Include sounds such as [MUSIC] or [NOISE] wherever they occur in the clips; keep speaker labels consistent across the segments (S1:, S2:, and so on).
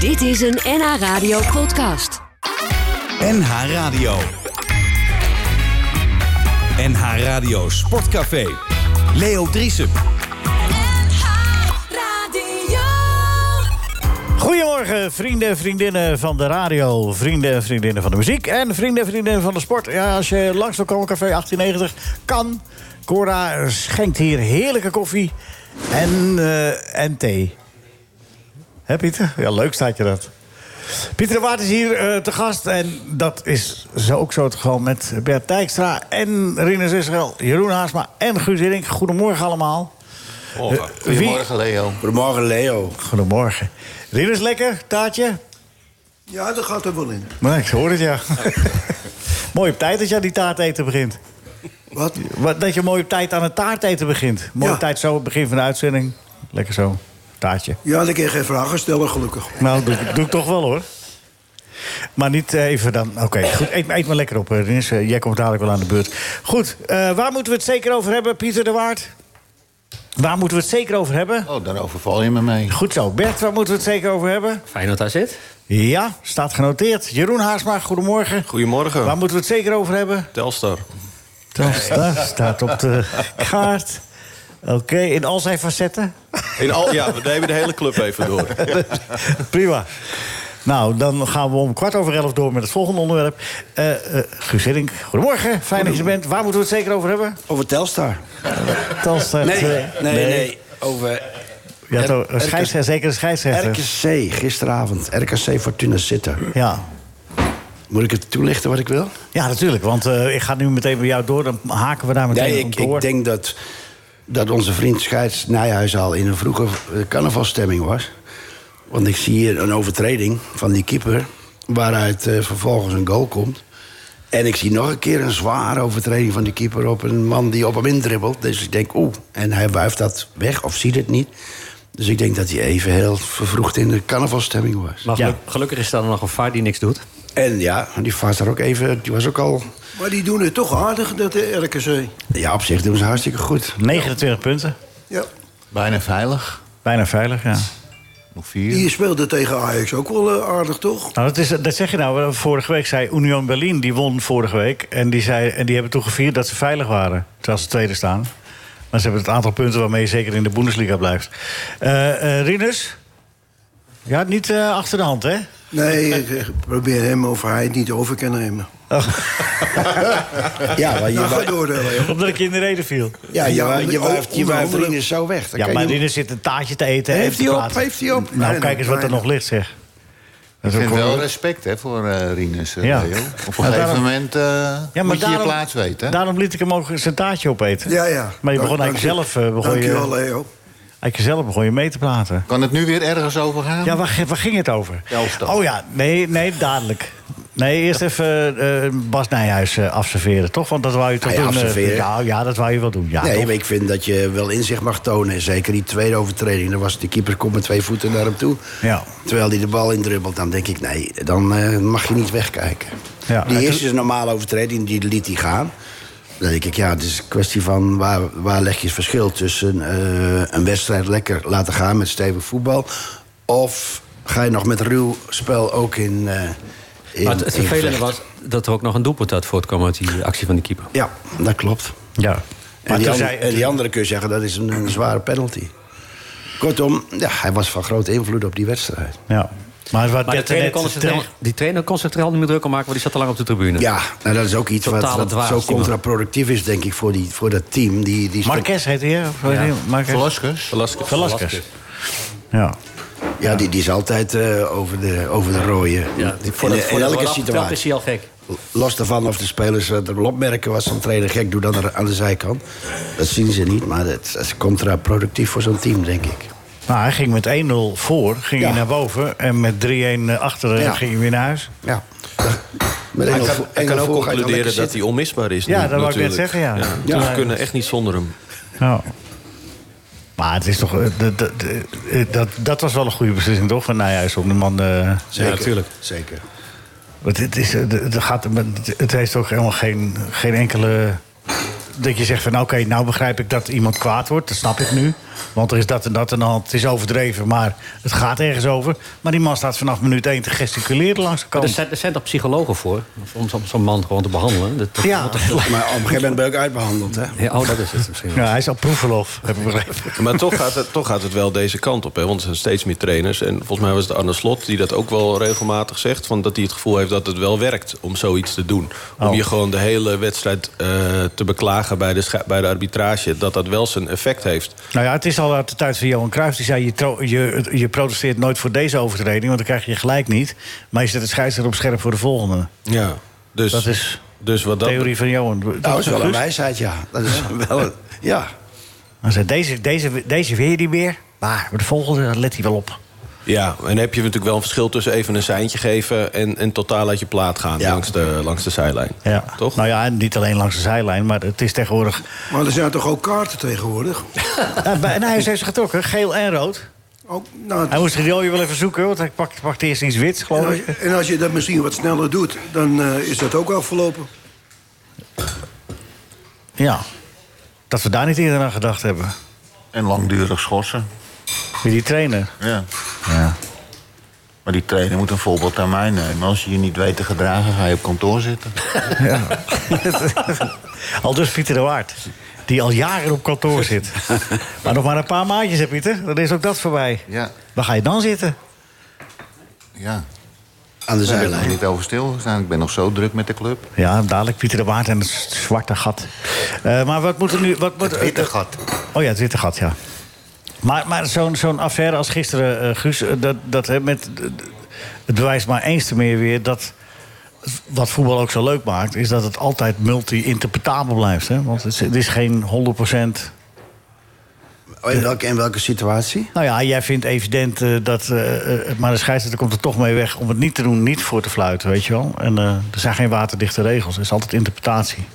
S1: Dit is een NH Radio podcast.
S2: NH Radio. NH Radio Sportcafé. Leo Driesen.
S3: Goedemorgen, vrienden en vriendinnen van de radio, vrienden en vriendinnen van de muziek en vrienden en vriendinnen van de sport. Ja, als je langs wil komen, café 1890 kan. Cora schenkt hier heerlijke koffie en, eh, en thee. Hè, Pieter? Ja, leuk staat je dat. Pieter de Waard is hier eh, te gast. En dat is zo ook zo het geval met Bert Dijkstra en Rinus Israël, Jeroen Haasma en Guus Hiddink. Goedemorgen allemaal. Eh, wie-
S4: Goedemorgen, Leo.
S5: Goedemorgen, Leo.
S3: Goedemorgen. Rinus, lekker? Taartje?
S5: Ja, dat gaat er wel in.
S3: Maar ik hoor het, ja. mooi op tijd dat jij die taart eten begint.
S5: Wat?
S3: Wat- Dat je mooi op tijd aan het taart eten begint. Mooi op
S5: Ja.
S3: tijd zo, het begin van de uitzending. Lekker zo, taartje.
S5: Ja, dan kun je geen vragen stellen, gelukkig.
S3: Nou, doe, doe ik toch wel, hoor. Maar niet eh, even dan... Oké, goed. Eet, maar- eet maar lekker op, eh, Rinus. Eh, Jij komt dadelijk wel aan de beurt. Goed, eh, waar moeten we het zeker over hebben, Pieter de Waard? Waar moeten we het zeker over hebben?
S4: Oh, daar overval je me mee.
S3: Goed zo. Bert, waar moeten we het zeker over hebben?
S6: Feyenoord AZ?
S3: Ja, staat genoteerd. Jeroen Haasma, goedemorgen.
S7: Goedemorgen.
S3: Waar moeten we het zeker over hebben?
S7: Telstar.
S3: Dat staat- staat op de kaart. Oké, in al zijn facetten.
S7: In al, ja, we nemen de hele club even
S5: [LAUGHS]
S7: door.
S3: [LAUGHS] Prima. Nou, dan gaan we om kwart over elf door met het volgende onderwerp. Eh eh Guus Hiddink, goedemorgen. Fijn dat je er bent. Waar moeten we het zeker over hebben?
S5: Over Telstar?
S3: Telstar.
S5: Nee,
S3: eh,
S5: nee, nee. Over
S3: Ja,
S5: R-
S3: toch, een scheidsrechter, zeker een scheidsrechter.
S5: RKC gisteravond. RKC Fortuna Sitter.
S3: Ja.
S5: Moet ik het toelichten wat ik wil?
S3: ja, natuurlijk. Want eh, ik ga nu meteen bij jou door. Dan haken we daar meteen
S5: Nee,
S3: op
S5: ik,
S3: door.
S5: ik denk dat, dat onze vriend Scheids Nijhuis al in een vroege eh, carnavalstemming was. Want ik zie hier een overtreding van die keeper, waaruit eh, vervolgens een goal komt. En ik zie nog een keer een zware overtreding van die keeper op een man die op hem indribbelt. Dus ik denk, oeh, en hij wuift dat weg of ziet het niet. Dus ik denk dat hij even heel vervroegd in de carnavalstemming was.
S6: Maar
S3: Ja.
S6: geluk- gelukkig is daar nog een VAR die niks doet.
S5: En ja, die vaart er ook even, die was ook al...
S8: Maar die doen het toch aardig, dat de RKC.
S5: Ja, op zich doen ze hartstikke goed.
S3: 29 punten.
S8: Ja.
S4: Bijna veilig.
S3: Bijna veilig, ja.
S4: Nog vier.
S8: Die speelde tegen Ajax ook wel eh, aardig, toch?
S3: Nou, dat, is, dat zeg je nou. Vorige week zei Union Berlin, die won vorige week. En die, zei, en die hebben toen gevierd dat ze veilig waren. Terwijl ze tweede staan. Maar ze hebben het aantal punten waarmee je zeker in de Bundesliga blijft. Eh, eh, Rinus? Ja, niet eh, achter de hand, hè?
S8: Nee, ik eh, probeer hem of hij het niet over kan nemen.
S5: Ja, maar je,
S8: Nou, ga
S5: wa-
S8: door, eh, Leo.
S3: Omdat ik je in de reden viel.
S5: ja, je, wa- je,
S8: Ja,
S5: wuift- je
S8: onder
S5: wuift
S8: andere-
S5: vrienden zo weg. Dan
S3: Ja,
S5: kan
S3: maar
S5: je-
S3: Rinus zit een taartje te eten. en
S5: Heeft
S3: te
S5: hij op?
S3: praten.
S5: Heeft hij op?
S3: Nou,
S8: Weinig,
S3: kijk eens wat er
S8: weinig.
S3: nog ligt, zeg. Dat
S4: Ik
S3: is
S4: vind
S3: ook wel-
S4: wel respect hè, voor eh Rinus. eh,
S3: Ja.
S4: Leo. Op een
S3: Maar
S4: gegeven
S3: daarom-
S4: moment eh, moet je je plaats weten. hè?
S3: daarom liet ik hem ook zijn taartje opeten.
S8: Ja, ja.
S3: Maar je begon
S8: Dank-
S3: eigenlijk
S8: dank-
S3: zelf, eh, begon je-
S8: Dankjewel, Leo.
S3: Eigenlijk zelf begon je mee te praten.
S4: Kan het nu weer ergens over gaan?
S3: Ja, waar, g- waar ging het over?
S4: Telstar.
S3: Oh ja, nee, nee, dadelijk. Nee, eerst even eh, Bas Nijhuis eh, observeren, toch? Want dat wou je toch
S5: Ah ja,
S3: doen? eh,
S5: observeren.
S3: ja, ja, dat wou je wel doen. Ja,
S5: nee,
S3: toch?
S5: maar ik vind dat je wel inzicht mag tonen. Zeker die tweede overtreding. Dan was de keeper komt met twee voeten naar hem toe.
S3: Ja.
S5: Terwijl hij de bal indrubbelt. Dan denk ik, nee, dan eh, mag je niet wegkijken.
S3: Ja,
S5: die
S3: en
S5: eerste is een normale overtreding, die liet hij gaan. Dan denk ik, ja, het is een kwestie van waar, waar leg je het verschil tussen eh, een wedstrijd lekker laten gaan met stevig voetbal. Of ga je nog met ruw spel ook in. eh in
S6: maar het, het
S5: in
S6: vervelende
S5: gevecht?
S6: was dat er ook nog een doelpunt uit voortkwam uit die actie van de keeper.
S5: Ja, dat klopt.
S3: ja.
S5: En
S3: Maar toen
S5: die, andere,
S3: zei,
S5: en die andere kun je zeggen, dat is een, een zware penalty. Kortom, ja, hij was van grote invloed op die wedstrijd.
S3: ja. Maar wat
S6: Maar de
S3: Bert
S6: trainer
S3: net
S6: kon zich er
S3: terecht-
S6: helemaal- die trainer kon zich er helemaal niet meer druk om maken, want die zat te lang op de tribune.
S5: Ja, nou, dat is ook iets wat,
S6: Totale
S5: wat
S6: dwaas,
S5: zo
S6: die man.
S5: contraproductief is, denk ik, voor, die, voor dat team. Die, die stond-
S3: Marquez heet hij, hè? Of hoe heet hij? Marquez.
S4: Velasquez?
S7: Velasquez.
S3: Velasquez. Ja.
S5: ja, die, die is altijd eh, over, de, over de rooie.
S6: Ja, die-
S5: in, in elke
S6: Dat is
S5: situatie.
S6: hij al gek.
S5: Los daarvan of de spelers eh, er wel opmerken wat zo'n trainer gek doet aan de, aan de zijkant. Dat zien ze niet, maar dat, dat is contraproductief voor zo'n team, denk ik.
S3: Nou, hij ging met 1-0 voor, ging
S5: Ja.
S3: hij naar boven. En met 3-1 achter eh,
S5: Ja.
S3: ging hij weer naar huis.
S5: Ja. Met
S7: Hij
S5: Engel-
S7: kan, hij kan ook
S5: Engel voor ga je dan lekker
S7: concluderen dat
S5: zitten.
S7: hij onmisbaar is.
S3: Ja,
S7: nu,
S3: dat wou ik net
S7: natuurlijk.
S3: zeggen, ja.
S7: dus
S3: Ja.
S7: we kunnen echt niet zonder hem.
S3: Ja. Maar het is toch... eh, de- de- de- eh, dat, dat was wel een goede beslissing, toch? Van nou Nijhuis om de man... eh,
S5: Zeker,
S7: Ja, natuurlijk.
S5: Zeker.
S3: Want het, is, eh, de- de gaat, het- het heeft ook helemaal geen, geen enkele. Dat je zegt van oké, nou begrijp ik dat iemand kwaad wordt, dat snap ik nu. Want er is dat en dat en hand. Het is overdreven, maar het gaat ergens over. Maar die man staat vanaf minuut 1 te gesticuleren langs de
S6: Maar
S3: kant.
S6: er, zijn, er zijn toch psychologen voor? Om zo'n zo'n man gewoon te behandelen? Dat, dat-
S3: Ja.
S6: dat-
S5: Maar op een gegeven moment ben ik uitbehandeld, hè?
S6: Ja, oh, dat is het misschien wel.
S3: Ja, hij is al proefverlof, heb ik begrepen.
S7: Maar toch gaat, het, toch gaat het wel deze kant op. Hè? Want er zijn steeds meer trainers. En volgens mij was het Arne Slot die dat ook wel regelmatig zegt. Van dat hij het gevoel heeft dat het wel werkt om zoiets te doen. Om
S3: Oh.
S7: je gewoon de hele wedstrijd eh, te beklagen bij de, scha- bij de arbitrage. Dat dat wel zijn effect heeft.
S3: Nou ja, het is al uit de tijd van Johan Cruijff. Die zei, je, tro- je, je protesteert nooit voor deze overtreding... want dan krijg je gelijk niet. Maar je zet de scheidsrechter op scherp voor de volgende.
S7: Ja. Dus,
S3: Dat is
S7: dus wat dat
S3: Theorie van Johan.
S5: Nou, dat is wel een
S3: Guus?
S5: wijsheid, ja. Dat is wel een- ja.
S3: Hij zei, deze, deze, deze weer die weer. Maar bij de volgende daar let hij wel op.
S7: Ja, en heb je natuurlijk wel een verschil tussen even een seintje geven en, en totaal uit je plaat gaan
S5: Ja.
S7: langs, de, langs de zijlijn.
S3: Ja.
S7: Toch?
S3: Nou ja, en niet alleen langs de zijlijn, maar het is tegenwoordig...
S8: Maar er zijn toch ook kaarten tegenwoordig?
S3: [LAUGHS] Ja, bij- en hij heeft ze getrokken, geel en rood.
S5: Oh,
S8: Ook, nou,
S3: Hij moest die rode wel even zoeken, want hij pakt, pakt eerst iets wits,
S8: en,
S3: geloof
S8: als,
S3: ik.
S8: je- en als je dat misschien wat sneller doet, dan eh, is dat ook afgelopen.
S3: Ja. Dat we daar niet eerder aan gedacht hebben.
S4: En langdurig schorsen.
S3: Wie die trainer.
S4: Ja. Maar die trainer moet een voorbeeld aan mij nemen. Als je je niet weet te gedragen, ga je op kantoor zitten.
S3: al dus Pieter de Waard. Die al jaren op
S4: [LAUGHS]
S3: kantoor zit. maar nog maar een paar maandjes, hè, Pieter? Dan is ook dat voorbij.
S4: Ja.
S3: Waar ga je dan zitten?
S4: Ja.
S5: Aan de
S4: Daar ben ik nog
S5: zijlijn.
S4: niet over stilgestaan. Ik ben nog zo druk met de club.
S3: Ja, dadelijk Pieter de Waard en het zwarte gat. Eh, maar wat moet er nu... Wat moet,
S4: Het witte gat.
S3: Oh ja, het witte gat, ja. Maar, maar zo'n zo'n affaire als gisteren, eh, Guus... eh, dat, dat, hè, met, eh, het bewijst maar eens te meer weer dat... Wat voetbal ook zo leuk maakt, is dat het altijd multi-interpretabel blijft. Hè? Want het is, het is geen 100
S5: Oh, In welke, in welke situatie?
S3: Nou ja, jij vindt evident eh, dat. eh, eh, maar de scheidsrechter komt er toch mee weg om het niet te doen, niet voor te fluiten, weet je wel. En eh, er zijn geen waterdichte regels, er is altijd interpretatie.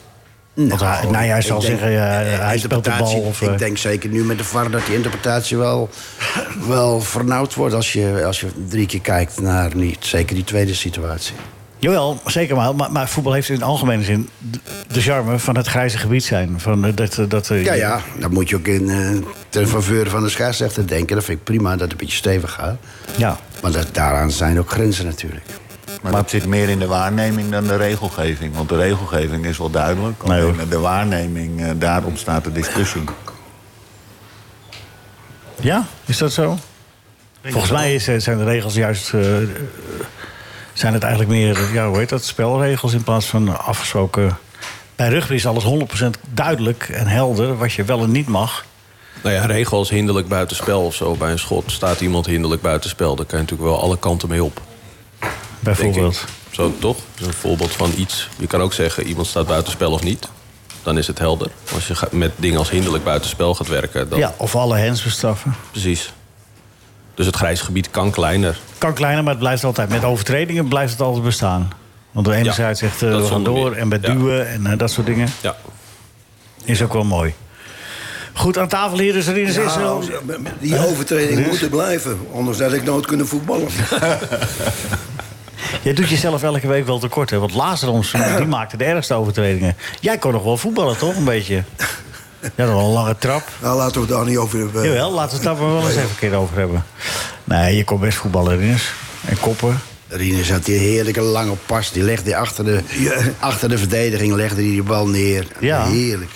S3: Want hij- nou, jij
S5: ik
S3: zal
S5: denk-
S3: zeggen, ja,
S5: eh,
S3: hij speelt de bal.
S5: interpretatie-
S3: Of, eh,
S5: Ik denk zeker nu met de VAR dat die interpretatie wel, wel vernauwd wordt... Als je, als je drie keer kijkt naar niet, zeker die tweede situatie.
S3: Jawel, zeker wel. Maar, maar voetbal heeft in de algemene zin de, de charme van het grijze gebied zijn. Van, eh, dat, eh, dat, eh,
S5: Ja, ja, dan moet je ook in, eh, ten faveur van de scheidsrechter denken. Dat vind ik prima, dat het een beetje stevig gaat.
S3: ja.
S5: Maar dat, daaraan zijn ook grenzen natuurlijk.
S4: Maar, dat zit meer in de waarneming dan de regelgeving. Want de regelgeving is wel duidelijk.
S3: Nee, hoor.
S4: Alleen de waarneming, eh, daar ontstaat de discussie.
S3: Ja, is dat zo? Volgens mij is, eh, zijn de regels juist. eh, eh, zijn het eigenlijk meer. eh, Ja, hoe heet dat? Spelregels in plaats van afgesproken. Bij rugby is alles 100% duidelijk en helder. wat je wel en niet mag.
S7: Nou ja, regels hinderlijk buitenspel of zo. Bij een schot staat iemand hinderlijk buitenspel. Daar kan je natuurlijk wel alle kanten mee op. denk ik.
S3: Bijvoorbeeld.
S7: Zo toch? Dat is een voorbeeld van iets. Je kan ook zeggen, iemand staat buitenspel of niet. Dan is het helder. Als je ga- met dingen als hinderlijk buitenspel gaat werken, dan
S3: Ja, of alle hands bestraffen.
S7: precies. Dus het grijs gebied kan kleiner.
S3: Kan kleiner, maar het blijft altijd. Met overtredingen blijft het altijd bestaan. Want de ene
S7: Ja,
S3: zijde zegt eh,
S7: dat
S3: we gaan
S7: zonder
S3: door.
S7: meer.
S3: En bij
S7: Ja.
S3: duwen en eh, dat soort dingen.
S7: Ja.
S3: Is ook wel mooi. Goed, aan tafel hier dus erin. is
S8: Ja,
S3: wel.
S8: die overtreding moet er blijven, anders had ik nooit kunnen voetballen.
S3: Jij doet jezelf elke week wel tekort, hè? Want Lazarons
S8: [CLEARS THROAT]
S3: die maakte de ergste overtredingen. Jij kon nog wel voetballen, toch? Een beetje. [LAUGHS] Ja, nog wel een lange trap.
S8: Nou, laten we daar niet over hebben.
S3: Jawel, laten we het daar maar wel eens even een keer over hebben. Nee, je kon best voetballen, Rinus. En koppen.
S5: Rinus had die heerlijke lange pas. Die legde hij achter de,
S8: Ja.
S5: achter de verdediging legde hij die bal neer.
S3: Ja.
S5: Heerlijk.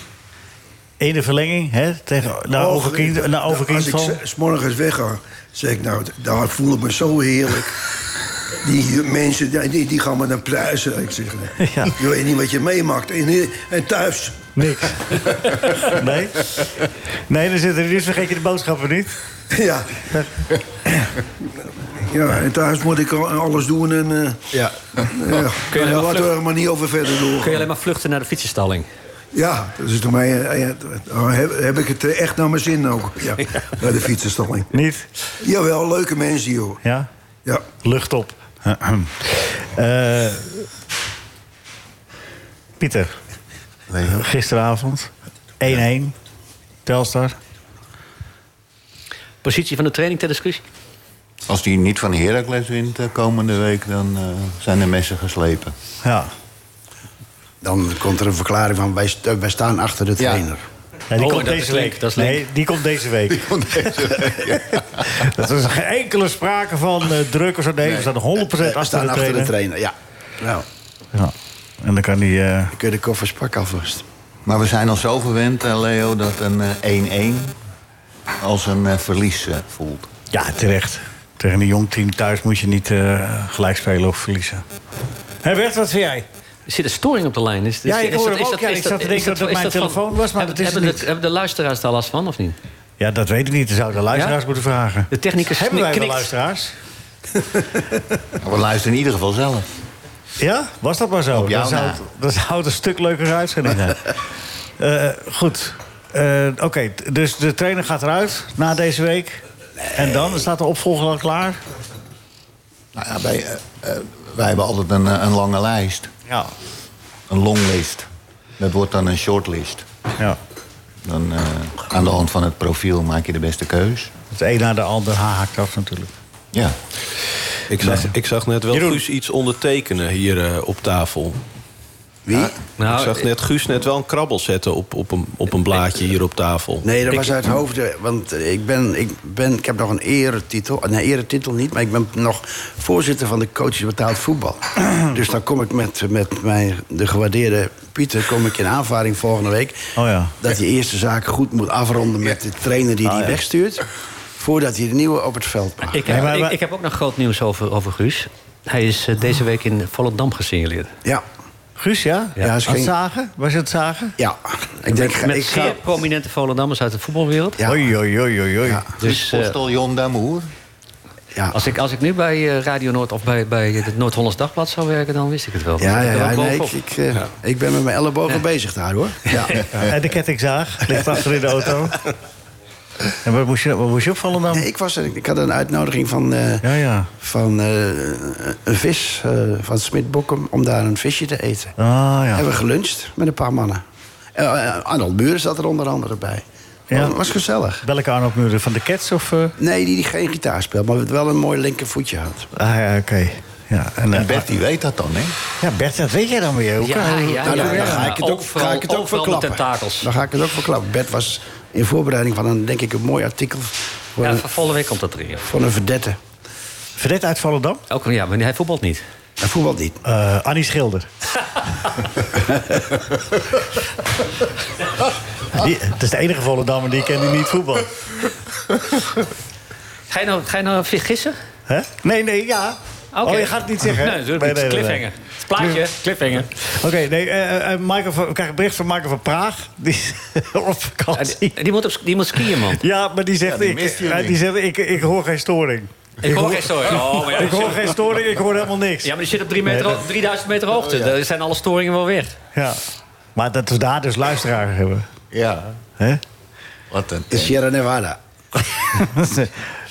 S3: Ene verlenging, hè? Tegen, naar
S8: Oh,
S3: overkind, naar
S8: Als ik
S3: overkindval.
S8: s- s morgens wegga, zeg ik nou, d- daar voel ik me zo heerlijk.
S3: [LAUGHS]
S8: Die mensen, die, die gaan me dan prijzen. Ik zeg, nee.
S3: Ja.
S8: je weet niet wat je meemaakt. En, en thuis, [LAUGHS]
S3: Niks. Nee? Nee, dan zit er dus vergeet je de boodschappen niet. [CLEARS THROAT]
S8: ja. [CLEARS THROAT] Ja, en thuis moet ik al- alles doen en... eh,
S5: Ja.
S8: ja.
S6: Kun
S8: Nou,
S6: je wel
S8: laten we
S6: vluchten?
S8: er maar niet over verder
S6: Kun je
S8: doorgaan.
S6: alleen maar vluchten naar de fietsenstalling?
S8: Ja, dus door mij eh, eh, nou, heb, heb ik het eh, echt naar mijn zin ook. Ja, bij de fietsenstalling.
S3: Niet?
S8: Jawel, leuke mensen, joh.
S3: Ja?
S8: Ja.
S3: Lucht op. [CLEARS THROAT] Eh, Pieter.
S4: Nee, hoor.
S3: Gisteravond. 1-1. Telstar.
S6: Positie van de [LAUGHS] training ter discussie?
S4: Als die niet van Heracles wint eh, komende week, dan eh, zijn de messen geslepen.
S3: Ja.
S5: Dan komt er een verklaring van wij, st- wij staan achter de trainer.
S3: Nee, die
S6: Oh,
S3: komt
S6: dat is
S3: deze
S6: link,
S3: week.
S6: dat is link.
S3: Nee, die komt
S6: [LAUGHS]
S3: deze week. [LAUGHS] Dat is geen enkele sprake van eh, druk of zo. Nee, we staan 100% achter,
S5: Eh, We staan
S3: de
S5: achter de
S3: trainer.
S5: trainer, ja. Nou,
S3: Ja. En dan kan die... eh,
S5: dan kun je de koffers pakken alvast.
S4: Maar we zijn al zo gewend, eh, Leo, dat een eh, 1-1 als een eh, verlies eh, voelt.
S3: ja, terecht. Tegen een jong team thuis moet je niet eh, gelijk spelen of verliezen. Hé Bert, wat vind jij?
S6: Er zit een storing op de lijn. Is, is,
S3: Ja, ik
S6: is
S3: hoor
S6: dat-
S3: hem
S6: is
S3: ook.
S6: dat-
S3: Ja,
S6: is
S3: ik zat te
S6: is
S3: denken dat
S6: is
S3: mijn
S6: van-
S3: telefoon was, maar dat is het
S6: hebben, hebben de- hebben de luisteraars daar last van of niet?
S3: Ja, dat weet ik niet. Dat zou ik de luisteraars
S6: Ja?
S3: moeten vragen.
S6: De technicus
S3: Hebben wij wel
S6: knikt.
S3: luisteraars?
S4: Maar We luisteren in ieder geval zelf.
S3: Ja? Was Oh, dat maar zo?
S4: Op jou
S3: Dan zou,
S4: na.
S3: het, dan zou het een stuk leuker uitzending zijn. Eh, goed. Eh, Oké, t- dus de trainer gaat eruit na deze week. En dan staat de opvolger al klaar?
S4: Nou ja, wij, eh, eh, wij hebben altijd een, eh, een lange lijst.
S3: Ja.
S4: Een longlist. Dat wordt dan een shortlist.
S3: ja.
S4: Dan, eh, aan de hand van het profiel maak je de beste keus.
S3: Het een na de ander haakt af natuurlijk.
S4: Ja.
S7: Ik zag, ik zag net wel
S3: Jeroen.
S7: Guus iets ondertekenen hier eh, op tafel.
S5: Wie?
S6: Nou,
S7: ik zag net Guus net wel een krabbel zetten op, op, een, op een blaadje hier op tafel.
S5: Nee, dat was uit hoofde. Want eh, ik, ben, ik, ben, ik heb nog een eretitel. eh, Nee, eretitel niet, maar ik ben nog voorzitter van de coaches betaald
S3: [CLEARS THROAT]
S5: voetbal. dus dan kom ik met, met mijn, de gewaardeerde Pieter kom ik in aanvaring volgende week.
S3: Oh ja. Ah,
S5: Dat je eerste zaak goed moet afronden met de trainer die die wegstuurt. Voordat hij de nieuwe op het veld maakt.
S6: Ik heb,
S3: Nee, maar-
S6: ik, ik heb ook nog groot nieuws over, over Guus. Hij is eh, deze week in Volendam gesignaleerd.
S5: Ja,
S3: Guus, ja?
S5: Ja,
S3: Aan
S5: is geen-
S3: het zagen? Was je aan het zagen?
S5: ja. Ik denk,
S6: Met
S5: ik
S6: zeer
S5: ga...
S6: prominente Volendammers uit de voetbalwereld.
S5: Ja.
S3: Oei, oei, oei, oei, oei.
S5: Ja.
S6: Dus
S4: Dus,
S6: eh,
S4: Postel Jon Damoer.
S5: Ja.
S6: als, ik, als ik nu bij eh, Radio Noord of bij, bij het Noord-Hollands Dagblad zou werken... dan wist ik het wel.
S5: Ja,
S6: Ik
S5: ja,
S6: ben
S5: ja,
S6: ook
S5: nee, ik,
S6: bovenop.
S5: ik, eh, ik ben met mijn ellebogen bezig daar,
S3: [LAUGHS]
S5: hoor. Ja.
S3: En de kettingzaag ligt achter in de auto. En waar moest je, waar moest je opvallen dan?
S5: Nee, ik, was er, ik had een uitnodiging van, eh,
S3: Ja, ja.
S5: van eh, een vis eh, van Smit Bokkum om daar een visje te eten.
S3: Ah ja.
S5: Hebben we geluncht met een paar mannen. Eh, eh, Arnold Buren zat er onder andere bij.
S3: Ja.
S5: Was gezellig.
S3: Welke Arnold Muren? Van de Cats of... eh?
S5: Nee, die, die geen gitaar speelt, maar wel een mooi linkervoetje had.
S3: Ah ja, oké. Ja,
S4: En
S3: en, eh,
S4: Bert die weet dat dan, hè?
S3: Ja, Bert, dat weet jij dan weer. Hoe
S6: Ja,
S3: kan- hoe-
S6: ja,
S5: Nou,
S6: ja,
S5: dan, dan
S6: ja.
S5: ga ik het ook,
S6: Overal-
S5: ga ik het ook
S6: overal de
S5: verklappen.
S6: tentakels.
S5: Dan ga ik het ook verklappen. Bert was in voorbereiding van een, denk ik, een mooi artikel voor,
S6: Ja,
S5: een,
S6: van volgende week komt dat erin. ja.
S5: voor een verdette.
S3: Verdet uit Volendam?
S6: Ook, ja, maar hij voetbalt niet.
S5: En voetbal niet.
S3: Eh, Annie Schilder. die, het is de enige Volendammer die ik ken die niet voetbal.
S6: Ga je nou, ga je nou gissen?
S3: Hè? Nee, nee, ja.
S6: Oké.
S3: Oh, je gaat het niet zeggen. hè?
S6: Nee, natuurlijk niet. Cliffhanger. Het plaatje, cliffhanger.
S3: Oké, nee, eh, eh, Michael van- we krijgen een bericht van Michael van Praag. Die is [LAUGHS] op
S6: En
S3: vakantie.
S6: Die, die, moet op, die moet skiën, man.
S3: Ja, maar die zegt,
S4: die
S3: ik,
S4: mist je
S3: eh,
S4: niet.
S3: die zegt ik, ik hoor geen storing.
S6: Ik hoor geen storing. Oh, maar ja,
S3: Ik
S6: die
S3: hoor
S6: zit-
S3: geen storing, ik hoor helemaal niks.
S6: ja, maar die zit op drie meter, ho- 3000 meter hoogte. Daar zijn alle storingen wel weg.
S3: Ja. Maar dat we daar dus luisteraars hebben.
S4: Ja.
S3: Hè?
S4: Wat een...
S5: De Sierra Nevada.
S3: [LAUGHS]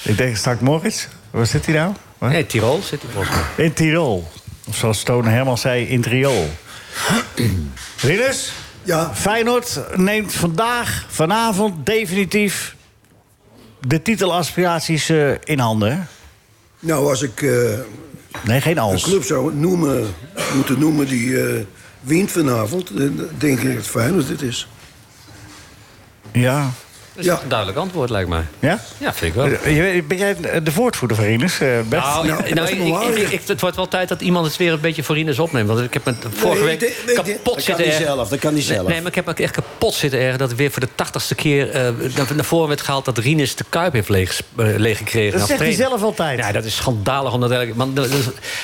S3: ik denk straks Moritz. Waar zit hij nou? Waar?
S6: Nee, Tirol zit hij volgens mij.
S3: In Tirol. Of zoals Stone Herman zei, in Triool. Rinus,
S8: Ja,
S3: Feyenoord neemt vandaag, vanavond definitief... de titelaspiraties eh, in handen. hè?
S8: nou als ik eh,
S3: Nee, geen
S8: een
S3: als.
S8: club zou noemen, moeten noemen die eh, wint vanavond... dan denk ik het fijn dat dit is.
S3: Ja.
S6: Dat is
S8: Ja.
S6: een duidelijk antwoord, lijkt mij.
S3: Ja?
S6: Ja, vind ik wel.
S3: Eh, je weet- Ben jij de voortvoerder van Rinus? eh, Bert?
S6: Nou,
S8: Nou,
S6: nou,
S8: dat is
S6: ik-
S8: belangrijk.
S6: ik- ik- het wordt wel tijd dat iemand het weer een beetje voor Ines opneemt. Want ik heb me vorige
S8: Nee,
S6: week
S8: dit- nee, dit- dat
S6: kapot
S5: kan
S6: zitten
S5: hij
S6: ergeren.
S5: zelf, dat kan hij
S6: Nee,
S5: zelf.
S6: Nee, maar ik heb me echt kapot zitten erg dat weer voor de tachtigste keer eh, naar naar voren werd gehaald dat Rinus de Kuip heeft eh, leeg, gekregen.
S3: Dat zegt hij zelf altijd.
S6: Ja, dat is schandalig. Omdat elke- want, dat is-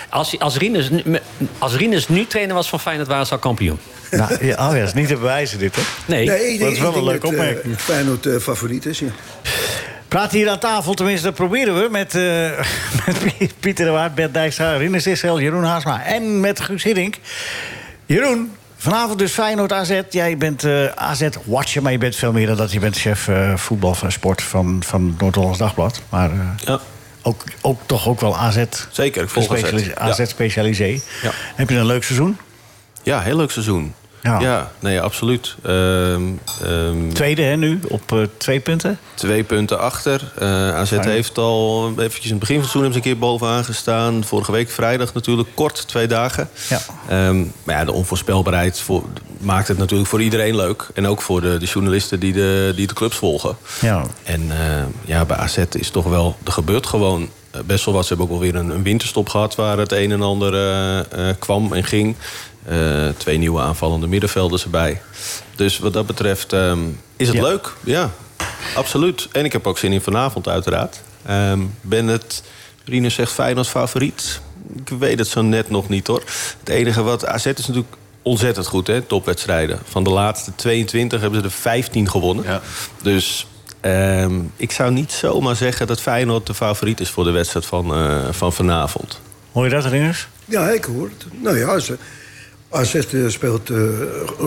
S6: als, hij- als, Rinus, nu- me- als Rinus nu trainer was van Feyenoord, waren ze al kampioen.
S3: Nou, ja, oh ja, dat is niet te bewijzen dit, hè?
S6: Nee,
S8: ik
S3: dat is wel
S8: ik denk
S3: een leuke
S8: dat, eh,
S3: opmerking.
S8: Feyenoord eh, favoriet is, ja.
S3: Praat hier aan tafel, tenminste, dat proberen we. Met, eh, [LAUGHS] met Pie- Pieter de Waard, Bert Dijkstra, Rinus Israël, Jeroen Haasma en met Guus Hiddink. Jeroen, vanavond dus Feyenoord AZ. Jij bent eh, AZ-watcher, maar je bent veel meer dan dat. Je bent chef eh, voetbal van sport van, van het Noord-Hollands Dagblad. Maar eh,
S7: Ja.
S3: ook, ook toch ook wel AZ.
S7: Zeker, ik volg
S3: gespecialise-
S7: AZ, ja.
S3: AZ-specialisé.
S7: Ja.
S3: Heb je een leuk seizoen?
S7: Ja, heel leuk seizoen.
S3: Ja.
S7: Ja, nee, absoluut. Ehm, ehm,
S3: Tweede, hè, nu, op eh, twee punten.
S7: twee punten achter. Eh, AZ heeft al eventjes in het begin van het seizoen hebben ze een keer bovenaan gestaan. Vorige week vrijdag natuurlijk, kort, twee dagen.
S3: Ja.
S7: Ehm, maar ja, de onvoorspelbaarheid voor, maakt het natuurlijk voor iedereen leuk. En ook voor de, de journalisten die de, die de clubs volgen.
S3: Ja.
S7: En eh, ja, bij AZ is toch wel... Er gebeurt gewoon eh, best wel wat. Ze hebben ook wel weer een, een winterstop gehad... waar het een en ander eh, eh, kwam en ging. Eh, twee nieuwe aanvallende middenvelders erbij. Dus wat dat betreft ehm, is het
S3: Ja.
S7: leuk. Ja, absoluut. En ik heb ook zin in vanavond uiteraard. Ehm, ben het... Rinus zegt Feyenoord favoriet. Ik weet het zo net nog niet hoor. Het enige wat... AZ is natuurlijk ontzettend goed, hè, topwedstrijden. Van de laatste 22 hebben ze er 15 gewonnen.
S4: Ja.
S7: Dus ehm, ik zou niet zomaar zeggen dat Feyenoord de favoriet is voor de wedstrijd van, eh, van vanavond.
S3: Hoor je dat, Rinners?
S8: Ja, ik hoor het. Nou ja, ze- AZ eh, speelt eh,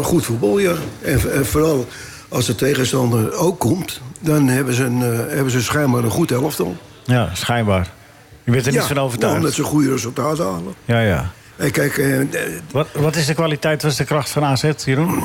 S8: goed voetbal, ja. En, en vooral als de tegenstander ook komt... dan hebben ze, een, eh, hebben ze schijnbaar een goed
S3: [LAUGHS]
S8: elftal.
S3: Ja, schijnbaar. Je bent er
S8: ja,
S3: niet van overtuigd.
S8: nou, Omdat ze goede resultaten halen.
S3: Ja, ja.
S8: En kijk, eh, eh,
S3: Wat, wat is de kwaliteit, wat is de kracht van AZ, Jeroen?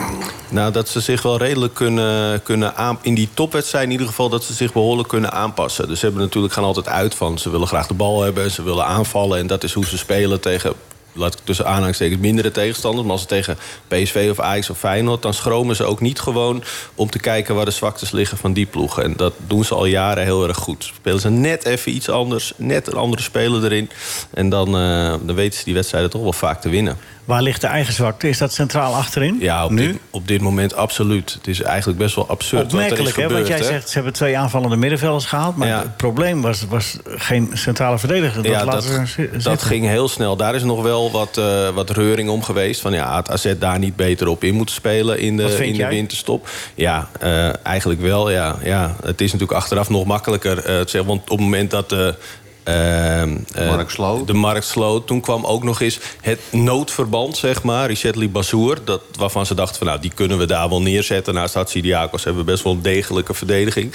S7: Nou, dat ze zich wel redelijk kunnen, kunnen aan, in die topwedstrijd in ieder geval, dat ze zich behoorlijk kunnen aanpassen. Dus ze hebben natuurlijk gaan altijd uit van ze willen graag de bal hebben, ze willen aanvallen en dat is hoe ze spelen tegen. Laat ik tussen aanhalingstekens mindere tegenstanders. Maar als ze tegen PSV of Ajax of Feyenoord... dan schromen ze ook niet gewoon om te kijken waar de zwaktes liggen van die ploegen. En dat doen ze al jaren heel erg goed. Spelen ze net even iets anders, net een andere speler erin. En dan, eh, dan weten ze die wedstrijden toch wel vaak te winnen.
S3: Waar ligt de eigen zwakte? Is dat centraal achterin?
S7: Ja, op,
S3: nu?
S7: Dit, op dit moment absoluut. Het is eigenlijk best wel absurd wat er is
S3: Opmerkelijk, hè?
S7: gebeurd.
S3: Want jij
S7: hè?
S3: zegt, ze hebben twee aanvallende middenvelders gehaald. Maar
S7: Ja.
S3: het probleem was, was geen centrale verdediger. Dat
S7: ja,
S3: laten
S7: dat,
S3: we eens zitten.
S7: dat ging heel snel. Daar is nog wel wat, eh, wat reuring om geweest. Van ja, had AZ daar niet beter op in moeten spelen in
S3: Wat
S7: de,
S3: vind
S7: in de
S3: jij?
S7: winterstop? Ja, eh, eigenlijk wel. Ja, ja. Het is natuurlijk achteraf nog makkelijker. eh, te zeggen, want op het moment dat eh, de. ehm, eh,
S4: Markt sloot.
S7: De markt sloot. Toen kwam ook nog eens het noodverband, zeg maar. Richetli Bassour. Dat, waarvan ze dachten van nou, die kunnen we daar wel neerzetten. Naast Hatsidiakos hebben we best wel een degelijke verdediging.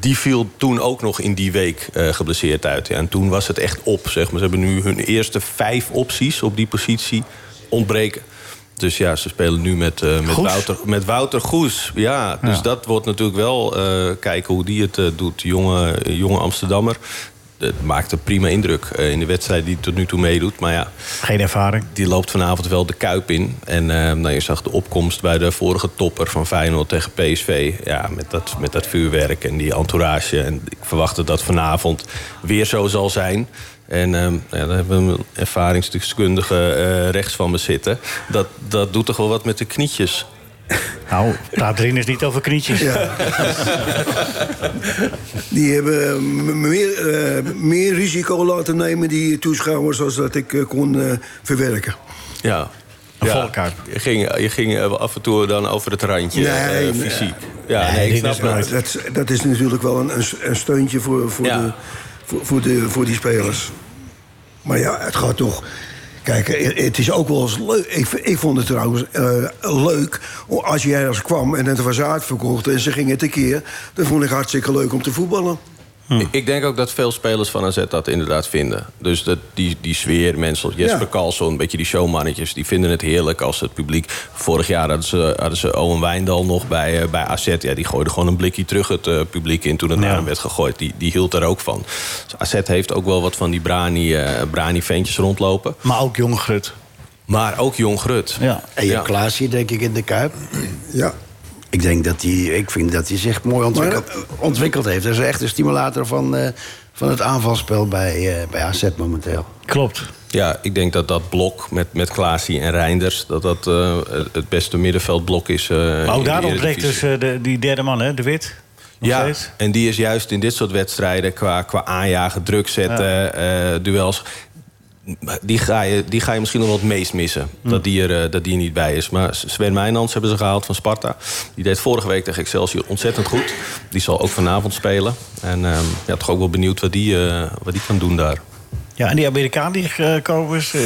S7: Die viel toen ook nog in die week eh, geblesseerd uit. Ja, en toen was het echt op, zeg maar. Ze hebben nu hun eerste vijf opties op die positie ontbreken. Dus ja, ze spelen nu met, eh, met,
S3: Goes?
S7: Wouter, met Wouter Goes. Ja, dus
S3: Ja.
S7: dat wordt natuurlijk wel eh, kijken hoe die het eh, doet. Jonge, jonge Amsterdammer. Het maakt een prima indruk eh, in de wedstrijd die tot nu toe meedoet. Maar ja,
S3: Geen ervaring.
S7: die loopt vanavond wel de kuip in. En eh, nou, je zag de opkomst bij de vorige topper van Feyenoord tegen PSV. Ja, met dat, met dat vuurwerk en die entourage. En ik verwacht dat dat vanavond weer zo zal zijn. En ehm, ja, daar hebben we een ervaringsdeskundige eh, rechts van me zitten. Dat, dat doet toch wel wat met de knietjes.
S3: Nou, praat Rinners niet over knietjes.
S8: die hebben eh, m- meer, eh, meer risico laten nemen, die toeschouwers... als dat ik eh, kon eh, verwerken.
S7: [LAUGHS] Ja.
S3: Een
S7: Ja,
S3: valkuip.
S7: Je ging, je ging eh, af en toe dan over het randje
S8: Nee,
S7: eh,
S8: nee.
S7: fysiek. Ja, nee, ik snap
S3: dit is
S7: het.
S3: nooit.
S8: Dat, is- dat is natuurlijk wel een, een s- een steuntje voor, voor,
S7: Ja.
S8: de, voor, voor, de, voor die spelers. Maar ja, het gaat toch. Kijk, eh, het is ook wel eens leuk. Ik, v- ik vond het trouwens eh, leuk. Als je ergens kwam en het was uitverkocht en ze gingen tekeer. Dan vond ik hartstikke leuk om te voetballen.
S3: Hm.
S7: Ik- Ik denk ook dat veel spelers van AZ dat inderdaad vinden. Dus dat die, die sfeer, mensen als Jesper
S8: Ja.
S7: Karlsson, een beetje die showmannetjes... die vinden het heerlijk als het publiek... Vorig jaar hadden ze, hadden ze Owen Wijndal nog bij, eh, bij AZ. Ja, die gooide gewoon een blikje terug het eh, publiek in toen het naar hem werd gegooid. Die, die hield daar ook van. Dus AZ heeft ook wel wat van die brani, eh brani ventjes rondlopen.
S3: Maar ook jong Grut.
S7: Maar ook Jong Grut.
S3: Ja.
S5: En je
S7: Ja.
S5: Klaasje, denk ik, in de Kuip.
S8: Ja.
S5: Ik denk dat hij, ik vind dat hij zich mooi ontwikkeld, ontwikkeld heeft. Hij is echt een stimulator van, eh, van het aanvalspel bij, eh, bij AZ momenteel.
S3: Klopt.
S7: Ja, ik denk dat dat blok met, met Klaasie en Reinders... dat dat eh, het beste middenveldblok is eh
S3: Maar
S7: in
S3: ook
S7: de
S3: daar ontbreekt
S7: Eredivisie.
S3: dus eh, de, die derde man, hè? De Wit. Nog
S7: Ja,
S3: steeds.
S7: en die is juist in dit soort wedstrijden qua, qua aanjagen, druk zetten, eh, duels. Die ga, je, die ga je misschien nog wel het meest missen.
S3: Hm.
S7: Dat, die er, eh, dat die er niet bij is. Maar Sven Meijnans hebben ze gehaald van Sparta. Die deed vorige week tegen Excelsior ontzettend goed. Die zal ook vanavond spelen. En ehm ja, toch ook wel benieuwd wat die, eh, wat die kan doen daar.
S3: Ja, en die Amerikaan die gekomen is, eh,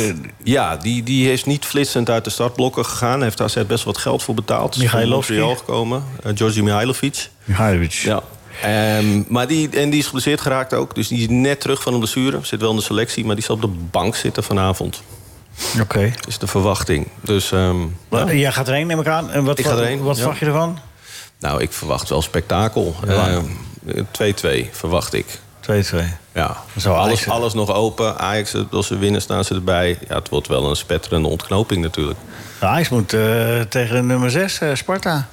S7: Ja, die, die is niet flitsend uit de startblokken gegaan. Heeft AZ best wat geld voor betaald. Dus Is van
S3: Mihailovski.
S7: Montreal gekomen. Eh, Georgi Mihailovic.
S3: Mihailovic.
S7: Ja. Ehm, maar die, en die is geblesseerd geraakt ook. Dus die is net terug van een blessure. Zit wel in de selectie, maar die zal op de bank zitten vanavond.
S3: Oké.
S7: Is de verwachting. Dus ehm,
S3: Maar,
S7: ja.
S3: eh, Jij gaat erheen, neem ik aan. En wat,
S7: Ik ga
S3: wat-
S7: erheen,
S3: wat
S7: ja.
S3: verwacht je ervan?
S7: nou, ik verwacht wel spektakel. Ehm, 2-2 verwacht ik.
S3: 2-2.
S7: Ja,
S3: Zo, Ajax-
S7: alles, alles nog open. Ajax, als ze winnen, staan ze erbij. Ja, het wordt wel een spetterende ontknoping natuurlijk.
S3: Nou, Ajax moet eh, tegen de nummer 6, Sparta.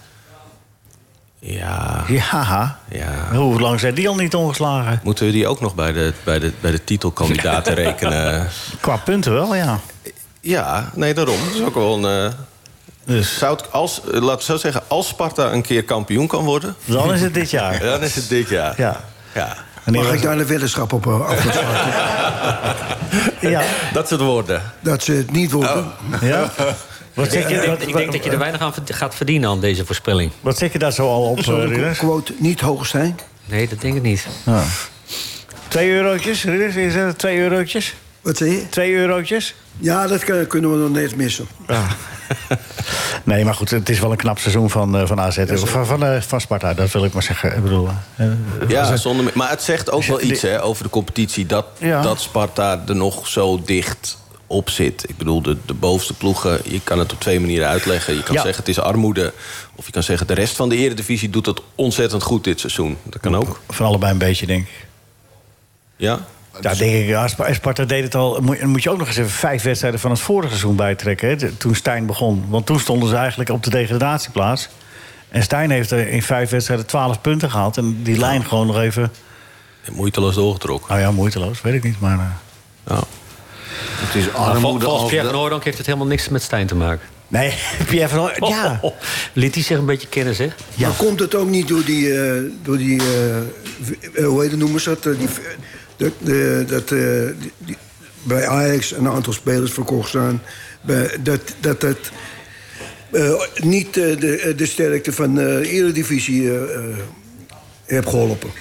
S7: Ja,
S3: Ja. Nou,
S7: ja.
S3: Hoe lang zijn die al niet ongeslagen?
S7: Moeten we die ook nog bij de, bij de, bij de
S3: [LAUGHS]
S7: titelkandidaten rekenen?
S3: Qua punten wel, ja.
S7: Ja, nee, daarom. Dat is ook wel een... eh,
S3: Dus
S7: zou het als, eh, laten we zo zeggen, als Sparta een keer kampioen kan worden...
S3: dan is het dit jaar.
S7: [LAUGHS] dan is het dit jaar.
S3: Ja.
S7: ja.
S3: Wanneer
S8: Mag
S3: was
S8: ik daar de weddenschap op eh,
S3: [LAUGHS]
S8: afsluiten?
S3: het? Ja.
S7: [LAUGHS] Dat soort woorden.
S8: dat ze het niet worden.
S3: Oh. ja. Wat zeg
S6: Ik
S3: je,
S6: denk,
S3: wat,
S6: ik denk dat je er weinig aan verd- gaat verdienen aan deze voorspelling.
S3: wat zeg je daar zo al op, eh,
S8: Zal de
S3: Ridders?
S8: quote niet hoog zijn?
S6: Nee, dat denk ik niet.
S3: Twee eurotjes, Ridders? Is dat twee eurotjes?
S8: Wat zei je?
S3: Twee eurotjes?
S8: Ja, dat kan- kunnen we nog net missen.
S3: [LAUGHS] Nee, maar goed, het is wel een knap seizoen van, eh, van AZ. Of van, van, eh, van Sparta, dat wil ik maar zeggen. Ik bedoel, eh,
S7: Ja, zonder, meer. maar het zegt ook wel iets hè, over de competitie. Dat,
S3: Ja.
S7: dat Sparta er nog zo dicht op zit. Ik bedoel, de, de bovenste ploegen, je kan het op twee manieren uitleggen. Je kan
S3: Ja.
S7: zeggen het is armoede. Of je kan zeggen de rest van de eredivisie doet het ontzettend goed dit seizoen. Dat kan ook.
S3: van allebei een beetje, denk ik.
S7: Ja? dus-
S3: Ja, denk ik. Ja, Spa- Sparta deed het al. Moet, moet je ook nog eens even vijf wedstrijden van het vorige seizoen bijtrekken. Hè, de- toen Stijn begon. Want toen stonden ze eigenlijk op de degradatieplaats. En Stijn heeft er in vijf wedstrijden twaalf punten gehaald. En die lijn gewoon nog even...
S7: Moeiteloos doorgetrokken.
S3: Nou ja, moeiteloos, weet ik niet. Maar eh,
S7: Ja.
S4: Het is
S6: Maar vol-
S4: armoede
S6: volgens
S4: als
S6: Pierre
S4: de-
S6: van Hooydonk heeft het helemaal niks met Stijn te maken.
S3: Nee, Pierre van Hooy- Ja.
S6: Oh, oh, oh. Liet hij zich een beetje kennen, zeg.
S8: Maar komt het ook niet door die... eh, door die eh, v- eh, hoe heet het, noemen ze dat? Eh, Die, v- dat, eh, dat eh, die- die- bij Ajax een aantal spelers verkocht zijn. Bij, dat dat, dat eh, niet eh, de, eh, de sterkte van de eredivisie eh, eh, heeft geholpen.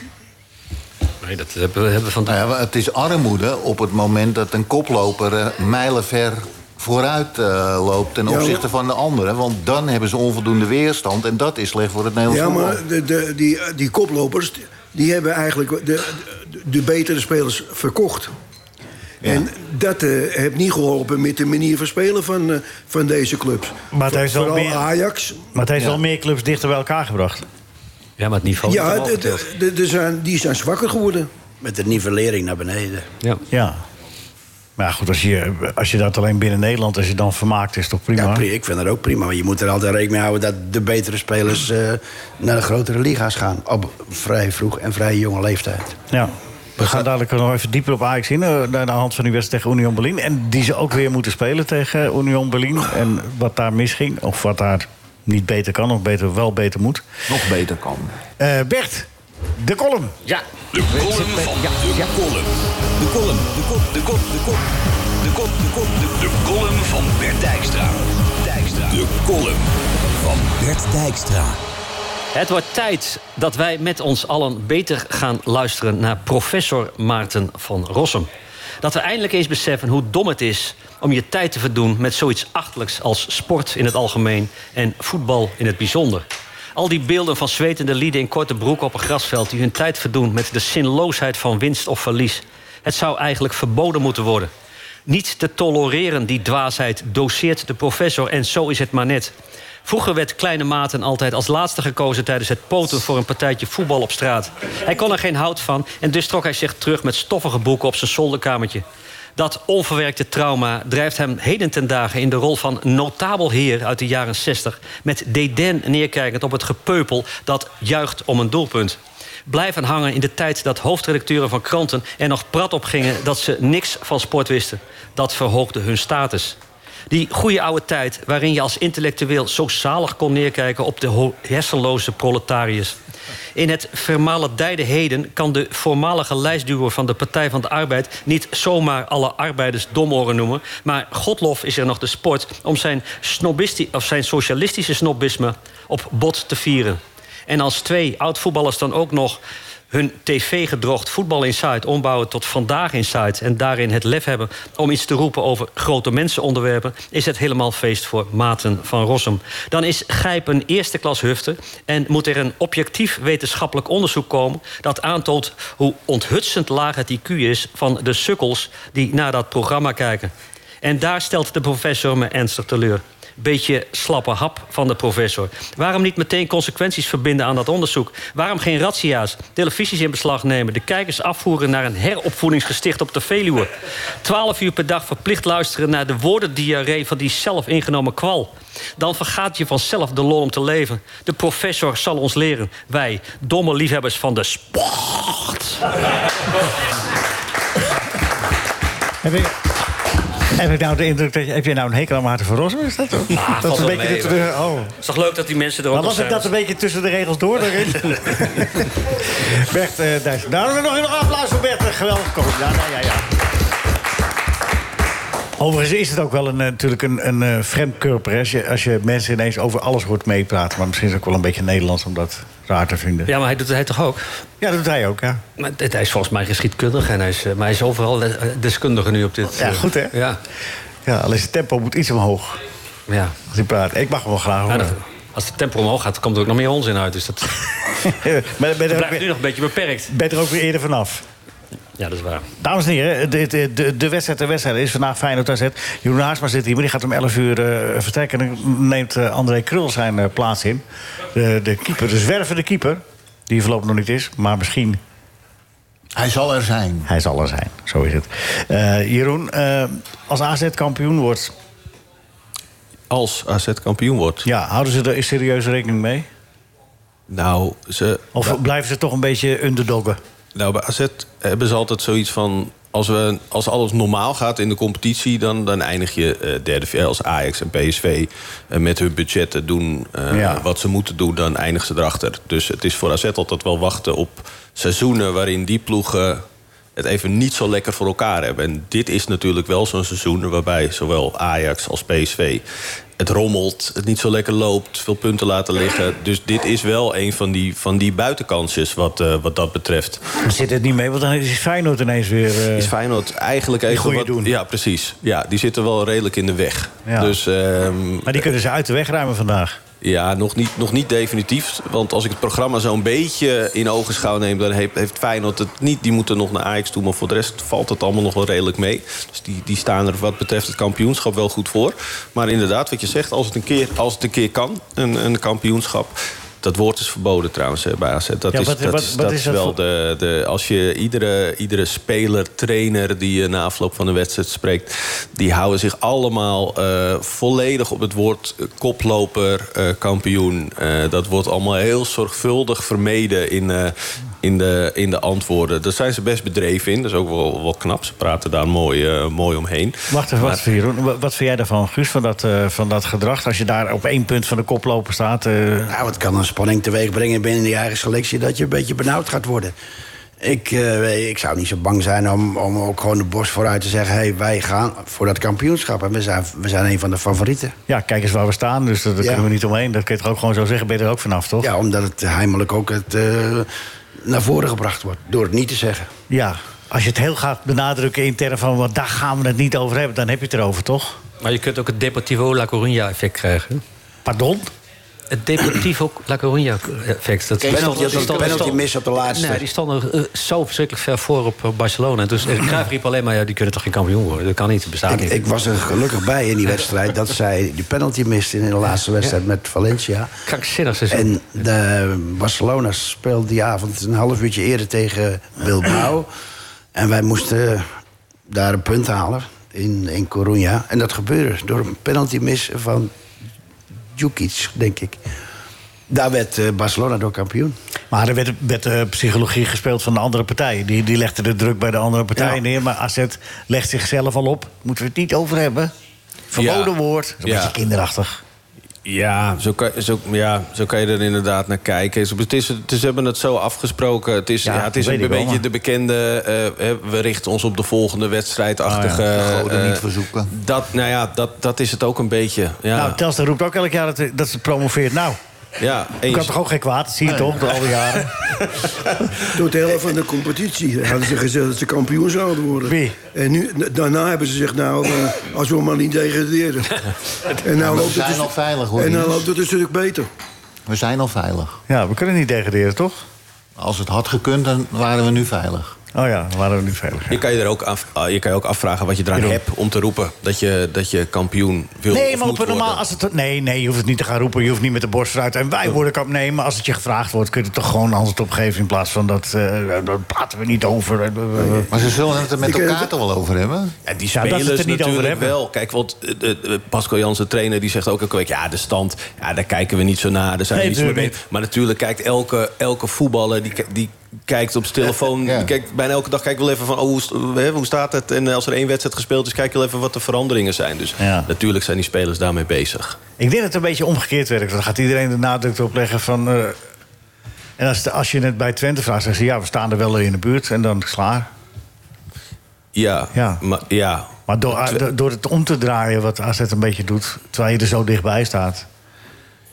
S6: Nee, dat hebben we, hebben we van...
S4: Nou ja, het is armoede op het moment dat een koploper eh, mijlenver vooruit eh, loopt ten
S8: Ja, maar-
S4: opzichte van de anderen. Want dan hebben ze onvoldoende weerstand en dat is slecht voor het Nederlands
S8: Ja,
S4: voetbal.
S8: maar de, de, die, die koplopers, die hebben eigenlijk de, de, de betere spelers verkocht. En dat eh, heeft niet geholpen met de manier van spelen van, eh, van deze clubs.
S3: Maar het heeft wel
S8: Vooral
S3: meer-
S8: Ajax.
S3: Maar het heeft wel meer clubs dichter bij elkaar gebracht.
S6: Ja, maar het niveau is
S8: Ja,
S6: omhoog
S8: de,
S6: getild.
S8: de, de- de zijn, die zijn zwakker geworden.
S5: Met de nivellering naar beneden.
S6: Ja.
S3: Ja. Maar ja, goed, als je, als je dat alleen binnen Nederland... als je dan vermaakt, is het toch prima?
S5: Ja, pri- ik vind dat ook prima. Maar je moet er altijd rekening mee houden dat de betere spelers eh, naar de grotere liga's gaan. Op vrij vroeg en vrij jonge leeftijd.
S3: Ja. We gaan dadelijk nog even dieper op Ajax in. eh, Naar de hand van die wedstrijd tegen Union Berlin. En die ze ook weer moeten spelen tegen Union Berlin. En wat daar misging. Of wat daar niet beter kan. Of beter, wel beter moet.
S4: Nog beter kan.
S3: Eh, Bert, de column.
S6: ja.
S2: De column van de column. De column. De kop, de kop, de kop. De kop, de kop, de De column van Bert Dijkstra. Dijkstra. De column van Bert Dijkstra.
S6: Het wordt tijd dat wij met ons allen beter gaan luisteren naar professor Maarten van Rossum. Dat we eindelijk eens beseffen hoe dom het is om je tijd te verdoen met zoiets achtelijks als sport in het algemeen en voetbal in het bijzonder. Al die beelden van zwetende lieden in korte broek op een grasveld die hun tijd verdoen met de zinloosheid van winst of verlies. Het zou eigenlijk verboden moeten worden. Niet te tolereren, die dwaasheid, doseert de professor en zo is het maar net. Vroeger werd Kleine Maarten altijd als laatste gekozen tijdens het poten voor een partijtje voetbal op straat. Hij kon er geen hout van en dus trok hij zich terug met stoffige boeken op zijn zolderkamertje. Dat onverwerkte trauma drijft hem heden ten dagen in de rol van notabel heer uit de jaren 60, met dédain neerkijkend op het gepeupel dat juicht om een doelpunt blijven hangen in de tijd dat hoofdredacteuren van kranten er nog prat op gingen dat ze niks van sport wisten. Dat verhoogde hun status. Die goede oude tijd waarin je als intellectueel zo zalig kon neerkijken op de ho- hersenloze proletariërs. In het vermaledijde heden kan de voormalige lijstduwer van de Partij van de Arbeid niet zomaar alle arbeiders domoren noemen. Maar Godlof is er nog de sport om zijn, snobisti- of zijn socialistische snobisme op bot te vieren. En als twee oud-voetballers dan ook nog hun tv-gedrocht Voetbal Insight ombouwen tot Vandaag Insight... en daarin het lef hebben om iets te roepen over grote mensenonderwerpen... is het helemaal feest voor Maarten van Rossum. Dan is Gijp een eerste klas hufte... en moet er een objectief wetenschappelijk onderzoek komen... dat aantoont hoe onthutsend laag het IQ is van de sukkels... die naar dat programma kijken. En daar stelt de professor me ernstig teleur. beetje slappe hap van de professor. Waarom niet meteen consequenties verbinden aan dat onderzoek? Waarom geen razzia's, televisies in beslag nemen... de kijkers afvoeren naar een heropvoedingsgesticht op de Veluwe? 12 uur per dag verplicht luisteren naar de woordendiarree... van die zelf ingenomen kwal. Dan vergaat je vanzelf de lol om te leven. De professor zal ons leren. Wij, domme liefhebbers van de sport.
S3: Heb ik, heb ik nou de indruk dat je... Heb je nou een hekel aan Maarten van Rossum? Is dat toch?
S6: Ah,
S3: dat
S6: valt
S3: is een
S6: wel
S3: beetje...
S6: mee,
S3: tussen de- oh.
S6: Het is toch leuk dat die mensen er ook
S3: Maar
S6: nog
S3: was ik
S6: zijn?
S3: dat een beetje tussen de regels door? daarin? Bert eh Dijs. Nou, dan nog een applaus voor Bert. Geweldig. Kom. Ja, ja, ja, ja. Overigens is het ook wel een, eh, natuurlijk een, een eh, vreemd kurper. hè, Als je, als je mensen ineens over alles hoort meepraten. Maar misschien is het ook wel een beetje Nederlands om dat raar te vinden. Ja,
S6: Ja, maar hij doet het hij toch ook?
S3: dat doet hij ook, ja.
S6: Maar het- hij is volgens mij geschiedkundig en hij is, eh, maar hij is overal de- eh, deskundige nu op dit.
S3: Ja,
S6: eh,
S3: goed, hè?
S6: Ja,
S3: ja alleen zijn tempo moet iets omhoog.
S6: ja.
S3: Als hij praat. Ik mag hem wel graag
S6: Nou,
S3: horen.
S6: dat- als de tempo omhoog gaat, komt er ook nog meer onzin
S3: [LAUGHS]
S6: uit. Dus dat
S3: maar ik ben er ook
S6: blijft nu
S3: weer-
S6: nog een beetje beperkt.
S3: ben er ook weer eerder vanaf.
S6: Ja, dat is waar.
S3: Dames en heren, de, de, de, de wedstrijd de wedstrijd is vandaag Feyenoord AZ. Jeroen Haarsma zit hier, maar die gaat om 11 uur eh, vertrekken. En dan neemt eh, André Krul zijn eh, plaats in. De, de keeper, de zwervende keeper. Die voorlopig nog niet is, maar misschien
S4: Hij zal er zijn.
S3: hij zal er zijn. Zo is het. Eh, Jeroen, eh, als AZ kampioen wordt...
S7: Als AZ kampioen wordt.
S3: Ja, houden ze er serieus rekening mee?
S7: Nou, ze,
S3: Of blijven ze toch een beetje underdoggen?
S7: nou, bij AZ hebben ze altijd zoiets van... Als, we, als alles normaal gaat in de competitie... dan, dan eindig je eh, derde eh, als Ajax en PSV... eh, met hun budgetten doen eh,
S3: Ja.
S7: wat ze moeten doen... dan eindigen ze erachter. Dus het is voor AZ altijd wel wachten op seizoenen... waarin die ploegen het even niet zo lekker voor elkaar hebben. En dit is natuurlijk wel zo'n seizoen... waarbij zowel Ajax als PSV het rommelt, het niet zo lekker loopt, veel punten laten liggen. Dus dit is wel een van die, van die buitenkansjes wat, eh, wat dat betreft.
S3: Dan zit het niet mee, want dan is Feyenoord ineens weer... eh,
S7: Is Feyenoord eigenlijk even
S3: goeie
S7: wat...
S3: doen.
S7: Ja, precies. Ja, die zitten wel redelijk in de weg.
S3: Ja.
S7: Dus ehm,
S3: Maar die kunnen ze uit de weg ruimen vandaag.
S7: ja, nog niet, nog niet definitief. Want als ik het programma zo'n beetje in ogenschouw neem... dan heeft, heeft Feyenoord het niet. Die moeten nog naar Ajax toe. Maar voor de rest valt het allemaal nog wel redelijk mee. Dus die, die staan er wat betreft het kampioenschap wel goed voor. Maar inderdaad, wat je zegt, als het een keer, als het een keer kan, een, een kampioenschap... Dat woord is verboden trouwens hè, bij AZ. Dat
S3: Ja,
S7: is-
S3: wat-
S7: dat
S3: wat-
S7: is
S3: wat
S7: dat
S3: is
S7: is
S3: dat
S7: wel
S3: voor-
S7: de, de, als je iedere, iedere speler, trainer die je na afloop van de wedstrijd spreekt, die houden zich allemaal eh, volledig op het woord eh, koploper, eh, kampioen. Eh, dat wordt allemaal heel zorgvuldig vermeden in, eh, in, de, in de antwoorden. Daar zijn ze best bedreven in. Dat is ook wel, wel knap. Ze praten daar mooi, eh, mooi omheen.
S3: Wacht even, wacht even, Jeroen. Wa- Wat vind jij daarvan, Guus, van dat, eh, van dat gedrag? Als je daar op één punt van de koploper staat... eh,
S5: Nou, het kan een spanning teweeg brengen binnen die eigen selectie... dat je een beetje benauwd gaat worden. Ik, eh, ik zou niet zo bang zijn om, om ook gewoon de borst vooruit te zeggen... hey, wij gaan voor dat kampioenschap en we zijn, we zijn een van de favorieten.
S3: ja, kijk eens waar we staan, dus daar daar
S5: Ja.
S3: kunnen we niet omheen. Dat kun je toch ook gewoon zo zeggen, ben je er ook vanaf, toch?
S5: Ja, omdat het heimelijk ook het, eh, naar voren gebracht wordt. Door het niet te zeggen.
S3: Ja. Als je het heel gaat benadrukken in termen van... want daar gaan we het niet over hebben, dan heb je het erover, toch?
S6: Maar je kunt ook het Deportivo La Coruña effect krijgen.
S3: Pardon?
S6: Het Deportivo La Coruña effect. Dat
S5: Penalty, dat is een penalty mis op de laatste.
S6: Nee, die stonden eh, zo verschrikkelijk ver voor op eh, Barcelona. Dus eh,
S5: [CLEARS THROAT]
S6: Cruijff riep alleen maar, ja, die kunnen toch geen kampioen worden? Dat kan niet, dat bestaat
S5: Ik,
S6: niet.
S5: ik was er gelukkig bij in die wedstrijd dat zij die penalty miste in de laatste wedstrijd met Valencia.
S6: Krankzinnig seizoen.
S5: En de Barcelona speelde die avond een half uurtje eerder tegen Bilbao. En wij moesten daar een punt halen in, in Coruña. En dat gebeurde door een penalty mis van Djukic, denk ik.
S7: Eh,
S5: Daar werd eh, Barcelona door kampioen.
S3: Maar er werd, werd eh, psychologie gespeeld van de andere partij. Die, die legde de druk bij de andere partij
S5: Ja.
S3: neer. Maar AZ legt zichzelf al op. Moeten we het niet over hebben? Verboden
S7: Ja.
S3: woord. Dat is een
S7: Ja.
S3: beetje kinderachtig.
S7: Ja, zo kan, zo, ja, zo kan je er inderdaad naar kijken. Ze- Het is, het is- ze hebben het zo afgesproken. Het is,
S3: Ja,
S7: ja, het is
S3: weet
S7: een
S3: ik wel,
S7: beetje
S3: maar-
S7: de bekende... eh, hè, we richten ons op de volgende wedstrijdachtige...
S3: Oh
S4: De goden
S7: eh,
S4: niet verzoeken.
S7: Dat, nou ja, dat, dat is het ook een beetje. Ja,
S3: Nou, Telstra roept ook elk jaar dat, dat ze promoveert. Nou,
S7: ja
S3: ik kan
S7: eens.
S3: toch ook geen kwaad? Dat zie je toch, door al die jaren.
S8: Door de helft van de competitie hadden ze gezegd dat ze kampioen zouden worden.
S3: Wie?
S8: En nu, daarna hebben ze gezegd, nou, eh, als we maar niet
S4: [LAUGHS]
S8: degraderen. en nou loopt
S4: zijn
S8: het
S4: al veilig, hoor,
S8: En nou
S4: jongens.
S8: loopt het een stuk beter.
S4: We zijn al veilig.
S3: Ja, we kunnen niet degraderen, toch?
S4: Als het had gekund, dan waren we nu veilig.
S3: Oké, Oh
S4: [LAUGHS]
S3: ja, dan waren we niet veilig.
S7: Je kan je er ook, af, ah, je kan je ook afvragen wat je eraan hebt om te roepen dat je, dat je kampioen [LAUGHS] wil
S3: Nee,
S7: of
S3: maar
S7: moet
S3: op een normaal.
S7: worden.
S3: Als het, nee, nee, je hoeft het niet te gaan roepen. Je hoeft niet met de borst vooruit. En wij worden kap. Nee, maar als het je gevraagd wordt, kun je er toch gewoon een antwoord op geven. In plaats van dat. eh daar praten we niet over. Eh, eh, eh.
S4: Maar ze zullen het er met
S8: Ik, eh,
S4: elkaar toch wel over hebben?
S7: Ja, die
S3: Ja, dat ze het
S7: spelers
S3: er niet over
S7: natuurlijk
S3: hebben.
S7: wel. Kijk, want eh, de- de Pascal Jansen, trainer, die zegt ook elke week... ja, de stand, ja, daar kijken we niet zo naar, daar zijn
S3: Nee,
S7: we niet zo mee
S3: natuurlijk
S7: bezig. Maar natuurlijk kijkt elke, elke voetballer, die, ki- die kijkt op zijn telefoon...
S4: Ja.
S7: Die kijkt, bijna elke dag kijkt wel even van, oh, hoe, st- hè, hoe staat het? En als er één wedstrijd gespeeld is, kijk wel even wat de veranderingen zijn. Dus
S3: Ja.
S7: natuurlijk zijn die spelers daarmee bezig.
S3: Ik denk dat het een beetje omgekeerd werkt. Dan gaat iedereen de nadruk erop leggen van. eh, en als, de- als je het bij Twente vraagt, zeggen ze ja, we staan er wel in de buurt. En dan is het klaar.
S7: Ja,
S3: Ja.
S7: Maar, ja.
S3: Maar door, ah, do- door het om te draaien, wat AZ een beetje doet, terwijl je er zo dichtbij staat,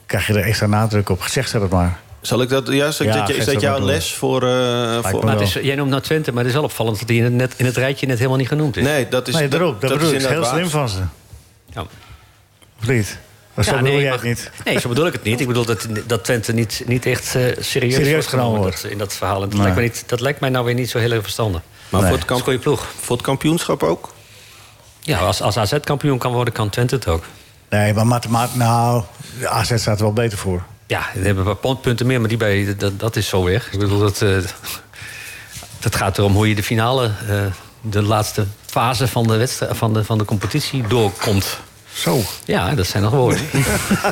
S3: krijg je er extra nadruk op. Zeg ze dat maar.
S7: Zal ik dat, ja, zal ik
S3: Ja,
S7: dat- is
S3: geef
S7: dat
S3: dat maar
S7: jouw
S3: door.
S7: les voor... eh, voor
S3: me
S6: Maar
S3: wel.
S6: het is, jij noemt nou Twente, maar het is wel opvallend dat hij in het, net, in het rijtje net helemaal niet genoemd is.
S7: nee, dat is,
S3: nee,
S7: dat,
S3: daarop. Dat,
S7: dat
S3: bedoel
S7: is
S3: ik. Het is heel
S7: inderdaad
S3: slim
S7: waar.
S3: van ze.
S6: Ja.
S3: Of niet? Maar zo
S6: Ja,
S3: bedoel
S6: nee,
S3: jij
S6: maar-
S3: het niet.
S6: Nee, zo bedoel ik het niet. Ik bedoel dat, dat Twente niet, niet echt eh, serieus,
S3: Serieus
S6: wordt
S3: genomen wordt.
S6: dat- in dat verhaal. En dat, lijkt me niet, dat lijkt mij nou weer niet zo heel erg verstandig.
S7: Maar
S3: Nee.
S7: voor, het
S6: Dat is een
S7: kamp-
S6: goede ploeg.
S7: voor het kampioenschap ook?
S6: Ja, als, als AZ kampioen kan worden, kan Twente het ook.
S3: Nee, maar mathematisch, nou, de AZ staat er wel beter voor. [LAUGHS]
S6: Ja, we hebben een paar punten meer, maar die bij, dat, dat is zo weg. Ik bedoel, dat, eh, dat gaat erom hoe je de finale, eh, de laatste fase van de, wedstrijd, van de, van de competitie doorkomt.
S3: Zo.
S6: Ja, dat zijn nog woorden.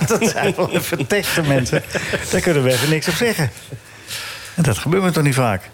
S3: dat zijn wel even teksten, mensen. Daar kunnen we even niks op zeggen. En dat gebeurt me toch niet vaak.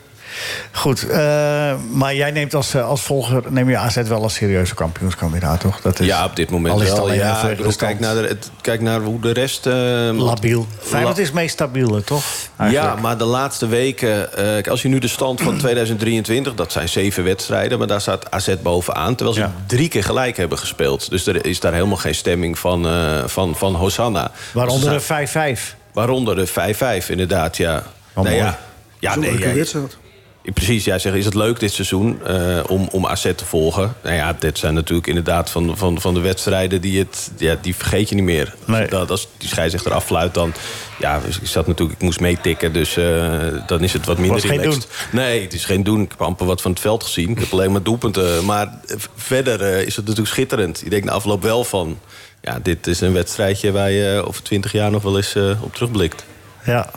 S3: Goed, eh, maar jij neemt als, eh, als volger neem je AZ wel als serieuze kampioenskandidaat, toch? Dat is,
S7: Ja, op dit moment
S3: al is het
S7: wel.
S3: alleen
S7: Ja,
S3: even
S7: ik
S3: de
S7: bedoel,
S3: stand.
S7: kijk, naar de, het- kijk naar hoe de rest... eh,
S3: Labiel. Feyenoord
S7: La-
S3: is het meest stabiele, toch?
S7: Ja,
S3: Eigenlijk.
S7: maar de laatste weken... eh, kijk, als je nu de stand van [CLEARS THROAT] 2023... dat zijn zeven wedstrijden, maar daar staat AZ bovenaan... terwijl ze
S3: Ja.
S7: drie keer gelijk hebben gespeeld. Dus er is daar helemaal geen stemming van, eh, van, van Hosanna.
S3: Waaronder
S7: Ze
S3: de
S7: zijn-
S3: 5-5.
S7: waaronder de 5-5, inderdaad, ja. Nou
S3: Wel mooi.
S7: ja. Ja,
S8: Zo'n
S7: nee,
S8: leuke
S7: ja,
S8: wedstrijd.
S7: ja, Precies, jij zegt, is het leuk dit seizoen eh, om, om AZ te volgen? Nou ja, dit zijn natuurlijk inderdaad van, van, van de wedstrijden die het... Ja, die vergeet je niet meer.
S3: Nee.
S7: Dat, als die scheidsrechter affluit, dan... Ja, dus ik zat natuurlijk, ik moest meetikken, dus eh, dan is het wat minder
S3: Was geen
S7: relaxed. Nee, het is geen doen. Ik heb amper wat van het veld gezien. Ik heb alleen maar doelpunten. Maar eh, verder eh, is het natuurlijk schitterend. Ik denk na afloop wel van... Ja, dit is een wedstrijdje waar je eh, over twintig jaar nog wel eens eh, op terugblikt.
S3: Ja.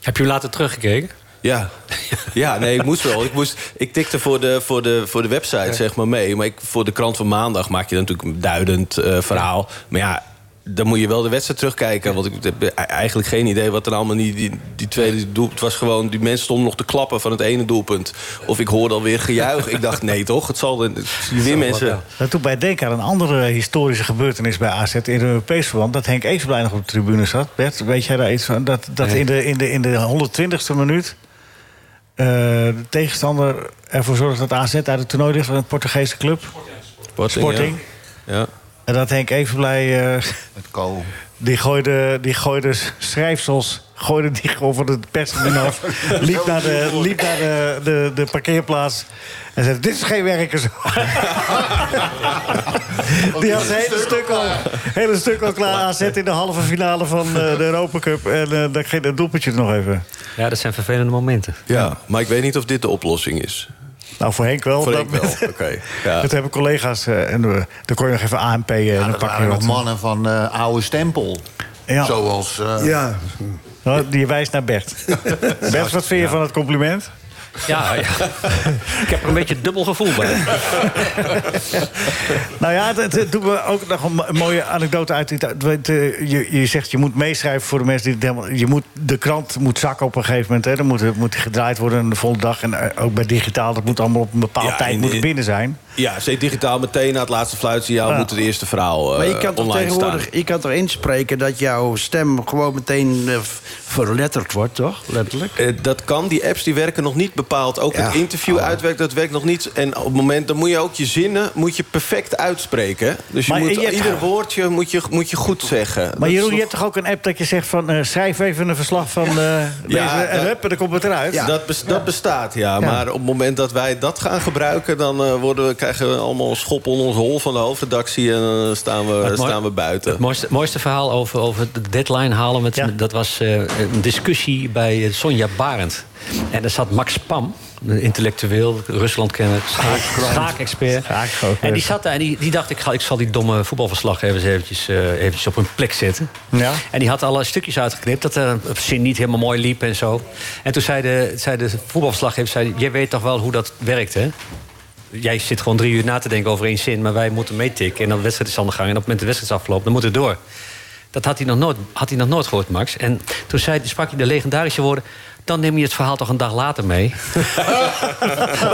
S6: Heb je hem later teruggekeken?
S7: Ja. ja, nee, ik moest wel. Ik, moest, ik tikte voor de, voor de, voor de website zeg maar mee. Maar ik, voor de krant van maandag maak je dan natuurlijk een duidend eh, verhaal. Maar ja, dan moet je wel de wedstrijd terugkijken. Want ik heb e- eigenlijk geen idee wat er allemaal niet... Die, die tweede doel, het was gewoon... Die mensen stonden nog te klappen van het ene doelpunt. Of ik hoorde alweer gejuich. Ik dacht, nee toch? Het zal... Ik zie weer mensen...
S3: Dat doet mij denken aan een andere historische gebeurtenis bij AZ in een Europees verband. Dat Henk Eesblij nog op de tribune zat. Bert, weet jij daar iets van? Dat, dat in de, in de, in de 120ste minuut eh, de tegenstander ervoor zorgt dat AZ uit het toernooi ligt van een Portugese club.
S7: Sporting.
S3: Sporting.
S7: Ja. Ja.
S3: En dat Henk Evenblij, eh
S4: Met kool.
S3: die gooide, die gooide s- schrijfsels, gooide die gewoon van het perstribune
S4: [LAUGHS]
S3: af. Liep naar, de, liep naar de, de, de parkeerplaats en zei, dit is geen werken zo. Die had het hele stuk al, hele stuk al klaar aanzet in de halve finale van eh, de Europa Cup. En eh dan ging het doelpuntje er nog even.
S6: Ja, dat zijn vervelende momenten.
S7: maar ik weet niet of dit de oplossing is.
S3: Nou, voor Henk wel.
S7: Voor
S3: [LAUGHS] Dat-
S7: ik wel. Oké. Ja.
S3: Dat hebben collega's. eh, en eh, dan kon je nog even ANP en eh,
S4: Ja,
S3: dan
S4: dat
S3: pak je
S4: waren nog
S3: wat.
S4: mannen van eh, oude stempel.
S3: Ja.
S4: Zoals... eh,
S8: Ja,
S3: Nou, die wijst naar Bert. Bert, wat vind je van het compliment?
S6: Ja, ja. [LAUGHS] ik heb er een beetje dubbel gevoel [LAUGHS] bij.
S3: Nou ja, het, het doet me ook nog een mo- een mooie anekdote uit. Ita- Want, eh, Je, je zegt, je moet meeschrijven voor de mensen die het helemaal... Je moet, de krant moet zakken op een gegeven moment. Hè. Dan moet, het- moet die gedraaid worden en de volle dag. En eh, ook bij digitaal, dat moet allemaal op een bepaald
S7: Ja,
S3: tijd
S7: en-
S3: moet het binnen zijn.
S7: Ja, zet digitaal meteen na het laatste fluitsignaal...
S3: Ja.
S7: moet het eerste verhaal eh
S5: Maar je kan toch
S7: online staan.
S5: tegenwoordig je kan toch inspreken dat jouw stem gewoon meteen eh, v- verletterd wordt, toch? Letterlijk.
S7: Eh, dat kan, die apps die werken nog niet bepaald. Ook het interview uitwerkt, dat werkt nog niet. En op het moment, dan moet je ook je zinnen moet je perfect uitspreken. Dus je
S3: Maar
S7: moet,
S3: je hebt-
S7: ieder woordje moet je, moet je goed zeggen. Dat
S3: Maar
S7: is
S3: Jeroen, je
S7: nog-
S3: hebt toch ook een app dat je zegt van... eh, schrijf even een verslag van eh, deze... en
S7: dat-
S3: hup, en dan komt het eruit.
S7: dat, bes- dat bestaat, ja. Maar op het moment dat wij dat gaan gebruiken... dan eh, worden we, krijgen we allemaal schop onder ons hol van de hoofdredactie. En dan staan we,
S6: mooi-
S7: staan we buiten.
S6: Het mooiste, mooiste verhaal over, over de deadline halen... Met,
S3: Ja.
S6: dat was eh, een discussie bij eh, Sonja Barend. En daar zat Max Pam, een intellectueel, Ruslandkenner, schaak- schaakexpert.
S3: Schaakexpert.
S6: en die zat daar en die, die dacht... Ik, ga, ik zal die domme voetbalverslaggevers eventjes, eh, eventjes op hun plek zetten.
S3: Ja.
S6: En die had alle stukjes uitgeknipt dat de zin niet helemaal mooi liep en zo. En toen zei de, zei de voetbalverslaggever... Zei, jij weet toch wel hoe dat werkt, hè? jij zit gewoon drie uur na te denken over één zin, maar wij moeten meetikken. En dan de wedstrijd is aan de gang. En op het moment dat de wedstrijd is afgelopen, dan moet het door. Dat had hij nog nooit, had hij nog nooit gehoord, Max. En toen zei, sprak hij de legendarische woorden. Dan neem je het verhaal toch een dag later mee. [LAUGHS]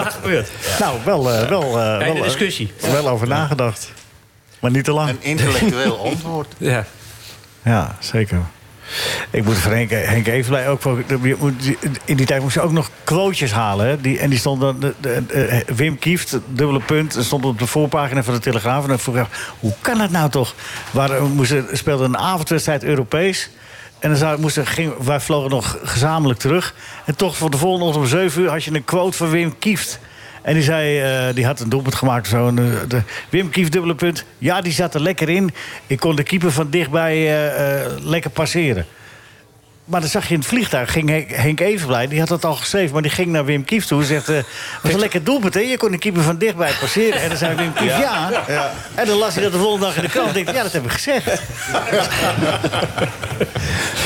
S6: Wat gebeurt?
S3: [LAUGHS] Nou, wel, eh, wel, eh, wel,
S6: Einde
S3: eh,
S6: discussie.
S3: wel over nagedacht. Maar niet te lang.
S4: Een
S3: [LAUGHS]
S4: intellectueel antwoord.
S6: Ja.
S3: Ja, zeker. Ik moet voor Henk, Henk Evenblij ook... wel- je moet- In die tijd moest je ook nog quotejes halen. Hè? Die, en die stond dan... de- de- de- Wim Kieft, dubbele punt, stond op de voorpagina van de Telegraaf. En dan vroeg ik, hoe kan dat nou toch? Waar, moesten, speelde een avondwedstrijd Europees. En dan zou, moesten, ging, wij vlogen nog gezamenlijk terug. En toch voor de volgende ochtend om 7 uur had je een quote van Wim Kieft. En die zei, eh, die had een doelpunt gemaakt. of Zo, en, eh, de, Wim Kief, dubbele punt. Ja, die zat er lekker in. Ik kon de keeper van dichtbij eh, eh, lekker passeren. Maar dan zag je in het vliegtuig, ging Henk, Henk Evenblij... die had dat al geschreven, maar die ging naar Wim Kief toe... en zegt, eh wat een lekker doelpunt, hè? Je kon de keeper van dichtbij passeren. En dan zei Wim Kief, ja. En dan las hij dat de volgende dag in de krant. en dacht, ja, dat heb ik
S5: [LAUGHS]
S3: gezegd.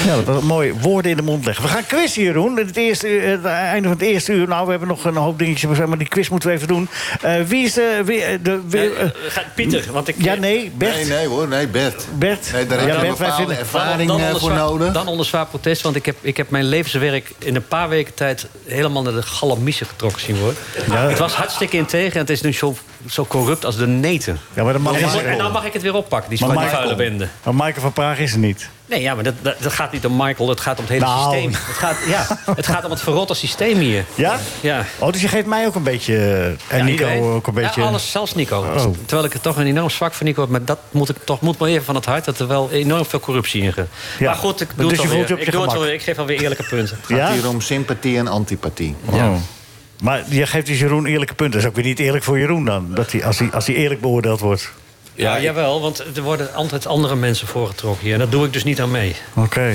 S3: Ja, dat was mooi. Woorden in de mond leggen. We gaan quiz hier doen. Het, eerste, uur- het einde van het eerste uur. Nou, we hebben nog een hoop dingetjes. Maar die quiz moeten we even doen. Eh, wie is de... Wie, eh, de wie- eh,
S6: Pieter, want ik...
S3: ja, nee, Bert.
S4: Nee, nee hoor, nee, Bert.
S3: Bert.
S4: Nee, daar
S3: Ja,
S4: heb je
S3: Bert,
S4: een
S3: wij
S4: bepaalde
S3: vinden-
S4: ervaring
S6: Dan
S4: eh,
S6: onder
S4: voor
S6: zwaar-
S4: nodig.
S6: Dan onder zwaar protest, want ik heb, ik heb mijn levenswerk in een paar weken tijd helemaal naar de galamiezen getrokken zien worden. Het was hartstikke integer en het is nu zo, zo corrupt als de neten.
S3: Ja, maar de man
S6: En,
S3: is
S6: dan-
S3: er.
S6: en nou mag ik het weer oppakken, die,
S3: Maar
S6: maar die
S3: Michael-
S6: vuile bende.
S3: Maar Michael van Praag is er niet.
S6: Nee, ja, maar dat, dat, dat gaat niet om Michael, het gaat om het hele
S3: Nou.
S6: systeem. Het gaat, ja, het gaat om het verrotte systeem hier.
S3: Ja?
S6: Ja.
S3: Oh, dus je geeft mij ook een beetje... eh, En
S6: Ja,
S3: Nico
S6: iedereen.
S3: ook een beetje...
S6: Ja, alles, zelfs Nico.
S3: Oh.
S6: Terwijl ik er toch een enorm zwak van Nico heb. Maar dat moet ik toch moet maar even van het hart... dat er wel enorm veel corruptie in gaat.
S3: Ja.
S6: Maar goed, ik
S3: Dus je
S6: doe het
S3: voelt je
S6: alweer.
S3: op je
S6: Ik, doe het
S3: gemak.
S6: alweer. ik geef alweer eerlijke punten.
S4: Het gaat
S3: Ja?
S4: hier om sympathie en antipathie.
S6: Ja.
S3: Oh. Maar je geeft dus Jeroen eerlijke punten. Dat is ook weer niet eerlijk voor Jeroen dan. Dat hij, als, hij, als hij eerlijk beoordeeld wordt.
S6: Ja, jawel, want er worden altijd andere mensen voorgetrokken hier. En dat doe ik dus niet aan mee.
S3: Oké.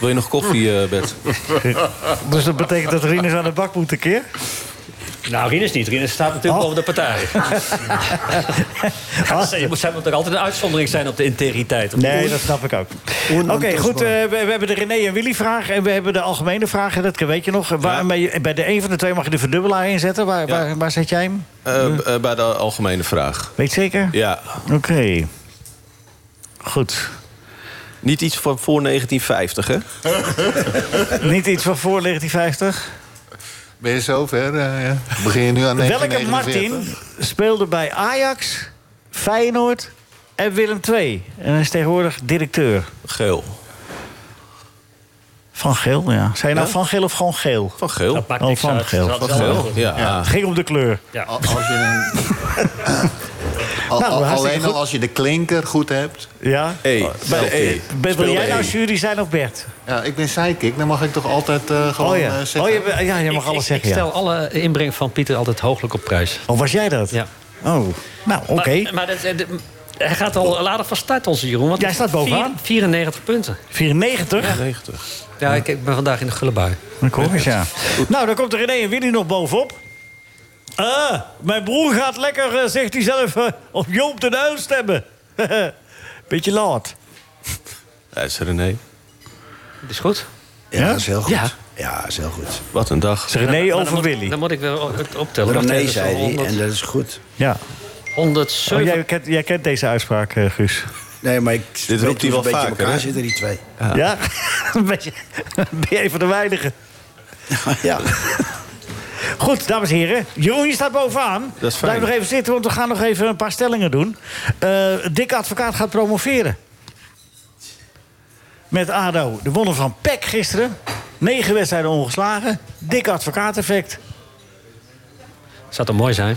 S7: Wil je nog koffie, eh
S3: [LAUGHS]
S7: Bert?
S3: Dus dat betekent dat Rinus aan de bak moet een keer?
S6: Nou, Rinus niet. Rinus staat natuurlijk
S3: Oh.
S6: boven
S3: [LAUGHS]
S6: de partij. Je moet zijn, moet er altijd een uitzondering zijn op de integriteit.
S3: Nee, dat snap ik ook. Oké, goed. eh, we, we hebben de René en Willy vraag. En we hebben de algemene vraag. en Dat weet je nog. Waarmee, bij de een van de twee mag je de verdubbelaar inzetten. Waar, waar, waar zet jij hem?
S7: Eh, b- eh, bij de algemene vraag.
S3: Weet zeker?
S4: [LAUGHS]
S7: Ja,
S3: Oké. Goed.
S7: niet iets van voor 1950, hè?
S3: Niet iets van voor 1950.
S4: Ben je zover? eh, ja? Begin je nu aan
S3: Welke
S4: 1949?
S3: Martin speelde bij Ajax, Feyenoord en Willem II? En hij is tegenwoordig directeur.
S7: Geel.
S3: Van Geel, ja. Zijn nou
S7: Ja?
S3: Van Geel of gewoon Geel?
S7: Van geel.
S6: Dat maakt
S3: Oh,
S6: niks
S3: van
S6: uit.
S3: Geel.
S6: Dat is
S7: Van
S6: wel
S7: geel,
S6: goed.
S7: ja.
S3: Het ging om de kleur.
S6: Ja.
S4: Al- Als je een...
S3: [LAUGHS]
S4: Al-
S3: Nou,
S4: al-
S3: hartstikke
S4: alleen al
S3: goed.
S4: als je de klinker goed hebt. Oh,
S3: Ja?
S7: E. Bij de E.
S3: Ben, wil
S7: Speelde
S3: jij nou
S7: E.
S3: jury zijn of Bert?
S4: Ja, ik ben sidekick, dan mag ik toch altijd eh, gewoon
S3: Oh ja.
S4: eh,
S3: Oh,
S4: zeggen.
S3: je, be- ja, je mag
S6: Ik-
S3: alles
S6: ik-
S3: zeggen.
S6: Ik stel
S3: ja.
S6: alle inbreng van Pieter altijd hooglijk op prijs.
S3: Oh, was jij dat?
S6: Ja.
S3: Oh, nou, oké. Oh.
S6: Maar, maar dat, dat- hij gaat al later van start, onze Jeroen. Want
S3: Jij staat bovenaan.
S6: vier- 94 punten.
S3: 94?
S7: 90.
S6: Ja, ik, ik ben vandaag in de gullebui.
S3: Ik hoor het, ja. Nou, dan komt er René en Willy nog bovenop. Ah, mijn broer gaat lekker, eh, zegt hij zelf, eh, op Joop den Uyl stemmen. [LAUGHS] Beetje laat.
S7: Dat is René.
S6: Is goed?
S8: Ja, dat is heel goed.
S6: Ja.
S8: Ja, dat is heel goed.
S7: Wat een dag.
S3: Is René
S6: Maar Nou, dan
S3: over
S6: moet-
S3: Willy.
S6: Dan moet ik weer o- het optellen. Wacht
S8: René
S6: even,
S8: zei
S6: zo
S8: die,
S6: 100
S8: en dat is goed.
S3: Ja. Oh,
S6: 107.
S3: jij, kent, jij kent deze uitspraak, eh, Guus.
S8: Nee, maar ik weet
S7: roept hij
S8: hoe
S7: wel
S8: ze een beetje
S7: vaker,
S8: in elkaar
S7: hè?
S8: zitten die twee.
S3: Ja? [LAUGHS] Een beetje, ben je een van de weinigen.
S8: ja.
S3: Goed, dames en heren. Jeroen, je staat bovenaan.
S7: Dat is fijn.
S3: Blijf nog even zitten, want we gaan nog even een paar stellingen doen. Eh Dikke Advocaat gaat promoveren. Met ADO. De wonnen van PEC gisteren. Negen wedstrijden ongeslagen. Dikke Advocaat effect.
S6: Zou toch mooi zijn?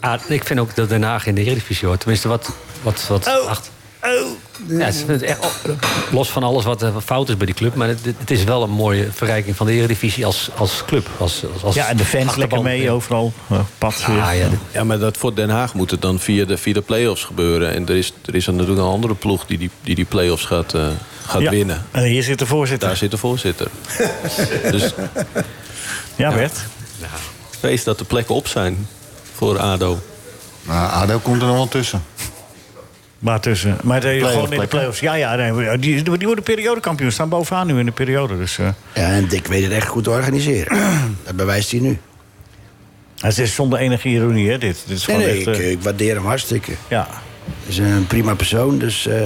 S6: Ah, ik vind ook dat Den Haag in de Eredivisie hoort. Tenminste, wat... wat, wat
S3: Oh,
S6: acht-
S3: oh,
S6: Ja, het is echt, los van alles wat er fout is bij die club. Maar het, het is wel een mooie verrijking van de Eredivisie als, als club. Als, als, als
S3: Ja, en de fans lekker
S6: achterban.
S3: mee overal. Eh, Pad.
S6: Ah, ja, dit-
S7: Ja, maar dat voor Den Haag moet het dan via de, via de play-offs gebeuren. En er is, er is dan natuurlijk een andere ploeg die die, die, die play-offs gaat, eh, gaat
S3: Ja.
S7: winnen.
S3: En hier zit de voorzitter.
S7: Daar zit de
S3: [LAUGHS]
S7: voorzitter. dus
S3: Ja, Bert.
S7: vrees dat de plekken op zijn voor ADO.
S4: Nou, ADO komt er nog wel tussen.
S3: Maar tussen. Maar de, gewoon in de
S4: plekken.
S3: play-offs. Ja, ja, nee, die, die worden periodekampioen. Staan bovenaan nu in de periode. Dus eh,
S5: Ja, en Dick weet het echt goed te organiseren. [CLEARS THROAT] Dat bewijst hij nu.
S3: het is zonder enige ironie, hè, dit. dit is
S5: Nee,
S3: gewoon
S5: nee,
S3: echt,
S5: ik,
S3: eh,
S5: ik waardeer hem hartstikke.
S3: ja.
S5: Hij is een prima persoon, dus eh,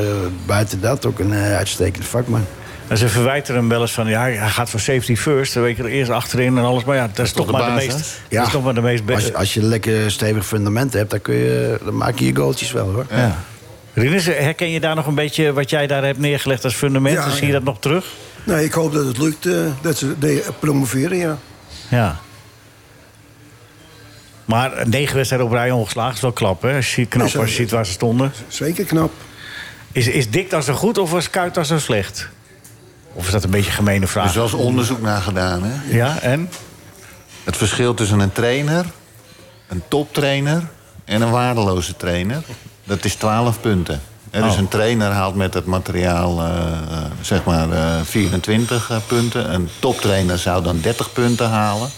S5: buiten dat ook een eh, uitstekend vakman.
S3: En ze verwijten hem wel eens van, ja, hij gaat voor safety first. Dan weet je er eerst achterin en alles. Maar ja, dat is, toch,
S4: de
S3: maar
S4: baas,
S3: de
S4: hè?
S3: meest, dat is toch maar de meest... be-
S5: als, als je lekker stevig fundament hebt, dan, kun je, dan maak je je goaltjes wel hoor.
S3: ja. Rinus, herken je daar nog een beetje wat jij daar hebt neergelegd als fundament?
S8: Ja,
S3: Dan zie
S8: ja.
S3: je dat nog terug?
S8: Nou, ik hoop dat het lukt eh, dat ze de- promoveren, ja.
S3: Ja. Maar negen wedstrijden op rij ongeslagen is wel klap, hè? Als je, knap
S8: Is dat-
S3: als je ziet waar ze stonden.
S8: Zeker knap.
S3: Is, is dik dan zo goed of was kuit dan zo slecht? Of is dat een beetje een gemene
S4: Er
S3: vraag?
S4: Dus is wel eens onderzoek naar gedaan. Hè?
S3: Ja, en?
S4: Het verschil tussen een trainer, een toptrainer en een waardeloze trainer, dat is 12 punten. Er is
S3: Oh.
S4: een trainer haalt met het materiaal eh, eh, zeg maar eh, 24 punten. Een toptrainer zou dan 30 punten halen.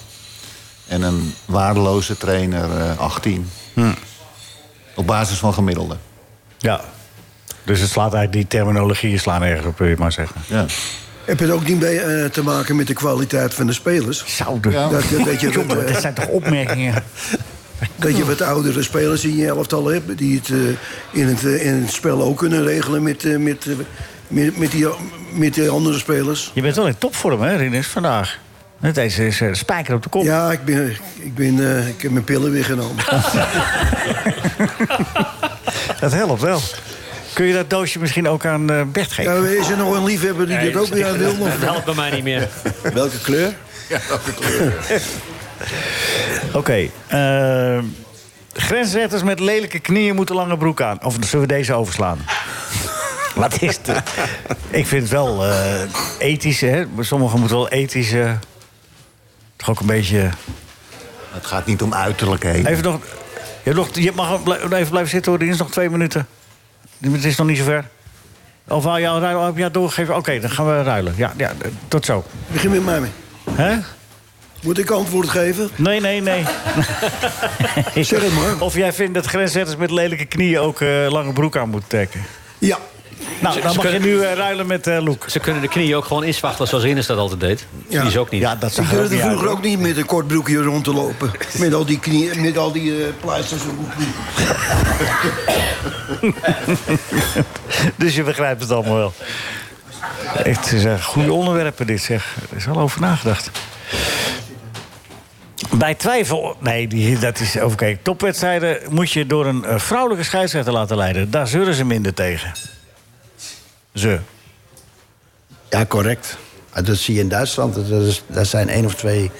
S4: En een waardeloze trainer eh, 18. Op basis van gemiddelde.
S3: Hm. Ja. Dus het slaat eigenlijk, die terminologieën slaan ergens op, wil je maar zeggen.
S4: Ja.
S8: Heb je het ook niet mee eh, te maken met de kwaliteit van de spelers?
S3: Zouden.
S4: Ja.
S8: Dat, je- dat, je, wat,
S3: [LAUGHS] Jongen,
S8: eh,
S3: dat zijn toch opmerkingen?
S8: [LAUGHS] dat je wat oudere spelers in je elftal hebt... die het, eh, in, het eh, in het spel ook kunnen regelen met, eh, met, eh, met, met, die, met die andere spelers.
S3: Je bent wel in topvorm, hè, Rinus, vandaag? Net eens is eh, spijker op de kop.
S8: Ja, ik, ben, ik, ben, eh, ik heb mijn pillen weer genomen.
S3: [LAUGHS] Dat helpt wel. Kun je dat doosje misschien ook aan eh, Bert geven?
S8: Ja, is er nog een liefhebber die dit ook weer aan wil?
S6: dat helpt bij mij niet meer.
S5: Welke kleur?
S6: [LAUGHS]
S3: Oké. ehm, grensrechters met lelijke knieën moeten lange broek aan. Of zullen we deze overslaan? [LAUGHS] Wat is dit? Ik vind het wel eh ethisch, hè? Maar Sommigen moeten wel ethisch... eh, toch ook een beetje...
S4: Het gaat niet om uiterlijkheden.
S3: Even nog... Je, hebt nog, je mag nog blij- even blijven zitten, hoor. Er is nog twee minuten. Het is nog niet zover. Of ah, wou jou ruilen? Heb jij doorgegeven? Oké, dan gaan we ruilen. Ja, ja eh, tot zo.
S8: Begin met mij.
S3: Hè?
S8: Moet ik antwoord geven?
S3: Nee, nee, nee.
S8: [LAUGHS] Zeg het maar.
S3: Of jij vindt dat grensrechters met lelijke knieën ook eh, lange broek aan moeten trekken?
S8: Ja.
S3: Nou, dan
S6: ze
S3: mag je
S6: kunnen-
S3: nu eh, ruilen met eh Loek.
S6: Ze kunnen de knieën ook gewoon inswachtelen zoals Rinus dat altijd deed.
S8: Ja.
S6: Die is ook niet.
S3: dat
S8: Ik durfde vroeger ook niet met een kort broekje rond te
S3: [LAUGHS]
S8: lopen. Met al die knieën, met al die eh, pleisters. op mijn knie.
S3: [LAUGHS] Dus je begrijpt het allemaal wel. Echt, het zijn goede onderwerpen dit, zeg. Er is al over nagedacht. Bij twijfel, nee, die, dat is oké. Topwedstrijden moet je door een eh, vrouwelijke scheidsrechter laten leiden. Daar zeuren ze minder tegen. Ze.
S5: Ja, correct. Ah, Dat zie je in Duitsland. Dat is, daar zijn één of twee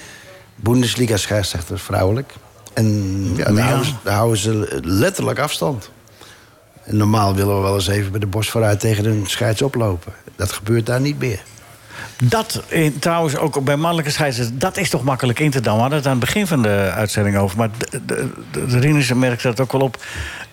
S5: Bundesliga-scheidsrechters vrouwelijk. En ja, daar, houden ze, daar houden ze letterlijk afstand. En normaal willen we wel eens even met de borst vooruit tegen een scheids oplopen. Dat gebeurt daar niet meer.
S3: Dat eh, trouwens ook bij mannelijke scheidsrechters, dat is toch makkelijk in te dammen. We hadden het aan het begin van de uitzending over. Maar de, de, de, de Rinus merkt dat ook wel op.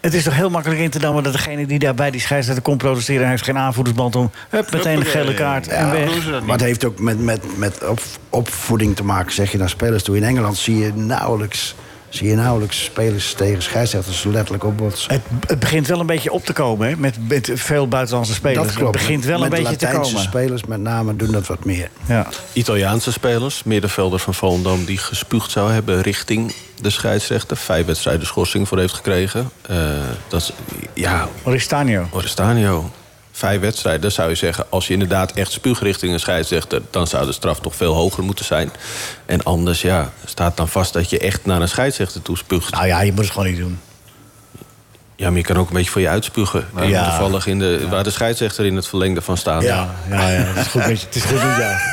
S3: Het is toch heel makkelijk in te dammen dat degene die daar bij die scheidsrechter komt protesteren. Hij heeft geen aanvoerdersband om. Hup, meteen een gele kaart en weg.
S5: Maar het heeft ook met, met, met op, opvoeding te maken, zeg je naar spelers toe. In Engeland zie je nauwelijks, zie je nauwelijks spelers tegen scheidsrechters letterlijk opbotsen.
S3: Het, het begint wel een beetje op te komen hè, met, met veel buitenlandse spelers. Het begint wel een
S5: Met
S3: beetje te
S5: Latijnse
S3: komen.
S5: spelers met name doen dat wat meer.
S3: Ja.
S7: Italiaanse spelers, middenvelder van Volendam... die gespuugd zou hebben richting de scheidsrechter. Vijf wedstrijden schorsing voor heeft gekregen. Eh, dat is, ja,
S3: Oristanio.
S7: Oristanio. Vijf wedstrijden, dan zou je zeggen... als je inderdaad echt spuugt richting een scheidsrechter... dan zou de straf toch veel hoger moeten zijn. En anders, ja, staat dan vast dat je echt naar een scheidsrechter toe spuugt.
S3: Nou ja, je moet het gewoon niet doen.
S7: Ja, maar je kan ook een beetje voor je uitspugen. En
S3: Ja.
S7: Toevallig in de, waar de scheidsrechter in het verlengde van staat.
S3: Ja, ja, ja. Het is goed met je. Het is goed met jou. [LAUGHS]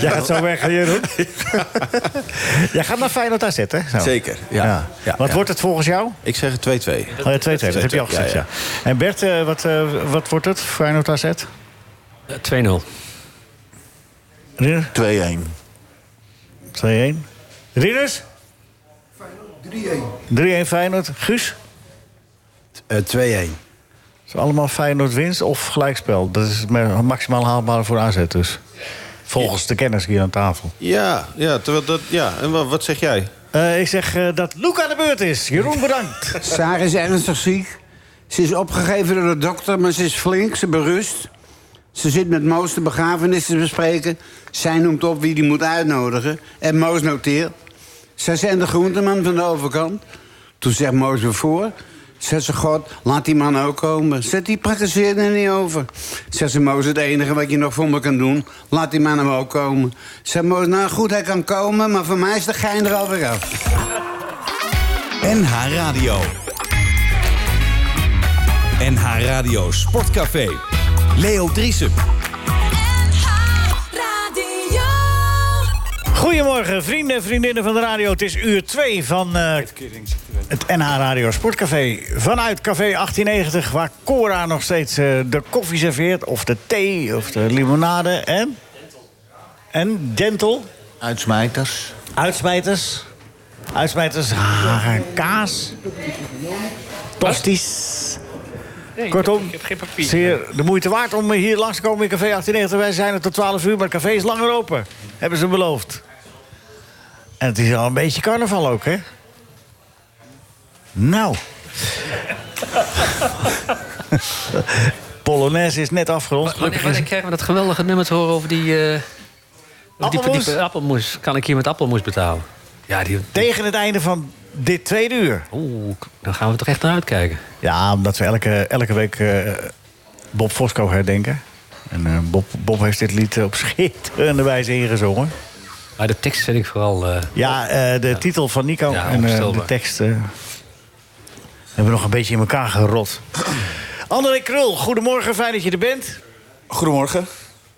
S3: Jij gaat zo weg,
S5: [LAUGHS]
S3: Jeroen. Jij gaat naar Feyenoord AZ, hè? Zo.
S7: Zeker, ja. Ja,
S3: Wat
S7: ja.
S3: wordt het volgens jou?
S7: Ik zeg 2-2.
S3: Oh, ja, 2-2, dat heb je al gezegd, ja.
S7: ja.
S3: En Bert, eh, wat, eh, wat wordt het? Feyenoord AZ?
S6: Eh, 2-0.
S3: Rinus?
S4: 2-1.
S3: 2-1. Rinus? 3-1 Feyenoord. Guus?
S5: Eh, 2-1.
S3: Het is allemaal Feyenoord winst of gelijkspel. Dat is het ma- maximaal haalbare voor AZ dus. Volgens de kennis hier aan tafel.
S7: Ja, ja, terwijl dat, ja. en wa- wat zeg jij?
S3: Eh, ik zeg eh, dat Luca de beurt is. Jeroen, bedankt.
S9: Sarah is ernstig ziek. Ze is opgegeven door de dokter, maar ze is flink, ze berust. Ze zit met Moos de begrafenis te bespreken. Zij noemt op wie die moet uitnodigen. En Moos noteert. Zij zijn de groenteman van de overkant. Toen zegt Moos weer voor. Zegt ze, God, laat die man ook komen. Zet die praktiseert er niet over. Zegt ze, Moos, het enige wat je nog voor me kan doen... laat die man hem ook komen. Zegt Moos, nou goed, hij kan komen... maar voor mij is de gein er alweer af.
S2: NH Radio. NH Radio Sportcafé. Leo Driesen.
S10: Radio.
S3: Goedemorgen, vrienden en vriendinnen van de radio. Het is uur 2 van eh, het NH Radio Sportcafé. Vanuit Café 1890, waar Cora nog steeds eh, de koffie serveert... of de thee, of de limonade en... En dental,
S4: Uitsmijters.
S3: uitsmijters... Uitsmijters, ha- kaas... Tosties... Kortom,
S11: Ik heb geen papier.
S3: zeer de moeite waard om hier langs te komen in Café 1890. Wij zijn er tot 12 uur, maar het café is langer open. Hebben ze beloofd. En het is al een beetje carnaval ook, hè? Nou. [LAUGHS] Polonaise is net afgerond.
S11: Wanneer,
S3: Gelukkig is
S11: wanneer krijgen we dat geweldige nummer te horen over die... eh over die-
S3: Appelmoes?
S11: die- die appelmoes. Kan ik hier met appelmoes betalen? Ja, die...
S3: tegen het einde van dit tweede uur.
S11: Oeh, dan gaan we toch echt naar uitkijken.
S3: Ja, omdat we elke, elke week eh, Bob Fosco herdenken. En eh, Bob, Bob heeft dit lied op schitterende wijze ingezongen.
S11: Maar de tekst vind ik vooral... eh,
S3: Ja, eh, de titel van Nico
S11: Ja,
S3: en eh, de
S11: onvoorstelbaar.
S3: tekst eh, hebben we nog een beetje in elkaar gerot. [CLEARS THROAT] André Krul, goedemorgen, fijn dat je er bent.
S12: Goedemorgen.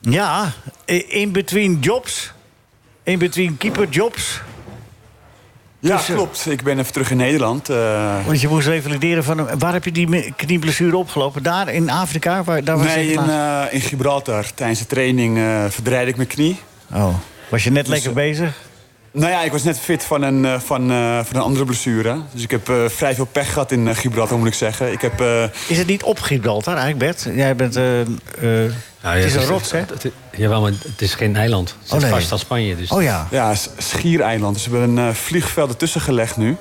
S3: Ja, i- in between jobs. In between keeper jobs.
S12: Ja,
S3: Dus, eh,
S12: klopt. Ik ben even terug in Nederland. eh,
S3: [LAUGHS] Want je moest revalideren van... hem. Waar heb je die me- knieblessure opgelopen? Daar in Afrika? Waar, daar was je
S12: nee, in,
S3: klaar.
S12: eh, in Gibraltar. Tijdens de training eh verdraaide ik mijn knie.
S3: Oh, was je net lekker
S12: eh,
S3: bezig?
S12: Nou ja, ik was net fit van een, eh, van, eh, van een andere blessure. Dus ik heb eh, vrij veel pech gehad in eh, Gibraltar, moet ik zeggen. Ik heb, eh,
S3: Is het niet op Gibraltar eigenlijk, Bert? Jij bent... eh, eh,
S11: nou,
S3: het
S11: ja,
S3: is een rots, hè?
S11: het- het- Jawel, maar het is geen eiland. Het zit
S3: Oh, nee.
S11: vast aan Spanje. Dus
S3: Oh ja.
S12: ja, s- schiereiland. Dus we hebben een eh, vliegveld ertussen gelegd nu.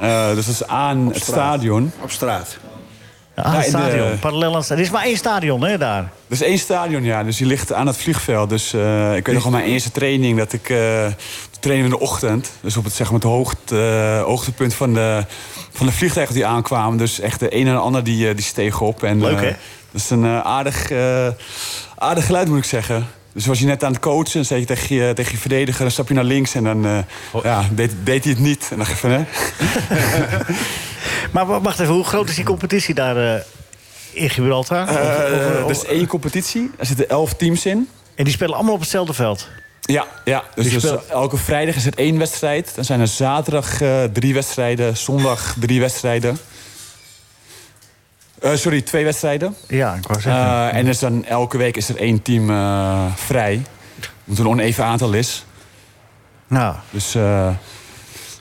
S12: Eh, dus dat is aan het stadion.
S8: Op straat.
S3: Ah,
S12: in
S3: het
S12: de-
S3: stadion. Parallel aan het stadion. Er is maar één stadion, hè, daar.
S12: eh, Er is één stadion, ja. Dus die ligt aan het vliegveld. Dus eh, ik weet nog van mijn eerste training dat ik eh trainde in de ochtend. Dus op het, zeg maar, het hoogt- eh, hoogtepunt van de, van de vliegtuigen die aankwamen. Dus echt de een en de ander die, eh, die steeg op. En,
S3: Leuk,
S12: eh,
S3: hè?
S12: dat is een eh, aardig, eh, aardig geluid, moet ik zeggen. Dus was je net aan het coachen, dan zei je tegen je, tegen je verdediger... dan stap je naar links en dan eh,
S3: Oh.
S12: ja, deed, deed hij het niet. En dan dacht ik van, hè?
S3: Maar Ah, wa- wacht even, hoe groot is die competitie daar eh, in Gibraltar? Of- of-
S12: Eh,
S3: of-
S12: er is één competitie, er zitten elf
S3: [LAUGHS]
S12: teams in.
S3: en die spelen allemaal op hetzelfde veld.
S12: Ja, ja. Dus,
S3: Wie
S12: dus
S3: speelt?
S12: elke vrijdag is het één wedstrijd. Dan zijn er zaterdag eh, drie wedstrijden, zondag drie wedstrijden. Eh, sorry, twee wedstrijden.
S3: Ja, ik wou zeggen.
S12: Eh, en dus dan elke week is er één team eh, vrij. Omdat het een oneven aantal is.
S3: nou.
S12: Dus eh,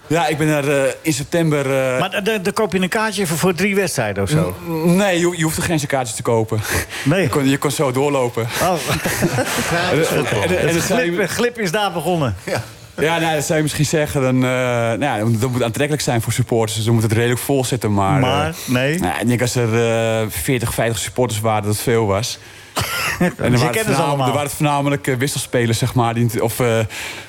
S12: ja, ik ben er eh, in september... eh,
S3: Maar
S12: [LAUGHS]
S3: dan- dan koop je een kaartje voor, voor drie wedstrijden of zo.
S12: Nee, je, je hoeft er geen kaartjes te kopen.
S3: Nee.
S12: [LAUGHS] Je kon, je kon zo doorlopen.
S3: Oh,
S12: eh, En- en- en
S3: het
S12: dan zou je-
S3: glip, glip is daar begonnen.
S12: Ja, nou, dat zou je misschien zeggen. Dan, eh, nou, ja, dat moet aantrekkelijk zijn voor supporters. Dus dan moet het redelijk vol zitten. Maar,
S3: Maar,
S12: eh,
S3: nee.
S12: nou, ik denk als er eh 40, 50 supporters waren, dat het veel
S3: [LAUGHS]
S12: was. En er
S3: Ze
S12: waren,
S3: kennen ze
S12: voornamelijk-
S3: allemaal.
S12: er waren voornamelijk eh, wisselspelers, zeg maar. Die, niet- of eh,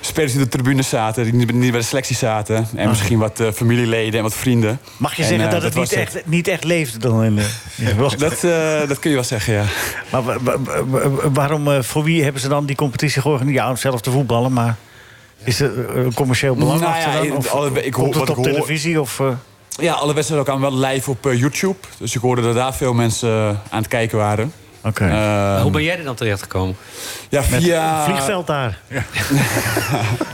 S12: spelers die op de tribune zaten, die niet niet bij de selectie zaten. En misschien wat eh, familieleden en wat vrienden.
S3: Ah. Mag je
S12: En,
S3: zeggen
S12: eh,
S3: dat het
S12: was
S3: niet echt, niet echt leefde dan in de... in Gibraltar?
S12: Dat, eh, dat kun je wel zeggen, ja.
S3: Maar wa- wa- wa- wa- waarom, eh, voor wie hebben ze dan die competitie georganiseerd? Ja, om zelf te voetballen, maar... Is er eh, commercieel belang
S12: Nou ja,
S3: achter dan?
S12: ik-
S3: Of
S12: alle- ik hoor-
S3: komt het
S12: wat
S3: op
S12: ik hoor-
S3: televisie? Of, eh,
S12: Ja, alle wedstrijden ook aan wel live op eh, YouTube. Dus ik hoorde dat daar veel mensen eh, aan het kijken waren.
S3: Oké.
S6: Maar hoe ben jij er dan terechtgekomen?
S12: Ja,
S3: via- het vliegveld daar.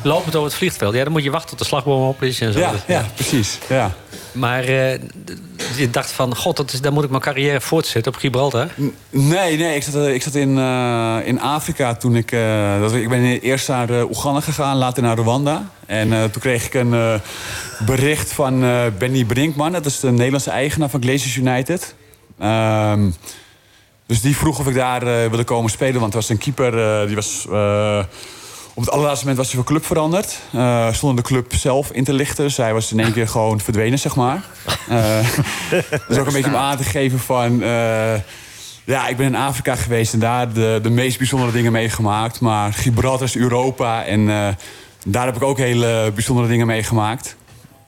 S6: Lopend over het vliegveld. Ja, dan moet je wachten tot de slagboom op is en zo.
S12: Ja, ja, precies. Ja.
S6: Maar eh, d- je dacht van, god, dat is, dan moet ik mijn carrière voortzetten op Gibraltar.
S12: Nee, nee, ik zat, eh, ik zat in, eh, in Afrika toen ik... eh, dat, ik ben eerst naar eh, Oeganda gegaan, later naar Rwanda. En eh, toen kreeg ik een eh, bericht van eh, Benny Brinkman. Dat is de Nederlandse eigenaar van Glaciers United. Ehm, dus die vroeg of ik daar eh, wilde komen spelen. Want er was een keeper, eh, die was... eh, op het allerlaatste moment was hij van club veranderd. Eh zonder de club zelf in te lichten. Dus hij was in één keer gewoon verdwenen, zeg maar. Eh, [LAUGHS] dus ook een beetje om aan te geven van... eh, ja, ik ben in Afrika geweest en daar de, de meest bijzondere dingen meegemaakt. Maar Gibraltar is Europa en eh, daar heb ik ook hele bijzondere dingen meegemaakt.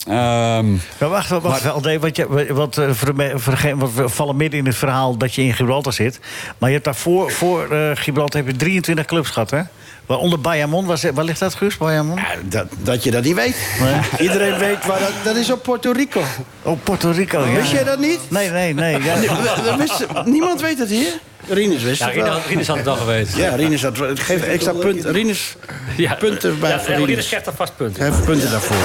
S12: Ehm
S3: Maar wacht, wacht, wacht. wel, nee, want, je, want, eh, voor de me- voor degene- want we vallen midden in het verhaal dat je in Gibraltar zit. Maar je hebt daarvoor, voor eh, Gibraltar heb je 23 clubs gehad, hè? Waaronder Bayamon, waar, zit- waar ligt dat, Guus, Bayamon?
S5: dat, dat je dat niet weet. [LAUGHS] Iedereen weet waar dat... Dat is op Puerto Rico.
S3: Oh, Puerto Rico, ja.
S5: Wist jij dat niet?
S3: Nee, nee, nee.
S5: [LAUGHS]
S3: ja.
S5: Dat- dat wist- niemand weet dat hier. Rinus wist
S6: Ja,
S5: het
S6: Rinus
S5: wel.
S6: had- Rinus had het al geweten.
S5: Ja, Rinus had... het Geef extra punten. Rinus, [LAUGHS] punten bij voor
S6: Rinus
S5: Rinus.
S6: krijgt er vast punten.
S5: Geef punten daarvoor.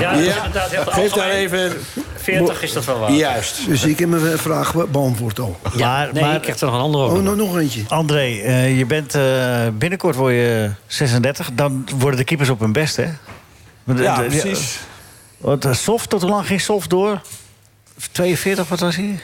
S6: Ja,
S5: Ja.
S6: inderdaad, heel
S5: Geef daar
S6: algemeen.
S5: even...
S6: 40 is dat wel waar.
S5: Juist.
S8: Dus ik heb mijn vraag be- beantwoord al.
S3: maar,
S6: Nee,
S3: maar-
S6: ik krijg er nog een andere
S8: Oh,
S6: over.
S8: nou, nog eentje.
S3: André, eh, je bent, eh, binnenkort word je 36. Dan worden de keepers op hun best, hè? Want, eh,
S12: ja,
S3: de-
S12: precies.
S3: Want eh, soft, tot hoe lang ging soft door? 42, wat was hij?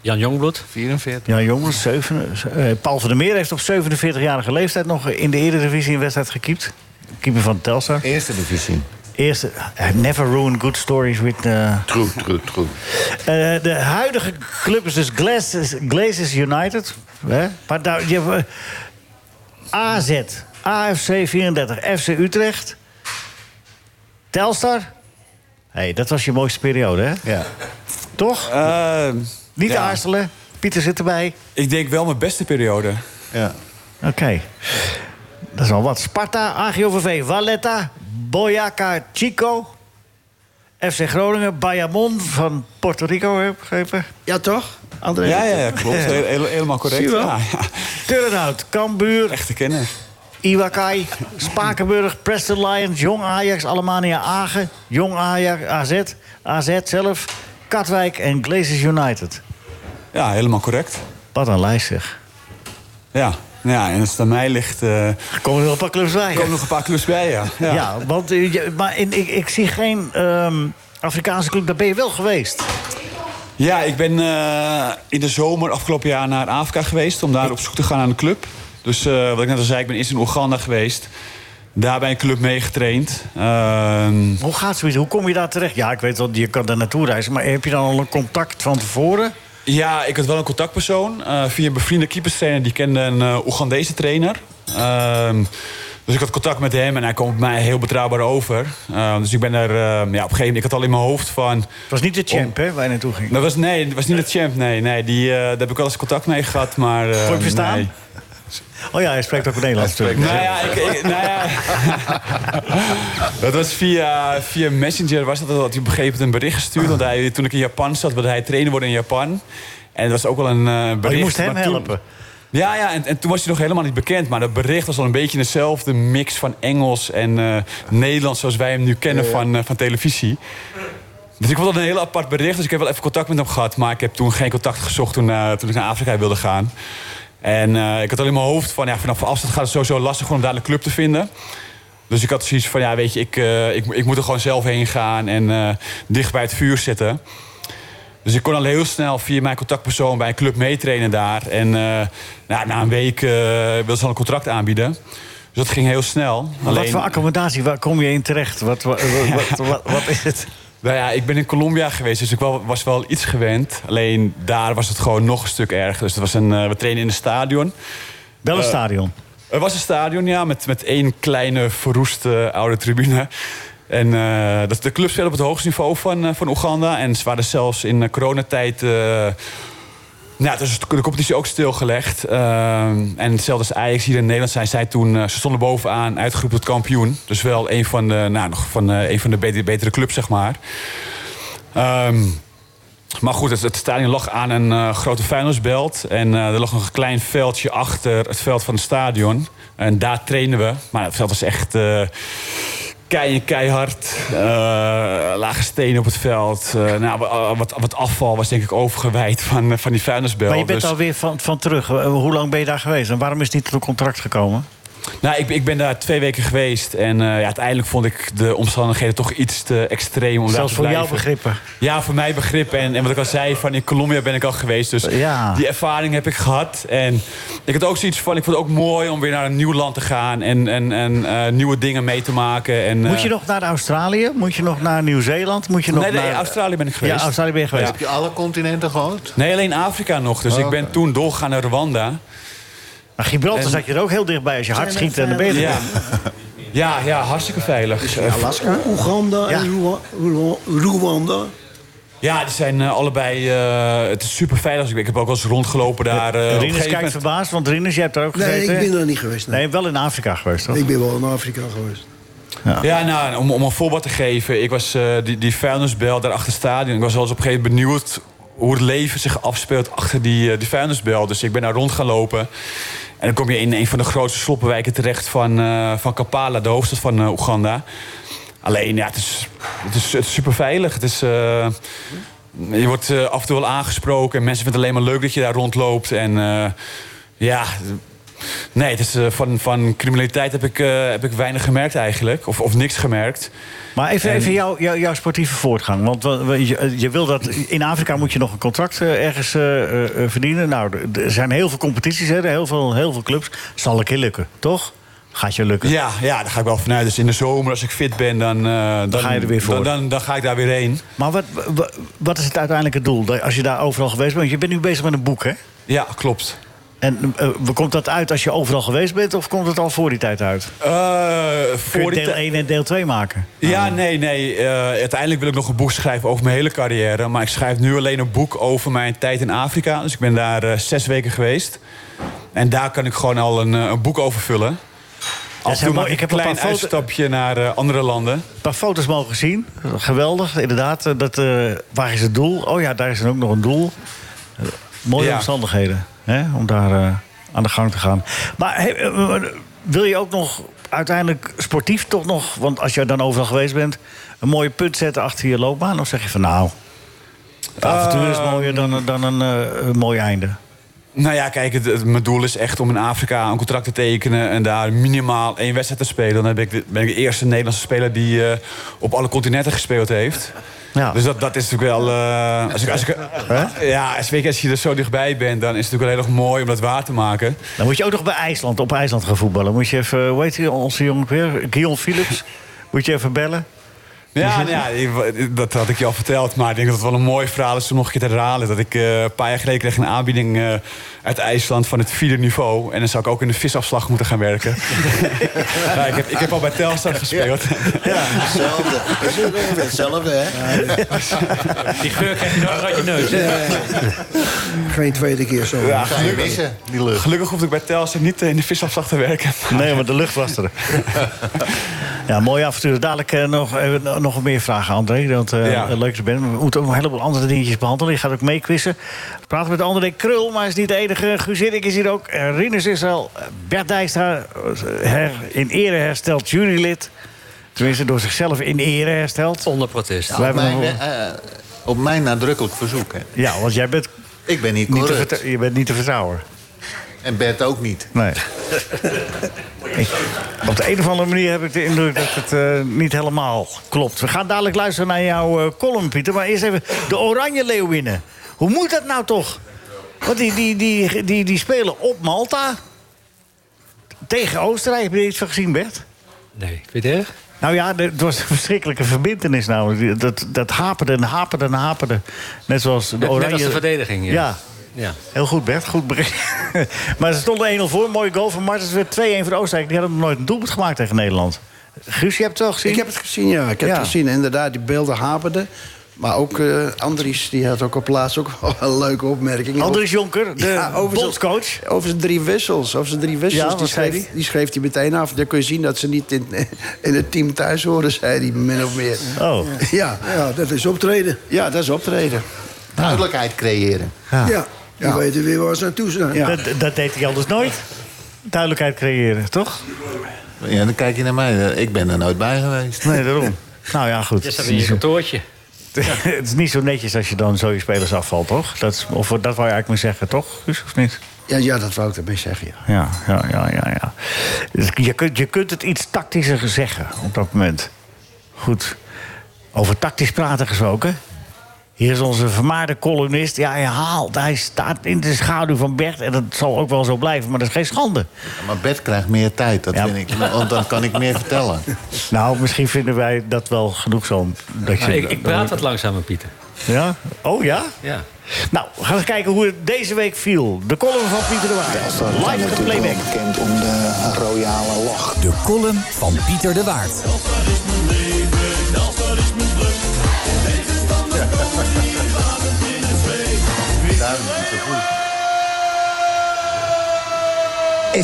S6: Jan Jongbloed.
S10: 44.
S3: Ja, jongens, zeven, eh, Paul van der Meer heeft op 47-jarige leeftijd nog in de Eredivisie een wedstrijd gekiept. Keeper van Telstar.
S10: Eerste divisie.
S3: Eerste, eh, never ruin good stories with... eh,
S4: True, true, true.
S3: eh, de huidige club is dus Glazers, Glazers United. Hè? Maar daar, je, hebt, eh, AZ, AFC 34, FC Utrecht, Telstar. hey, dat was je mooiste periode, hè?
S4: Ja.
S3: Toch?
S12: Eh,
S3: Niet
S12: ja.
S3: aarzelen. Pieter zit erbij.
S12: Ik denk wel mijn beste periode.
S4: Ja.
S3: Oké. Dat is al wat. Sparta, AGOVV, Valletta, Boyacá, Chico. FC Groningen, Bayamon van Puerto Rico, heb ik begrepen.
S5: Ja, toch? André?
S12: Ja,
S5: [LAUGHS]
S12: ja, ja,
S3: [LAUGHS]
S12: klopt. Heel- heel- helemaal correct.
S5: Zie je wel?
S12: Ja, ja.
S3: Turnhout, Cambuur,
S12: Echte kenner.
S3: Iwakai, Spakenburg, Preston Lions, Jong Ajax, Alemania Agen, Jong Ajax, AZ, AZ zelf, Katwijk en Glazers United.
S12: Ja, helemaal correct.
S3: Wat een lijst zeg.
S12: Ja, Nou ja en als het aan mij ligt, eh,
S3: Er komen er wel een paar clubs bij.
S12: er komen nog een paar clubs bij, ja.
S3: Ja,
S12: ja.
S3: want eh, je- maar in- ik, ik zie geen ehm, Afrikaanse club, daar ben je wel geweest.
S12: Ja, ik ben eh, in de zomer afgelopen jaar naar Afrika geweest om daar op zoek te gaan naar een club. Dus eh, wat ik net al zei, ik ben eerst in Oeganda geweest. Daar bij een club meegetraind. Ehm,
S3: Hoe gaat zoiets? Hoe kom je daar terecht? Ja, ik weet wel, je kan daar naartoe reizen, maar heb je dan al een contact van tevoren?
S12: ja, ik had wel een contactpersoon. eh, via een bevriende keeperstrainer, die kende een eh Oegandese trainer. Ehm, dus ik had contact met hem en hij kwam op mij heel betrouwbaar over. Ehm, dus ik ben er, ehm, ja, op een gegeven moment, ik had al in mijn hoofd van...
S3: Het was niet de champ, hè, waar je naartoe ging.
S12: Dat was, nee, dat was niet de champ, nee. nee die, eh, daar heb ik wel eens contact mee gehad, maar... eh,
S3: Kon je verstaan?
S12: nee.
S3: Oh ja, hij spreekt ook Nederlands natuurlijk.
S12: Nou ja, ik, ik- nou ja.
S3: [LAUGHS]
S12: dat was via, via Messenger. Was dat, dat had hij op een gegeven moment een bericht gestuurd. Want hij, toen ik in Japan zat, wilde hij trainen worden in Japan. En dat was ook wel een eh, bericht.
S3: Maar Oh, je moest hem
S12: maar toen-
S3: helpen.
S12: ja, ja en, en toen was hij nog helemaal niet bekend. Maar dat bericht was al een beetje dezelfde mix van Engels en eh, Nederlands... zoals wij hem nu kennen Van, eh, van televisie. Dus ik vond dat een heel apart bericht. Dus ik heb wel even contact met hem gehad. Maar ik heb toen geen contact gezocht toen, eh, toen ik naar Afrika wilde gaan. En eh, ik had al in mijn hoofd van... Ja, vanaf afstand gaat het sowieso lastig om daar een club te vinden. Dus ik had zoiets van, ja, weet je, ik, eh, ik, ik moet er gewoon zelf heen gaan en eh, dicht bij het vuur zitten. Dus ik kon al heel snel via mijn contactpersoon bij een club meetrainen daar. En eh, nou, na een week eh wilden ze al een contract aanbieden. Dus dat ging heel snel.
S3: Maar Wat voor accommodatie, waar kom je in terecht? Wat, wat, wat, wat, wat- wat is het?
S12: Nou ja, ik ben in Colombia geweest, dus ik wel- was wel iets gewend. Alleen daar was het gewoon nog een stuk erger. Dus het was een, eh, we trainen in een stadion. Eh,
S3: Wel een stadion.
S12: Er was een stadion, ja, met, met één kleine verroeste oude tribune. En eh, dat, de club speelde op het hoogste niveau van, eh, van Oeganda. En ze waren zelfs in eh, coronatijd... eh, nou, dus de competitie ook stilgelegd. Ehm, en hetzelfde als Ajax hier in Nederland zijn zij toen... eh, ze stonden bovenaan, uitgeroepen tot kampioen. Dus wel een van de, nou, nog van, eh, een van de betere, betere clubs, zeg maar. Ehm, Maar goed, het, het stadion lag aan een eh, grote vuilnisbelt. En eh, er lag nog een klein veldje achter het veld van het stadion. En daar trainen we. Maar het veld was echt eh kei en keihard. Eh, lage stenen op het veld. Eh, nou, wa- wat, wat afval was denk ik overgewijd van, eh, van die vuilnisbelt.
S3: Maar je bent
S12: Dus-
S3: alweer van, van terug. Eh, Hoe lang ben je daar geweest en waarom is het niet tot een contract gekomen?
S12: Nou, ik, ik ben daar twee weken geweest. En eh, ja, uiteindelijk vond ik de omstandigheden toch iets te extreem om daar
S3: Zelfs
S12: te
S3: voor
S12: blijven.
S3: jouw begrippen.
S12: Ja, voor mij begrip. En, en wat ik al zei, van in Colombia ben ik al geweest. Dus
S3: Ja.
S12: die ervaring heb ik gehad. En ik had ook zoiets van, ik vond het ook mooi om weer naar een nieuw land te gaan. En, en, en eh, nieuwe dingen mee te maken. En,
S3: Moet je
S12: eh,
S3: nog naar Australië? Moet je nog naar Nieuw-Zeeland? Moet je nog
S12: Nee, nee,
S3: naar...
S12: Australië ben ik geweest. Eh,
S3: Ja, Australië ben je geweest.
S12: Heb je
S4: alle continenten gehad?
S12: Nee, alleen Afrika nog. Dus
S3: Oh,
S12: ik ben
S3: oké.
S12: toen doorgegaan naar Rwanda.
S3: Maar Gibraltar zat je er ook heel dichtbij. Als je hard schiet, dan ben je er.
S12: Ja. Ja, ja, hartstikke veilig.
S3: nou,
S8: O- Oeganda en Rwa- Rwa- Rwanda.
S12: Ja, die zijn eh, allebei. eh, het is super veilig. Ik heb ook wel eens rondgelopen daar. eh, op een
S3: Rinus
S12: gegeven
S3: kijkt
S12: moment-
S3: verbaasd, want Rinus, jij hebt daar ook
S8: Nee,
S3: gezeten.
S8: ik ben er niet geweest, nee.
S3: Nee, wel in Afrika geweest, toch?
S8: Ik ben wel in Afrika geweest.
S12: Ja, nou, om, om een voorbeeld te geven. Ik was eh, die, die vuilnisbel daar achter het stadion. Ik was wel eens op een gegeven moment benieuwd hoe het leven zich afspeelt achter die, eh, die vuilnisbel. Dus ik ben daar rond gaan lopen. En dan kom je in een van de grootste sloppenwijken terecht van, eh, van Kampala, de hoofdstad van eh, Oeganda. Alleen, ja, het is, het is, het is super veilig. Het is, eh, je wordt eh, af en toe wel aangesproken. En mensen vinden het alleen maar leuk dat je daar rondloopt. En eh, ja, Nee, het is, eh, van, van criminaliteit heb ik, eh, heb ik weinig gemerkt eigenlijk. Of, of niks gemerkt.
S3: Maar even,
S12: En-
S3: even jouw, jouw, jouw sportieve voortgang. Want we- we- je, je wil dat, in Afrika moet je nog een contract eh, ergens eh, eh, eh, verdienen. Nou, er- er zijn heel veel competities, hè, heel, veel, heel veel clubs. Zal een keer lukken, toch? Gaat je lukken.
S12: Ja, ja, daar ga ik wel vanuit. Dus in de zomer, als ik fit ben, dan, eh, dan,
S3: ga je er weer voor.
S12: Dan, dan, dan ga ik daar weer heen.
S3: Maar wat, wa- wat is het uiteindelijke doel? Dat- Als je daar overal geweest bent. Want je bent nu bezig met een boek, hè?
S12: Ja, klopt.
S3: En eh, komt dat uit als je overal geweest bent? Of komt het al voor die tijd uit?
S12: Eh,
S3: Kun je
S12: voor die
S3: deel
S12: tijd-
S3: 1 en deel 2 maken?
S12: Ja, nee, nee. eh, uiteindelijk wil ik nog een boek schrijven over mijn hele carrière. Maar ik schrijf nu alleen een boek over mijn tijd in Afrika. Dus ik ben daar eh, zes weken geweest. En daar kan ik gewoon al een, eh, een boek over vullen. Af en toe
S3: heel
S12: maak
S3: mooi.
S12: ik
S3: Ik
S12: een
S3: heb een
S12: klein
S3: paar foto-
S12: uitstapje naar eh, andere landen.
S3: Een paar foto's mogen zien. Geweldig, inderdaad. Eh, Dat, eh, waar is het doel? Oh ja, daar is dan ook nog een doel. Eh, mooie
S12: Ja.
S3: omstandigheden hè, om daar eh, aan de gang te gaan. Maar hey, eh, eh, wil je ook nog uiteindelijk sportief toch nog... want als je dan overal geweest bent... een mooie punt zetten achter je loopbaan? Of zeg je van nou... Het avontuur is mooier dan, een- dan een eh, een mooi einde.
S12: Nou ja, kijk, het, het- mijn doel is echt om in Afrika een contract te tekenen en daar minimaal één wedstrijd te spelen. Dan ben ik de, ben ik de eerste Nederlandse speler die eh, op alle continenten gespeeld heeft.
S3: Ja.
S12: Dus dat, dat is natuurlijk wel. eh, als ik, als ik, ja, als, weet je, als je er zo dichtbij bent, dan is het natuurlijk wel heel erg mooi om dat waar te maken.
S3: Dan moet je ook nog bij IJsland, op IJsland gaan voetballen. Moet je even, eh, hoe heet die, onze jongen weer? Guillaume Philips. Moet je even bellen?
S12: Ja, nou ja, ik- dat had ik je al verteld. Maar ik denk dat het wel een mooi verhaal is om nog een keer te herhalen. Dat ik eh, een paar jaar geleden kreeg een aanbieding eh, uit IJsland van het vierde niveau. En dan zou ik ook in de visafslag moeten gaan werken.
S3: [LAUGHS]
S12: ja, ik, heb, ik heb al bij
S2: [LAUGHS]
S12: Telstar gespeeld.
S4: Hetzelfde. Hetzelfde, hè?
S6: Die geur krijg je nog uit je neus.
S8: Geen tweede keer zo.
S12: Ja,
S4: Ga je missen, die lucht.
S12: Gelukkig hoefde ik bij Telstar niet eh, in de visafslag te werken.
S3: Nee, maar de lucht was er. ja, mooi avontuur. Dadelijk eh, nog, eh, nog meer vragen, André. Want eh
S12: Ja.
S3: leuk dat je bent. Maar We moeten ook nog een heleboel andere dingetjes behandelen. Je gaat ook meequizzen. We praten met André Krul, maar hij is niet de enige. Guus Hiddink is hier ook. Eh, Rinus is er al. Eh, Bert Dijkstra, eh, her, in ere hersteld jurylid. Tenminste, door zichzelf in ere hersteld.
S6: Onder protest.
S3: Wij
S4: Op
S3: hebben
S4: mijn,
S3: nog-
S4: eh, op mijn nadrukkelijk verzoek, hè?
S3: Ja, want jij bent
S4: Ik ben niet
S3: niet te,
S4: corrupt.
S3: vertrouw- je bent niet te vertrouwen.
S4: En Bert ook niet.
S3: Nee. [LAUGHS] Ik- op de een of andere manier heb ik de indruk dat het eh, niet helemaal klopt. We gaan dadelijk luisteren naar jouw eh, column, Pieter. Maar eerst even de Oranje Leeuwinnen. Hoe moet dat nou toch? Want die, die, die, die, die spelen op Malta. Tegen Oostenrijk. Heb je er iets van gezien, Bert?
S6: Nee, vind je het erg?
S3: Nou ja, de- het was een verschrikkelijke verbindenis namelijk. Die- Dat, dat haperde en haperde en haperde. Net zoals de
S6: Net- net
S3: Oranje...
S6: als de verdediging, ja.
S3: ja.
S6: Ja.
S3: Heel goed, Bert. Goed begin. [LAUGHS] maar ze stonden 1-0 voor. Mooie goal van Martens. Weer 2-1 voor Oostenrijk. Die hadden nog nooit een doelpunt gemaakt tegen Nederland. Guus, je hebt het wel gezien?
S5: Ik heb het gezien, ja. Ik heb
S3: Ja.
S5: het gezien. Inderdaad, die beelden haperden. Maar ook eh, Andries, die had ook op plaats ook wel een leuke opmerking.
S3: Andries Jonker, de
S5: Ja, over zijn-
S3: bondscoach.
S5: Over zijn drie wissels. Over zijn drie wissels.
S3: Ja,
S5: die,
S3: wat zei
S5: schreef,
S3: die?
S5: die schreef hij meteen af. Dan kun je zien dat ze niet in, in het team thuis horen, zei hij min of meer.
S3: Oh.
S5: Ja,
S8: Ja, dat is optreden.
S5: ja dat is optreden.
S4: duidelijkheid creëren.
S8: Ja, die weten weer waar ze naartoe zijn.
S3: Dat, dat deed hij anders nooit. Duidelijkheid creëren, toch?
S4: Ja, dan kijk je naar mij. Eh, Ik ben er nooit bij geweest. [LAUGHS]
S3: Nee, daarom. nou ja, goed.
S6: Je staat in je kantoortje.
S3: [LAUGHS] het is niet zo netjes als je dan zo je spelers afvalt, toch? Dat, is- of, dat wou je eigenlijk maar zeggen, toch? Guus, of niet?
S5: Ja, ja, dat wou ik daarmee zeggen, ja.
S3: Ja, ja, ja, ja. ja. Dus je, kunt, je kunt het iets tactischer zeggen op dat moment. Goed. Over tactisch praten gesproken. Hier is onze vermaarde columnist. Ja, hij haalt. Hij staat in de schaduw van Bert. En dat zal ook wel zo blijven, maar dat is geen schande.
S4: Maar Bert krijgt meer tijd, dat vind ik. Nou, Want dan kan ik meer vertellen.
S3: Nou, misschien vinden wij dat wel genoeg zo. Dat je,
S6: ik, ik praat wat langzamer, Pieter.
S3: Ja? Oh ja?
S6: Ja.
S3: Nou, gaan we eens kijken hoe het deze week viel. De column van Pieter de Waard. Live op de playback.
S2: bekend om de
S3: nou-
S2: royale lach. De column van Pieter de Waard.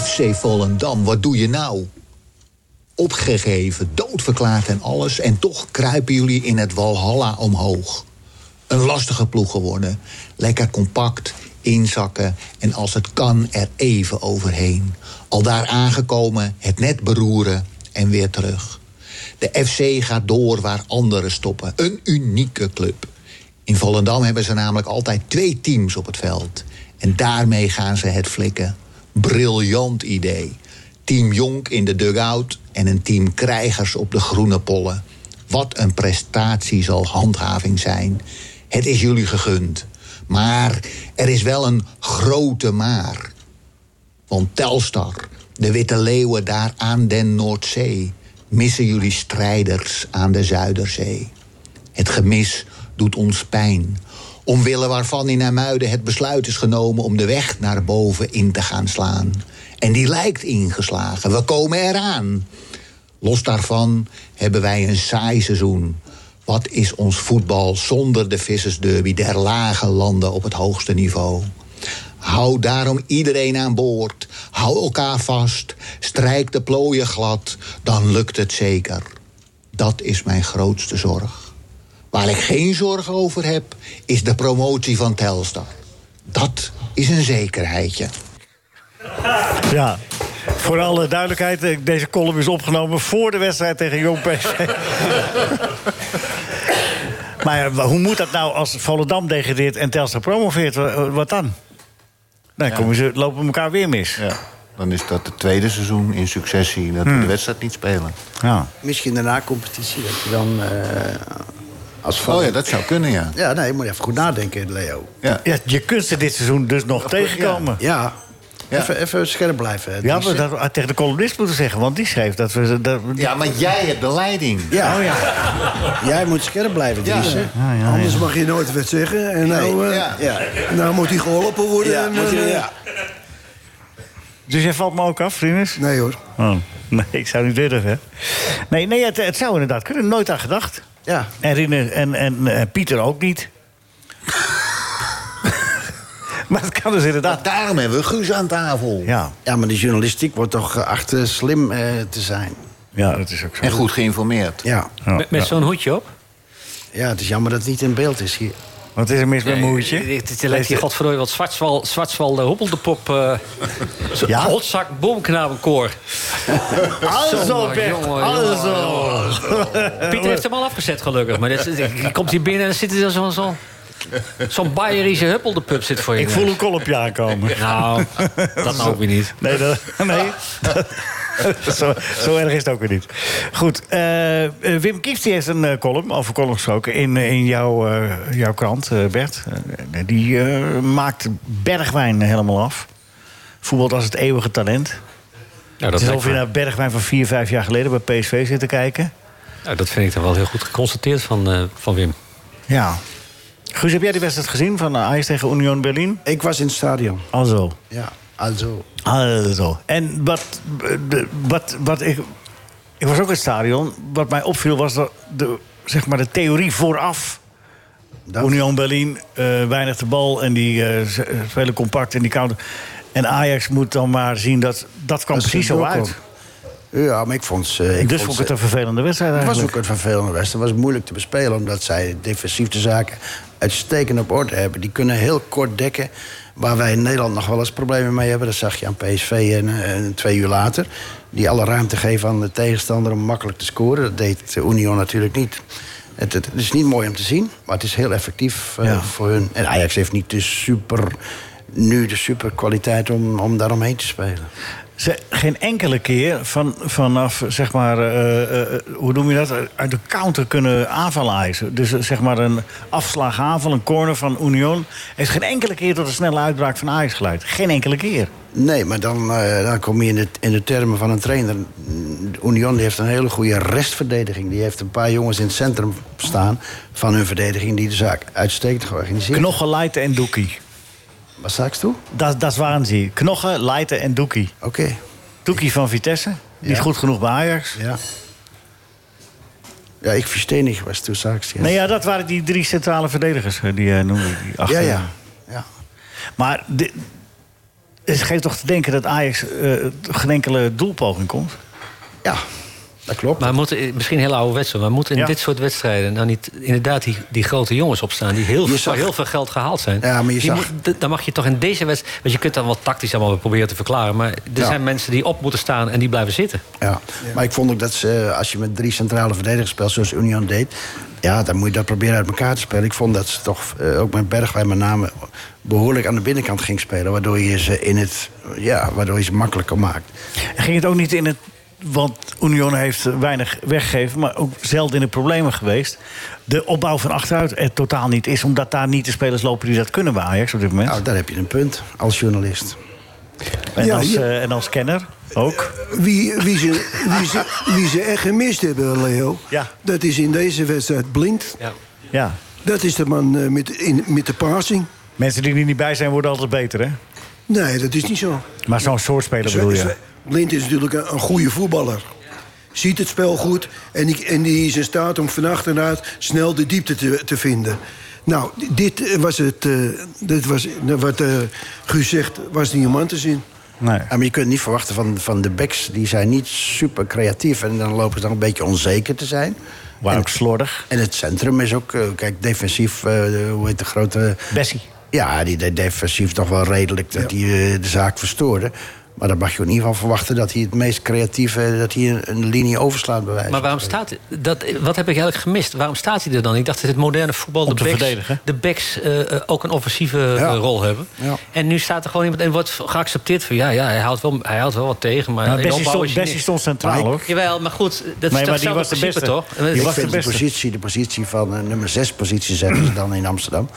S10: FC Volendam, wat doe je nou? Opgegeven, doodverklaard en alles... en toch kruipen jullie in het Walhalla omhoog. Een lastige ploeg geworden. Lekker compact, inzakken en als het kan er even overheen. Al daar aangekomen, het net beroeren en weer terug. De FC gaat door waar anderen stoppen. Een unieke club. In Volendam hebben ze namelijk altijd twee teams op het veld. En daarmee gaan ze het flikken. Briljant idee. Team Jonk in de dugout en een team krijgers op de groene pollen. Wat een prestatie zal handhaving zijn. Het is jullie gegund. Maar er is wel een grote maar. Want Telstar, de Witte Leeuwen daar aan den Noordzee... missen jullie strijders aan de Zuiderzee. Het gemis doet ons pijn. Omwille waarvan in Hermuiden het besluit is genomen... om de weg naar boven in te gaan slaan. En die lijkt ingeslagen. We komen eraan. Los daarvan hebben wij een saai seizoen. Wat is ons voetbal zonder de vissersderby der lage landen op het hoogste niveau? Hou daarom iedereen aan boord. Hou elkaar vast. Strijk de plooien glad. Dan lukt het zeker. Dat is mijn grootste zorg. Waar ik geen zorgen over heb, is de promotie van Telstar. Dat is een zekerheidje.
S3: Ja, voor alle duidelijkheid, eh, deze column is opgenomen voor de wedstrijd tegen Jong PSV. [LAUGHS] maar ja, hoe moet dat nou als Volendam degradeert en Telstra promoveert? Wa- eh, Wat dan? Dan komen ze, lopen we elkaar weer mis. Ja.
S4: Dan is dat het tweede seizoen in successie dat we
S3: Hmm.
S4: de wedstrijd niet spelen.
S3: Ja.
S5: Misschien daarna competitie dat je dan... eh, als
S4: Oh ja, dat zou kunnen, ja.
S5: Ja, nee, moet je even goed nadenken, Leo.
S4: Ja.
S3: je kunt ze dit seizoen dus nog tegenkomen.
S5: Ja.
S4: Ja.
S5: Even, even scherp blijven. hè.
S3: Ja,
S5: Die
S3: we dat had tegen de columnist moeten zeggen, want die schreef dat we... ze- Dat,
S4: dus- Ja, maar jij hebt de leiding.
S5: Ja.
S3: Oh ja.
S5: Jij moet scherp blijven,
S4: Ja.
S5: Dries. hè?
S8: Anders mag je nooit wat zeggen. En nou, eh,
S5: ja. Ja.
S8: nou moet hij geholpen worden.
S5: Ja,
S8: en,
S5: moet je-
S8: eh,
S5: ja.
S3: Dus jij valt me ook af, Rinus?
S8: Nee hoor.
S3: Oh, nee, ik zou niet durven. hè. Nee, nee het, het zou inderdaad kunnen. Nooit aan gedacht.
S5: Ja.
S3: En, Rinus en, en eh, Pieter ook
S8: [LAUGHS]
S3: niet. maar het kan dus inderdaad.
S4: Daarom hebben we Guus aan tafel.
S3: Ja,
S5: ja, maar die journalistiek wordt toch geacht eh, slim eh, te zijn.
S3: ja, dat is ook zo.
S4: En goed geïnformeerd.
S5: Ja.
S3: Ja,
S6: Met, met
S3: ja.
S6: zo'n hoedje op?
S5: ja, het is jammer dat het niet in beeld is hier.
S3: Wat is er mis met mijn hoedje?
S6: Het het lijkt hier godverdorie wat Zwartswal, Zwartswal de hoppeldepop. eh zo'n
S3: Ja?
S6: Rotzak, bomknabenkoor.
S3: Alzo,
S6: Jongen,
S3: Bert.
S6: jongen,
S3: Alzo.
S6: [LAUGHS] Pieter heeft hem al afgezet, gelukkig. Maar dit, die komt hier binnen en dan zit er zo'n... zo'n zo'n Bayerische huppeldepup zit voor je.
S3: Ik voel een kolopje aankomen.
S6: [LAUGHS] Nou, dat nou ook weer niet.
S3: Nee, dat,
S6: [LAUGHS]
S3: nee. zo, zo erg is het ook weer niet. Goed, eh, eh, Wim Kieft die heeft een eh, column, over column gesproken, in, in jouw, eh, jouw krant, eh, Bert. Eh, die eh, maakt Bergwijn helemaal af. Voetbal als het eeuwige talent.
S6: Nou, dat,
S3: het is
S6: lijkt
S3: alsof je
S6: me-
S3: naar Bergwijn van vier, vijf jaar geleden bij PSV zit te kijken.
S6: nou, dat vind ik dan wel heel goed geconstateerd van, eh, van Wim.
S3: Ja. Guus, heb jij de wedstrijd gezien van eh, Ajax tegen Union Berlin?
S5: Ik was in het stadion.
S3: Alzo.
S5: Ja, also.
S3: Also. En wat, eh, wat, wat ik, ik was ook in het stadion. Wat mij opviel was dat de, zeg maar de theorie vooraf.
S5: Dat-
S3: Union Berlin, eh, weinig de bal en die eh, z- eh, spelen compact en die counter. En Ajax moet dan maar zien dat dat kwam
S5: Dat ze
S3: precies zo
S5: doorkomen.
S3: uit.
S5: Ja, maar ik vond ze... Ik
S3: Dus vond ik het een vervelende wedstrijd
S5: Het was ook
S3: eigenlijk.
S5: een vervelende wedstrijd. Het was moeilijk te bespelen omdat zij defensief de zaken uitstekend op orde hebben. Die kunnen heel kort dekken waar wij in Nederland nog wel eens problemen mee hebben. Dat zag je aan PSV en, eh, twee uur later. Die alle ruimte geven aan de tegenstander om makkelijk te scoren. Dat deed eh, Union natuurlijk niet. Het, het, het is niet mooi om te zien, maar het is heel effectief eh, voor hun. En Ajax heeft niet de super, nu de super kwaliteit om, om daaromheen te spelen.
S3: Ze, geen enkele keer van, vanaf, zeg maar, eh, eh, hoe noem je dat? Uit de counter kunnen aanvallen Ajax. Dus eh, zeg maar een afslagaanval, een corner van Union. Heeft geen enkele keer tot een snelle uitbraak van Ajax geleid. Geen enkele keer.
S5: Nee, maar dan, eh, dan kom je in de, in de termen van een trainer. Union die heeft een hele goede restverdediging. Die heeft een paar jongens in het centrum staan van hun verdediging... die de zaak uitstekend georganiseerd
S3: Knochen, Leijten en Doekie.
S5: Wat straks toe?
S3: Dat, dat waren ze. Knochen, Leijten en Doekie.
S5: Oké.
S3: Doekie van Vitesse. Die is
S5: Ja.
S3: goed genoeg bij Ajax.
S5: Ja. Ja, ik verstehe niet was toen straks.
S3: Nee, ja, dat waren die drie centrale verdedigers eh, die eh noemde. Die achter.
S5: Ja, ja.
S3: Maar dit, het geeft toch te denken dat Ajax eh, geen enkele doelpoging komt?
S5: Ja, dat klopt.
S6: Maar we moeten, misschien heel oude wedstrijd, maar moeten in
S3: Ja.
S6: dit soort wedstrijden nou niet inderdaad die, die grote jongens opstaan die heel,
S5: Je
S6: veel-
S5: zag-
S6: waar heel veel geld gehaald zijn.
S5: Ja, maar je
S6: Die
S5: zag-
S6: moet- d- dan mag je toch in deze wedstrijd. Want je kunt dan wat tactisch allemaal proberen te verklaren. Maar er
S5: Ja.
S6: zijn mensen die op moeten staan en die blijven zitten.
S5: Ja. Maar ik vond ook dat ze, eh, als je met drie centrale verdedigers speelt, zoals Union deed, ja, dan moet je dat proberen uit elkaar te spelen. Ik vond dat ze toch, eh, ook met Bergwijn met name, behoorlijk aan de binnenkant ging spelen. Waardoor je ze, in het, ja, waardoor je ze makkelijker maakt.
S3: En ging het ook niet in het. Want Union heeft weinig weggegeven, maar ook zelden in de problemen geweest. De opbouw van achteruit er totaal niet is, omdat daar niet de spelers lopen die dat kunnen bij Ajax op dit moment.
S5: Nou, daar heb je een punt als journalist.
S3: En,
S8: Ja,
S3: als,
S8: ja.
S3: eh, en als kenner ook.
S8: Wie, wie, ze, wie, ze, wie ze echt gemist hebben, Leo,
S3: Ja.
S8: dat is in deze wedstrijd blind.
S3: Ja.
S8: Dat is de man eh, met, in, met de passing.
S3: Mensen die er niet bij zijn worden altijd beter, hè?
S8: Nee, dat is niet zo.
S3: Maar zo'n soort speler bedoel
S8: Zo-
S3: je?
S8: zo- Blind Dus, eh, is natuurlijk een, een goede voetballer. Ziet het spel goed en die, en die is in staat om van achteruit snel de diepte te, te vinden. Nou, dit eh, was het. eh, dit was, eh, wat eh Guus zegt, was niet om aan te zien.
S3: Nee.
S5: maar je kunt niet verwachten van, van de backs, die zijn niet super creatief. En dan lopen ze dan een beetje onzeker te zijn.
S3: Maar
S5: En-
S3: ook slordig.
S5: En het centrum is ook, eh, kijk, defensief, eh, de- hoe heet de grote...
S3: Bessie.
S5: Ja, die deed defensief nog wel redelijk dat hij eh, de zaak verstoorde. Maar dan mag je in ieder geval verwachten dat hij het meest creatieve... dat hij een, een linie overslaat bij wijze
S6: Maar waarom staat dat? Wat heb ik eigenlijk gemist? Waarom staat hij er dan? Ik dacht dat het moderne voetbal
S3: Om
S6: de
S3: te
S6: backs,
S3: verdedigen.
S6: de backs eh, eh, ook een offensieve eh, rol hebben.
S5: Ja.
S6: En nu staat er gewoon iemand en wordt geaccepteerd van ja, ja hij, houdt wel, hij houdt wel wat tegen. Maar
S3: Nou,
S6: in de
S3: Bessie
S6: opbouw
S3: stond-
S6: is hij
S3: Bessie
S6: niet.
S3: stond centraal,
S6: Maar ik-
S3: hoor.
S6: Jawel, maar goed, dat is toch hetzelfde principe toch?
S5: Ik vind de, positie, de positie van eh, nummer 6 positie zeggen ze dan in Amsterdam.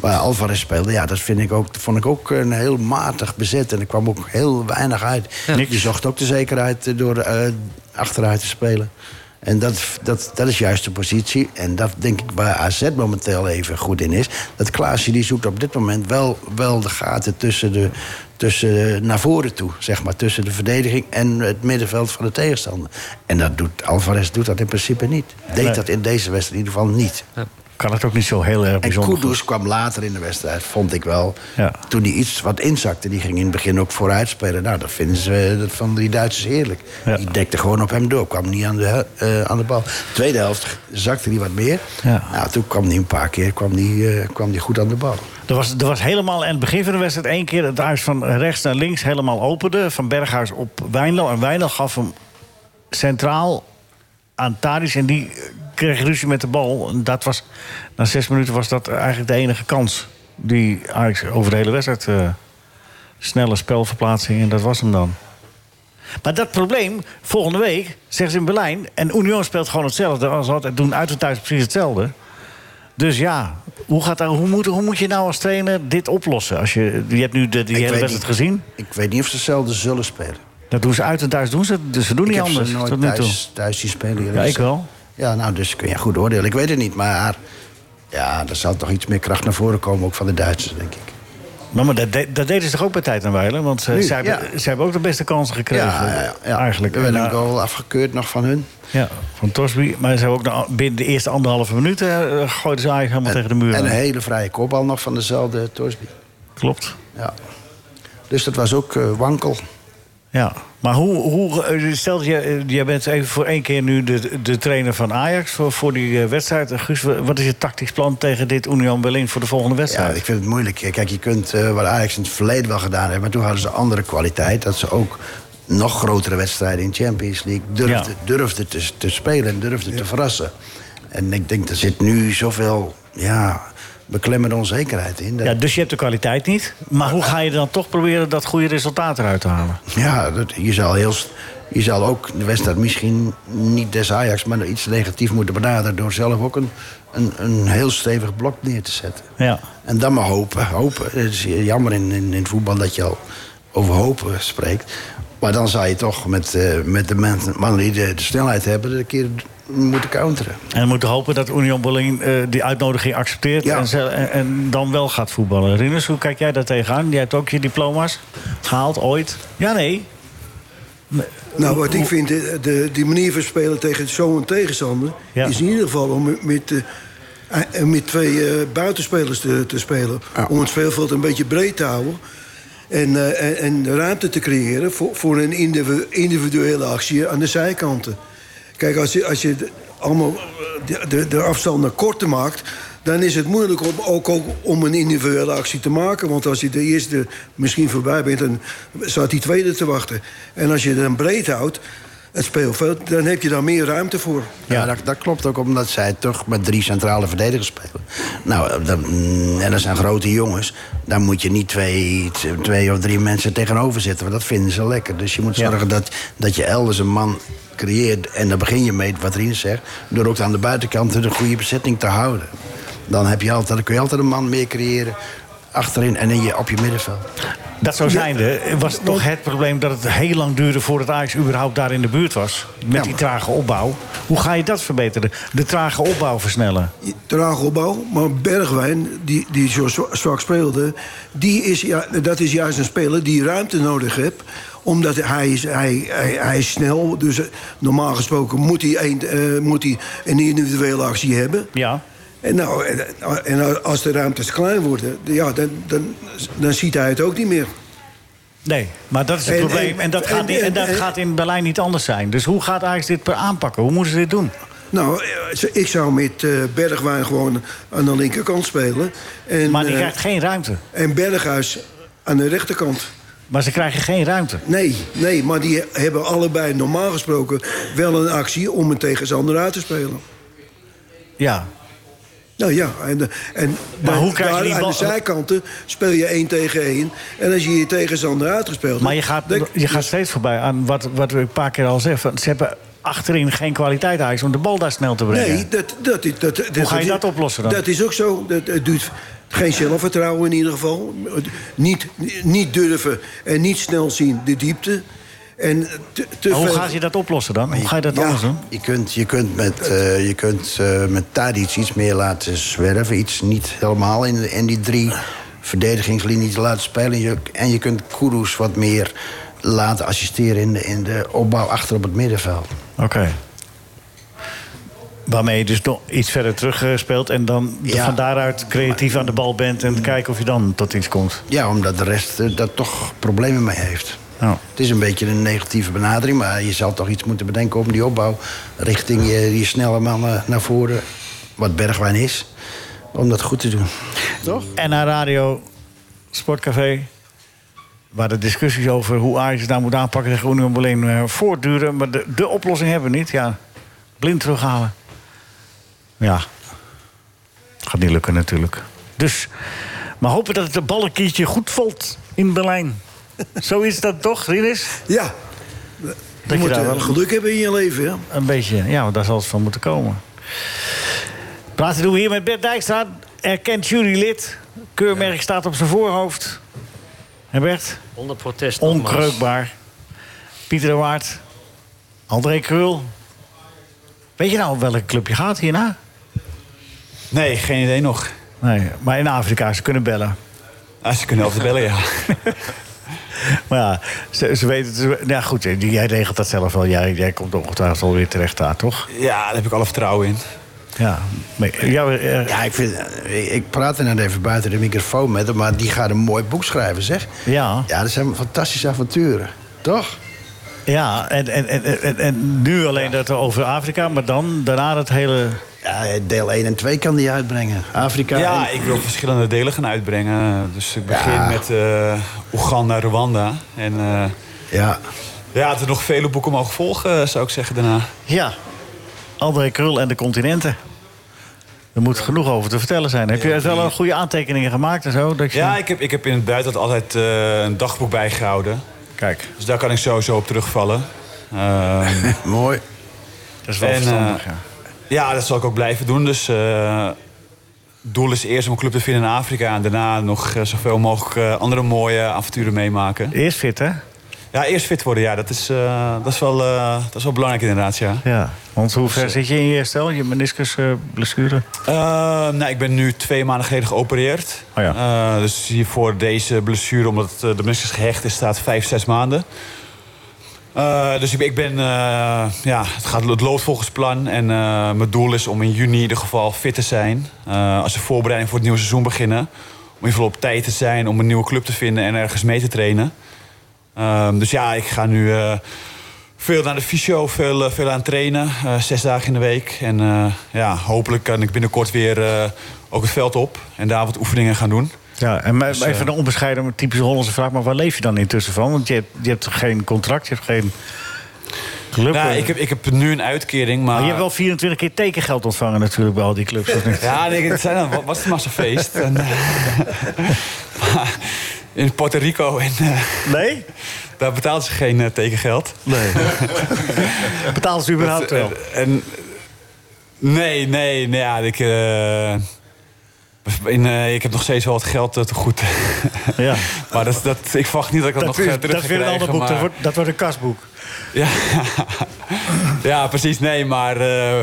S5: Waar Alvarez speelde, ja, dat vind ik ook, vond ik ook een heel matig bezet. En er kwam ook heel weinig uit. Je zocht ook de zekerheid eh, door eh, achteruit te spelen. En dat, dat, dat is juist de positie. En dat denk ik waar AZ momenteel even goed in is. Dat Klaasje die zoekt op dit moment wel, wel de gaten tussen, de, tussen eh, naar voren toe. Zeg maar, tussen de verdediging en het middenveld van de tegenstander. En dat doet, Alvarez doet dat in principe niet. Deed
S3: Nee.
S5: dat in deze wedstrijd in ieder geval niet.
S3: Kan het ook niet zo heel erg
S5: En
S3: bijzonder.
S5: Kudus kwam later in de wedstrijd, vond ik wel.
S3: Ja.
S5: Toen hij iets wat inzakte, die ging in het begin ook vooruit spelen. Nou, dat vinden ze eh, dat van die Duitsers heerlijk. Die dekte gewoon op hem door, kwam niet aan de, he- eh, aan de bal. Tweede helft zakte hij wat meer.
S3: Ja.
S5: Nou, toen kwam hij een paar keer kwam die, eh, kwam die goed aan de bal.
S3: Er was, er was helemaal aan het begin van de wedstrijd één keer het huis van rechts naar links helemaal opende. Van Berghuis op Wijnlo. En Wijnlo gaf hem centraal aan Tadis. En die eh, kreeg ruzie met de bal. En dat was, na zes minuten was dat eigenlijk de enige kans. Die Ajax over de hele wedstrijd. eh, snelle spelverplaatsing en dat was hem dan. Maar dat probleem, volgende week, zeggen ze in Berlijn. En Union speelt gewoon hetzelfde als altijd. Doen uit en thuis precies hetzelfde. Dus ja, hoe, gaat dat, hoe, moet, hoe moet je nou als trainer dit oplossen? Als je, je hebt nu de, die
S5: Ik
S3: hele
S5: weet
S3: wedstrijd
S5: niet.
S3: gezien.
S5: Ik weet niet of ze hetzelfde zullen spelen.
S3: Dat doen ze uit en thuis doen ze. Dus ze doen
S5: ik
S3: niet
S5: heb
S3: anders.
S5: ze nooit
S3: tot nu toe.
S5: thuis, thuis zien spelen. eerlijk
S3: Ja, ik
S5: gezegd.
S3: wel.
S5: Ja, nou, dus kun je goed oordelen. Ik weet het niet, maar... Ja, er zal toch iets meer kracht naar voren komen, ook van de Duitsers, denk ik.
S3: Nou, maar dat, de- dat deden ze toch ook bij Tijd en Weilen? Want ze,
S5: Nu,
S3: ze, hebben,
S5: ja.
S3: ze hebben ook de beste kansen gekregen.
S5: Ja, ja, ja.
S3: Eigenlijk.
S5: Er werd
S3: En,
S5: een
S3: eh,
S5: goal afgekeurd nog van hun.
S3: Ja, van Tosby. Maar ze hebben ook na- binnen de eerste anderhalve minuut... eh, gooiden ze eigenlijk helemaal tegen de muur.
S5: En
S3: aan.
S5: een hele vrije kopbal nog van dezelfde Torsby.
S3: Klopt.
S5: Ja. Dus dat was ook eh, wankel.
S3: Ja, maar hoe, hoe eh, stel dat je, eh, je bent even voor één keer nu de, de trainer van Ajax voor, voor die eh, wedstrijd. Eh, Guus, wa- wat is je tactisch plan tegen dit Union Berlin voor de volgende wedstrijd?
S5: Ja, ik vind het moeilijk. Kijk, je kunt eh, wat Ajax in het verleden wel gedaan heeft, maar toen hadden ze andere kwaliteit. Dat ze ook nog grotere wedstrijden in Champions League durfden, durfden te, te spelen en durfden te verrassen. En ik denk, er zit nu zoveel ja, beklemmende onzekerheid in. Dat-
S3: Ja, dus je hebt de kwaliteit niet. Maar hoe ga je dan toch proberen dat goede resultaat eruit te halen?
S5: Ja, dat, je, zal heel, s- je zal ook de wedstrijd misschien niet des Ajax... maar iets negatief moeten benaderen... door zelf ook een, een, een heel stevig blok neer te zetten.
S3: Ja.
S5: En dan maar hopen. hopen. Het is jammer in, in, in het voetbal dat je al over hopen spreekt. Maar dan zou je toch met, eh, met de men- mannen die de, de snelheid hebben... een keer moeten counteren.
S3: En we moeten hopen dat Union Berlin eh, die uitnodiging accepteert en, ze- en, en dan wel gaat voetballen. Rinus, hoe kijk jij daar tegenaan? Jij hebt ook je diploma's gehaald ooit. Ja, nee.
S8: Nou, wat ik vind, de, de- die manier van spelen tegen zo'n tegenstander...
S3: Ja.
S8: is in ieder geval om met, met, eh, eh, met twee eh, buitenspelers te, te spelen. Om het speelveld een beetje breed te houden. En, eh, en, en ruimte te creëren voor, voor een individu- individuele actie aan de zijkanten. Kijk, als je, als je de- allemaal eh, de, de, de afstanden korter maakt... dan is het moeilijk om, ook, ook om een individuele actie te maken. Want als je de eerste misschien voorbij bent, dan staat die tweede te wachten. En als je dan breed houdt, het speelveld, dan heb je daar meer ruimte voor.
S5: Ja, dat, dat klopt ook omdat zij toch met drie centrale verdedigers spelen. Nou, eh, dat, mm, en dat zijn grote jongens. Daar moet je niet twee, t- twee of drie mensen tegenover zitten. Want dat vinden ze lekker. Dus je moet zorgen dat, dat je elders een man creëert. En daar begin je mee, wat Rien zegt. Door ook aan de buitenkant de goede bezetting te houden. Dan, heb je altijd, dan kun je altijd een man meer creëren. Achterin en in je, op je middenveld.
S3: Dat zo zijnde was toch het probleem dat het heel lang duurde voordat Ajax überhaupt daar in de buurt was. Met die trage opbouw. Hoe ga je dat verbeteren? De trage opbouw versnellen.
S8: Trage opbouw, maar Bergwijn, die, die zo zwa- zwak speelde... Die is, ja, dat is juist een speler die ruimte nodig heeft omdat hij is, hij, hij, hij is snel, dus eh, normaal gesproken moet hij een, eh, moet hij een individuele actie hebben.
S3: Ja.
S8: En, nou, en, en als de ruimtes klein worden, ja, dan, dan, dan ziet hij het ook niet meer.
S3: Nee, maar dat is het
S8: En-
S3: probleem.
S8: en-
S3: En dat, gaat,
S8: en-
S3: niet- en dat
S8: en-
S3: gaat in Berlijn niet anders zijn. Dus hoe gaat Ajax dit per- aanpakken? Hoe moeten ze dit doen?
S8: Nou, eh, ik zou met eh, Bergwijn gewoon aan de linkerkant spelen. En,
S3: Maar die
S8: eh,
S3: krijgt geen ruimte.
S8: En Berghuis aan de rechterkant.
S3: Maar ze krijgen geen ruimte?
S8: Nee, nee, maar die hebben allebei normaal gesproken wel een actie om een tegenstander uit te spelen.
S3: Ja.
S8: Nou ja, en, eh, en
S3: Maar hoe krijg je
S8: daar
S3: die bal-
S8: aan de zijkanten speel je één tegen één. En als je je tegenstander uitgespeeld
S3: Maar je
S8: hebt,
S3: gaat,
S8: dan-
S3: je gaat steeds voorbij aan wat, wat we een paar keer al zeggen. Van, Ze hebben achterin geen kwaliteit Ajax om de bal daar snel te brengen.
S8: Nee, dat, dat, is- dat,
S3: Hoe ga je dat oplossen dan?
S8: Dat is ook zo. Dat, het duurt geen zelfvertrouwen in ieder geval. Niet, niet durven en niet snel zien de diepte. En te, te
S3: Maar hoe
S8: veel-
S3: gaat je dat oplossen dan? Hoe ga je dat anders doen?
S5: Je kunt, je kunt met, eh je kunt, eh, met Tadic iets meer laten zwerven. Iets niet helemaal in, in die drie verdedigingslinies laten spelen. Je, en je kunt Kudus wat meer laten assisteren in de, in de opbouw achter op het middenveld.
S3: Oké. Waarmee je dus nog iets verder terug eh, speelt en dan de-
S5: Ja. Mm.
S3: van daaruit creatief aan de bal bent en kijken of je dan tot iets komt.
S5: Ja, omdat de rest eh, daar toch problemen mee heeft.
S3: Ja.
S5: Het is een beetje een negatieve benadering, maar je zal toch iets moeten bedenken om die opbouw richting je, die snelle mannen naar voren, wat Bergwijn is, om dat goed te doen.
S3: Toch? En naar radio, Sportcafé. Waar de discussies over hoe Ajax het nou moet aanpakken tegen Union Berlin eh, voortduren. Maar de, de oplossing hebben we niet. Ja, blind terughalen. Ja. Gaat niet lukken natuurlijk. Dus, maar hopen dat het de bal een keertje goed valt
S8: [LAUGHS]
S3: in Berlijn. Zo is dat toch, Rinus?
S8: Ja.
S3: Dat je,
S8: moet
S3: daar
S8: eh,
S3: wel
S8: geluk hebben in je leven, ja.
S3: een beetje, ja, want daar zal het van moeten komen. Praten doen we hier met Bert Dijkstra. Erkend jurylid. Keurmerk staat op zijn voorhoofd. En Bert?
S6: Onder protest nogmaals.
S3: Onkreukbaar. Pieter de Waard. André Krul. Weet je nou welke club je gaat hierna?
S12: Nee, geen idee nog.
S3: Nee, maar in Afrika, ze kunnen bellen.
S12: [LAUGHS] Ah, ze kunnen altijd bellen, ja.
S3: Maar ja, ze, ze weten... Ze, ja, goed, jij regelt dat zelf wel. Jij, jij komt ongetwijfeld alweer terecht daar, toch?
S12: Ja, daar heb ik alle vertrouwen in.
S3: Ja, ja,
S5: eh,
S3: eh,
S5: ik, vind, ik- ik praat er net even buiten de microfoon met hem, maar die gaat een mooi boek schrijven, zeg.
S3: Ja.
S5: Ja, dat zijn fantastische avonturen, toch?
S3: Ja, en, en, en, en, en nu alleen dat over Afrika, maar dan daarna het hele...
S5: Ja, deel 1 en 2 kan die uitbrengen. Afrika.
S12: Ja,
S5: en-
S12: ik wil verschillende delen gaan uitbrengen. Dus ik begin met eh Oeganda, Rwanda. En eh,
S5: ja.
S12: ja, er zijn nog vele boeken mogen volgen, eh, zou ik zeggen daarna.
S3: Ja, André Krul en de continenten. Er moet genoeg over te vertellen zijn. Heb je er wel een goede aantekeningen gemaakt en zo? Dat je...
S12: Ja, ik heb, ik heb in het buitenland altijd eh, een dagboek bijgehouden.
S3: Kijk.
S12: Dus daar kan ik sowieso op terugvallen. Ehm,
S3: [LAUGHS]
S5: Mooi.
S3: Dat is wel verstandig, ja.
S12: eh, ja, dat zal ik ook blijven doen. Dus eh, doel is eerst om een club te vinden in Afrika... en daarna nog eh, zoveel mogelijk eh, andere mooie avonturen meemaken.
S3: Eerst fit, hè?
S12: Ja, eerst fit worden, ja. Dat is, eh, dat is, wel, eh, dat is wel belangrijk inderdaad, ja. Dus,
S3: Ja, want hoe ver zit je in je herstel? Je meniscusblessure?
S12: Eh, nou, ik ben nu twee maanden geleden geopereerd. Eh, dus hiervoor deze blessure, omdat eh, de meniscus gehecht is, staat vijf, zes maanden. Eh, dus ik ben, ik ben, eh, ja, het, gaat, het loopt volgens plan. En eh, mijn doel is om in juni in ieder geval fit te zijn. Eh, als de voorbereiding voor het nieuwe seizoen beginnen. Om in ieder geval op tijd te zijn om een nieuwe club te vinden en ergens mee te trainen. Ehm, dus ja, ik ga nu eh, veel naar de fysio, veel, eh, veel aan het trainen. eh, zes dagen in de week. En eh, ja, hopelijk kan ik binnenkort weer eh, ook het veld op. En daar wat oefeningen gaan doen.
S3: Ja, en maar
S12: Dus,
S3: maar even
S12: eh,
S3: een onbescheiden, maar typische Hollandse vraag... maar waar leef je dan intussen van? Want je hebt, je hebt geen contract, je hebt geen club.
S12: Nou,
S3: eh.
S12: ik, heb, ik heb nu een uitkering, maar...
S3: Maar je hebt wel 24 keer tekengeld ontvangen natuurlijk bij al die clubs, of niet?
S12: Ja, nee, het zijn dan, wa- was het massafeest. En, eh, [LAUGHS] maar in Puerto Rico. En, eh,
S3: nee?
S12: Daar betaalt ze geen eh, tekengeld.
S3: Nee. [LAUGHS] betaalt ze überhaupt wel?
S12: eh, En, nee, nee, nee. Ja, ik, eh, in, eh, ik heb nog steeds wel wat geld eh, te goed.
S3: ja.
S12: [LAUGHS] Maar dat, dat, ik verwacht niet dat ik dat, nog
S3: is-
S12: eh, terug
S3: dat
S12: ga
S3: is weer een ander
S12: krijgen,
S3: boek,
S12: maar-
S3: dat,
S12: Oh,
S3: wordt, dat wordt een kasboek.
S12: Ja, [LAUGHS] ja precies. Nee, maar... eh,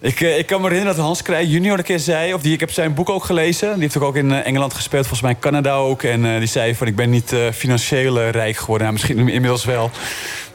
S12: ik, eh, ik kan me herinneren dat Hans Krij junior een keer zei... of die, ik heb zijn boek ook gelezen. Die heeft ook, ook in eh, Engeland gespeeld, volgens mij in Canada ook. En eh, die zei van, ik ben niet eh, financieel eh, rijk geworden. Nou, misschien inmiddels wel.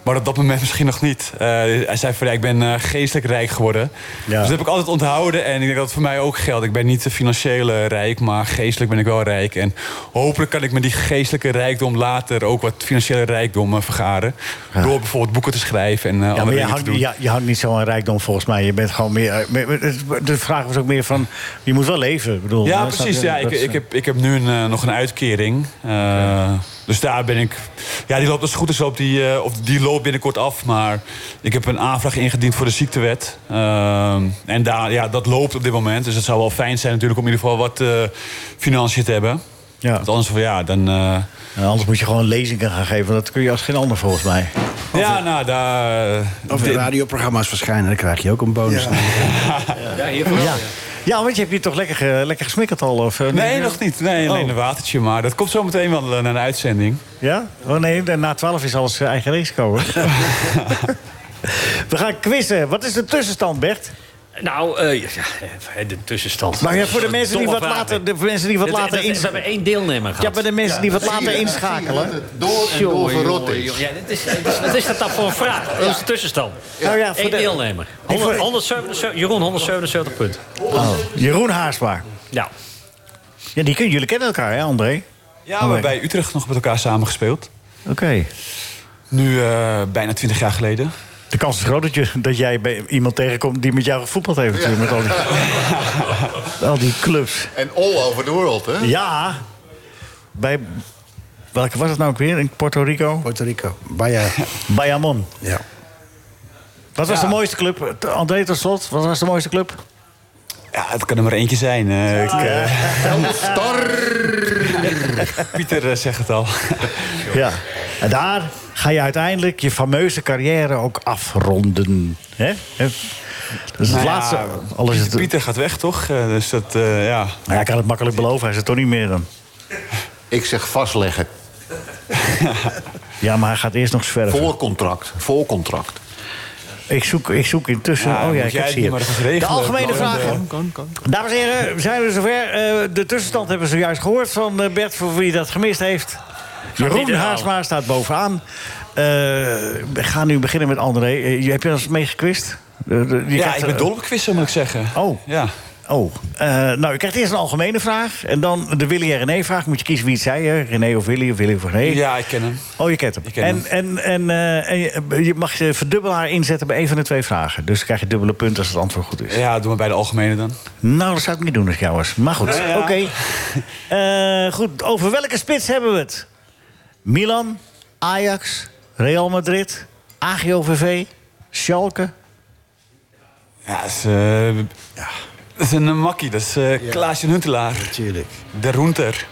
S12: Maar op dat moment misschien nog niet. Eh, hij zei van, ja, ik ben eh, geestelijk rijk geworden. Dus dat heb ik altijd onthouden. En ik denk dat het voor mij ook geldt. Ik ben niet eh, financieel eh, rijk, maar geestelijk ben ik wel rijk. En hopelijk kan ik met die geestelijke rijkdom later... ook wat financiële rijkdom eh, vergaren. Door bijvoorbeeld boeken te schrijven en eh,
S3: Ja, maar
S12: andere
S3: je
S12: dingen te
S3: hangt,
S12: doen.
S3: ja, je hangt niet zo aan rijkdom volgens mij. Je bent gewoon meer... eh, meer- het- De vraag was ook meer van, je moet wel leven. Ik Bedoel,
S12: Ja,
S3: hè, snap
S12: precies.
S3: je?
S12: Ja, ik,
S3: Dat is,
S12: ik, heb, ik heb nu een, eh, nog een uitkering. Eh, Dus daar ben ik... Ja, die loopt als het goed is, loopt die, eh, of die loopt binnenkort af. Maar ik heb een aanvraag ingediend voor de ziektewet. Ehm, en daar, ja, dat loopt op dit moment. Dus het zou wel fijn zijn natuurlijk om in ieder geval wat eh, financiën te hebben.
S3: Ja.
S12: Want anders, van, ja, dan... eh,
S3: En anders moet je gewoon lezingen gaan geven. Dat kun je als geen ander volgens mij.
S12: ja, nou, daar...
S5: Of de
S12: [LAUGHS]
S5: radioprogramma's verschijnen, dan krijg je ook een bonus.
S6: Ja, hiervoor wel,
S3: Ja. ja, want je hebt hier toch lekker, ge- lekker gesmikkeld al? Of, eh,
S12: Nee, nog niet. Nee, alleen
S3: Oh.
S12: een watertje. Maar dat komt zo meteen wel eh, naar de uitzending.
S3: Ja? Oh nee, na 12 is alles eh, eigen risico.
S12: [LAUGHS]
S3: hoor. We gaan quizzen. Wat is de tussenstand, Bert?
S6: Nou, eh, ja, ja, de tussenstand.
S3: Maar ja, voor de mensen die
S6: Domme
S3: wat
S6: vraag,
S3: later-
S6: hè.
S3: de mensen die wat
S6: Dat-
S3: later
S6: dat-
S3: ins-
S6: We hebben één deelnemer gehad.
S3: Ja, maar de mensen die wat later inschakelen.
S6: Door
S3: en door verrot is.
S6: Ja, dit is, dit is- wat is dat dan voor een vraag? Dat is de tussenstand.
S3: Nou ja, voor
S6: Eén
S3: de-
S6: deelnemer. 100, 177, Jeroen, 177 punten.
S3: Oh, Jeroen Haarsma.
S6: Ja.
S3: Ja, die kunnen jullie kennen elkaar, hè, André?
S12: Ja, we hebben bij Utrecht nog met elkaar samengespeeld.
S3: Oké.
S12: Nu eh, bijna twintig jaar geleden.
S3: De kans is groot dat, je, dat jij bij iemand tegenkomt die met jou gevoetbald heeft. natuurlijk, Met al
S12: [LAUGHS]
S3: die, al die clubs.
S13: En all over the world, hè?
S3: Ja. Bij, welke was het nou ook weer? In Puerto Rico?
S5: Puerto Rico. Baja.
S3: [LAUGHS] Bayamon.
S5: Ja.
S3: Wat was
S12: Ja.
S3: de mooiste club? T- André, tot slot. Wat was de mooiste club?
S12: Ja, het kan er maar eentje zijn. eh, ik, eh, [LAUGHS] Pieter eh, zegt het al.
S3: [LAUGHS] Ja. En daar ga je uiteindelijk je fameuze carrière ook afronden. Hè? Hè? Dat is het
S12: Nou ja,
S3: laatste. Alles is
S12: Pieter, Pieter gaat weg, toch? Eh, dus dat, eh, ja.
S3: Nou, hij kan het makkelijk beloven. Hij is het toch niet meer dan.
S13: Ik zeg vastleggen.
S3: Ja, maar hij gaat eerst nog zwerven.
S13: Voorcontract. Voorcontract.
S3: Ik zoek, ik zoek intussen.
S13: Ja,
S3: oh ja,
S13: moet
S3: ik
S13: jij
S3: heb
S13: het
S3: ze hier.
S13: maar eens regelen. eh,
S3: de algemene
S13: Kan,
S3: vragen.
S13: kan, kan, kan.
S3: Dames en heren, we zijn we zover. Eh, de tussenstand hebben we zojuist gehoord van eh, Bert, voor wie dat gemist heeft.
S6: niet
S3: Jeroen
S6: herhalen.
S3: Haasma staat bovenaan. Eh, we gaan nu beginnen met André. Eh, je heb je ons meegekwist?
S12: ja, ik ben dol op quizzen, moet ik zeggen.
S3: Oh.
S12: Ja.
S3: Oh, eh, nou, je krijgt eerst een algemene vraag. En dan de Willy en René vraag. Moet je kiezen wie het zei, hè? René of Willy of Willy of René.
S12: Ja, ik ken hem.
S3: Oh, je kent hem.
S12: ken
S3: en,
S12: hem.
S3: En, en, eh, en je- je mag je verdubbelaar inzetten bij één van de twee vragen. Dus dan krijg je dubbele punten als het antwoord goed is.
S12: Ja, doe maar bij de algemene dan.
S3: Nou, dat zou ik niet doen als ik jou was. Maar goed,
S12: Ja, ja.
S3: oké. Eh, goed, over welke spits hebben we het? Milan, Ajax, Real Madrid, AGOVV, Schalke.
S12: Ja, dat is, eh, dat is een makkie. Dat is eh Klaasje Huntelaar. Natuurlijk. De Roenter.